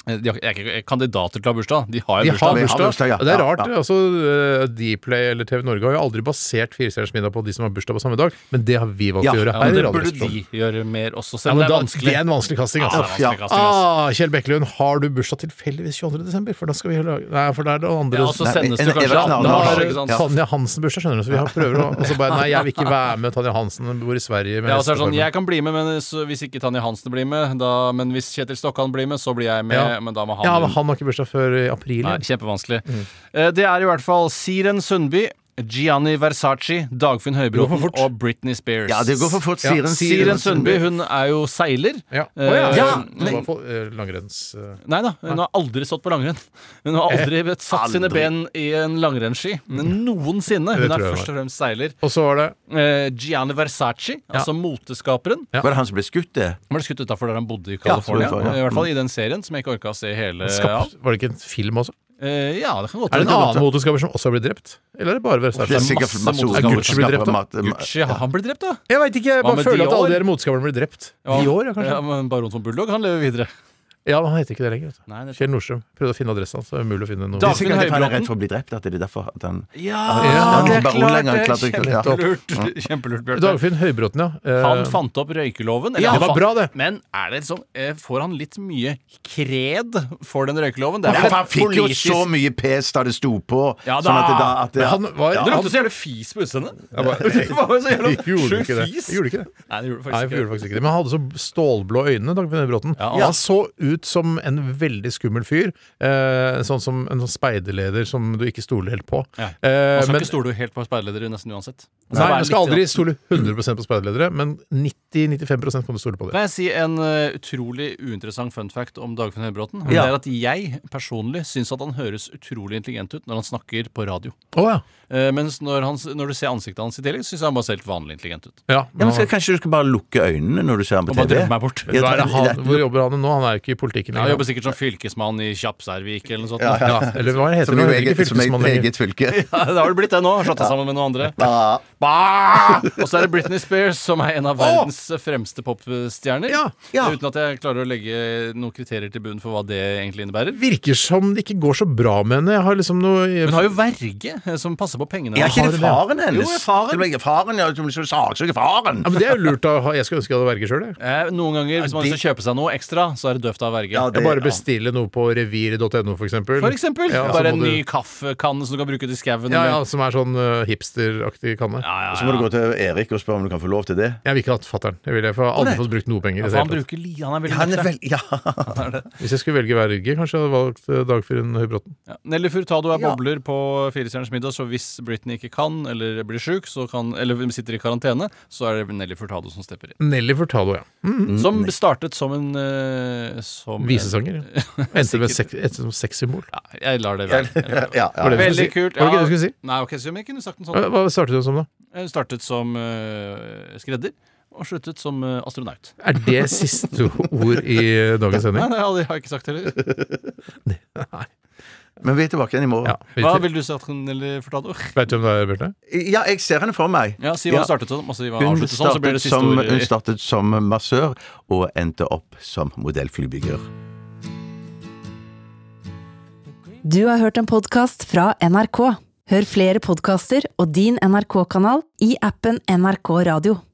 F: Eh, De har- er ikke kandidater til å ha bursdag. De har
D: De
F: jo
D: har
F: bursdag.
D: bursdag. Og Det er rart.
F: Ja.
D: altså eh, Dplay eller TV Norge har jo aldri basert Firestjerners middag på de som har bursdag på samme dag, men det har vi valgt
F: Ja,
D: å gjøre. her
F: ja,
D: i
F: men det
D: Radio
F: burde
D: Stolt.
F: de gjøre mer også,
D: Ja,
F: selv om
D: men
F: det er
D: da-
F: vanskelig.
D: det er en vanskelig kasting, altså.
F: Ja, det er en vanskelig kasting, altså.
D: Ah, Kjell Bekkelund, har du bursdag tilfeldigvis 22. desember? For da skal vi lage Nei, for da er det andre
F: Ja, og så
D: Nei,
F: sendes
D: en-
F: det kanskje
D: en- en-
F: andre
D: Da
F: dager,
D: har
F: ikke sant?
D: Tanja Hansen bursdag, skjønner du, så vi har prøver å Og så bare Nei, jeg vil ikke være med Tanja Hansen, hun bor i Sverige. med
F: Ja, og så er det sånn,
D: hesteformen.
F: jeg kan bli med, men så, hvis ikke Tanje Hansen blir med da, Men hvis Kjetil Stokkan blir med, så blir jeg med.
D: Ja.
F: Men da må han
D: ja, men han har ikke Mm. bursdag før i april.
F: Nei,
D: igjen.
F: kjempevanskelig. Eh, Det er i hvert fall Siren Sundby, Gianni Versace, Dagfinn
D: Det går
F: Høybråten
D: for fort.
F: og Britney Spears.
E: Ja, det går for fort. Siren- Siren
F: Siren
E: Sundby.
F: Sundby hun er jo seiler.
D: Ja.
F: Eh,
D: Å, ja.
F: ja,
D: men...
F: men-
D: langrenns... eh,
F: Nei da, hun har aldri stått på langrenn. Hun har aldri satt sine
D: aldri. Mm.
F: ben i en langrennsski. Men noensinne.
D: Det
F: Hun er
D: tror jeg
F: først
D: var.
F: og fremst seiler.
D: Og så var det
F: Eh, Gianni Versace, altså moteskaperen.
E: Var det han som ble skutt, det?
F: Han ble skutt utafor der han bodde i
E: Ja,
F: California.
E: så det var, ja.
F: I hvert fall i den serien, som jeg ikke orka å se hele av.
D: Skapt, var Mm. Eh, det ikke en film også?
F: Eh, ja, det kan godt
D: Er det en
F: hende.
D: annen motorskaper som også har blitt drept? Eller er det bare Versace?
E: Det er sikkert
D: Masse
E: masse
D: motorskaper. Er
E: motorskaper.
D: Gucci blitt drept, da?
E: Mat-
F: Gucci, har han blitt drept, da?
D: Jeg veit ikke, jeg
F: Hva
D: bare
F: med
D: føler at
F: Dior?
D: alle dere motskaperne blir drept. I år, ja, kanskje?
F: Ja, men Baron von Bulldog, han lever videre.
D: Ja, men han heter ikke det lenger. vet du.
F: Nei, det-
D: Kjell Nordstrøm. Prøvde å finne adressen hans. Det er umulig å finne noe.
E: Det er sikkert derfor han er redd for å bli drept. At det er derfor at han
F: Ja,
D: Ah,
E: han
F: det er
E: baron
F: klart,
E: lenger,
F: det er
E: klart ikke- ja.
F: kjempelurt.
E: Mm.
F: Kjempelurt, Bjarte.
D: Dagfinn Høybråten, ja. Eh,
F: Han fant opp røykeloven. eller
D: Ja,
F: han
D: det var
F: fant-
D: bra, det.
F: Men er det sånn, eh, får han litt mye kred for den røykeloven? Det
E: Ja,
F: er
E: for
F: vel
E: han fikk jo
F: politisk-
E: så mye pes da det sto på.
F: Ja da!
E: Sånn at det da at det,
F: Men han var-
E: ja,
F: det lukter så jævlig fis på utseendet.
D: Jeg bare-
F: Det var jo så jævla
D: Jeg gjorde
F: sjuk
D: ikke det.
F: fis.
D: Jeg gjorde ikke det.
F: Nei, det
D: Nei,
F: gjorde faktisk
D: jeg gjorde
F: ikke det.
D: faktisk ikke det. Men han hadde så stålblå øyne, Dagfinn Høybråten.
F: Ja.
D: Han så ut ut som en veldig skummel fyr. Eh, sånn som en sånn speiderleder som du ikke stoler helt på.
F: Ja.
D: Eh,
F: Man skal
D: men-
F: ikke stole helt på speiderledere nesten uansett. Man
D: Nei,
F: være
D: man skal
F: litt-
D: aldri stole 100 på speiderledere, men 90-95 kan du stole på det.
F: Kan jeg si en eh, utrolig uinteressant fun fact om Dagfinn Høybråten?
D: Ja.
F: Det er at jeg personlig syns at han høres utrolig intelligent ut når han snakker på radio.
D: Å ja.
F: Eh, mens når, han, s- når du ser ansiktet hans i tillegg, syns jeg han bare ser helt vanlig intelligent ut.
D: Ja,
E: Ja, men skal, kanskje du skal bare lukke øynene når du ser ham på
F: Og bare
E: TV?
F: drømme meg bort.
E: Ja,
D: Hva er det
E: ta-
D: han, hvor jobber han nå? Han er jo ikke i politikken
F: Ja, han jobber sikkert som fylkesmann i Kjappsarvik eller noe sånt.
D: Ja, ja. Ja, eller hva heter
E: Som
D: det? Han heter
E: jo eget,
D: ikke
E: som eget,
D: fylkesmann lenger.
E: eget fylke.
F: Ja, det har det blitt det nå. Har slått seg sammen med noen andre. Bah! Og så er det Britney Spears, som er en av verdens fremste popstjerner.
D: ja.
F: Uten at jeg klarer å legge noen kriterier til bunn for hva det egentlig innebærer.
D: Virker som det ikke går så bra med henne. Jeg har liksom noe
F: Hun har jo verge eh, som passer på pengene.
E: Er ikke det faren hennes?
F: Jo, jeg er faren.
E: Det ble faren, ja, som liksom saksøker faren.
D: ja, men Det er jo lurt. å ha- Jeg skulle ønske jeg hadde verge sjøl. jeg.
F: Eh, Noen ganger, hvis man
D: det-
F: skal kjøpe seg noe ekstra, så er det døvt av verge.
D: Jeg bare bestiller noe på revir.no, for eksempel.
F: For eksempel.
D: Ja, så
F: bare
D: må
F: en
D: du-
F: ny kaffekanne som du kan bruke til skauen.
D: Ja, ja,
F: eller-
D: som er sånn eh, hipsteraktig kanne.
E: Så må du gå til Erik og spørre om du kan få lov til det.
D: Jeg vil ikke ha fatter'n. Jeg ville for jeg har aldri fått brukt noe penger. i
F: Ja,
D: det
F: for Altså, han
D: hele tatt.
F: bruker li, han er veldig
E: Han er
F: nøktern.
E: vel, ja.
D: Hvis jeg skulle velge verge, kanskje jeg hadde valgt eh, Dagfinn Høybråten.
F: Ja. Nelly Furtado er bobler på Firestjerners middag, så hvis Britney ikke kan eller blir sjuk, så kan, eller sitter i karantene, så er det Nelly Furtado som stepper inn.
D: Nelly Furtado, ja. Mm.
F: Som startet som en eh, som
D: Visesanger. ja. Endte med sek- endte som sexsymbol.
F: Jeg lar det være. Jeg lar det være.
D: Ja, ja, ja. Var det det du
F: Veldig
D: skulle si?
F: kult.
D: Var det ikke det du skulle si?
F: Nei, ok, så jeg kunne sagt noe
D: Hva
F: sånt.
D: hva startet du som, da?
F: Jeg startet som eh, skredder og sluttet som eh, astronaut.
D: Er det siste ord i eh, dagens
F: Nei,
D: sending?
F: det har jeg- har jeg ikke sagt heller.
E: Men vi er tilbake igjen i morgen.
F: Hva vil du si at Nelly Furtado?
D: Vet du hvem det er, Bjarte?
E: Ja, jeg ser henne for meg.
F: Ja, si hva hun startet som, og si hva hun
E: Hun
F: avsluttet som, så blir
E: startet
F: det siste
E: som,
F: ordet i-
E: hun startet som massør og endte opp som modellflybygger.
A: Du har hørt en podkast fra NRK. Hør flere podkaster og din NRK-kanal i appen NRK Radio.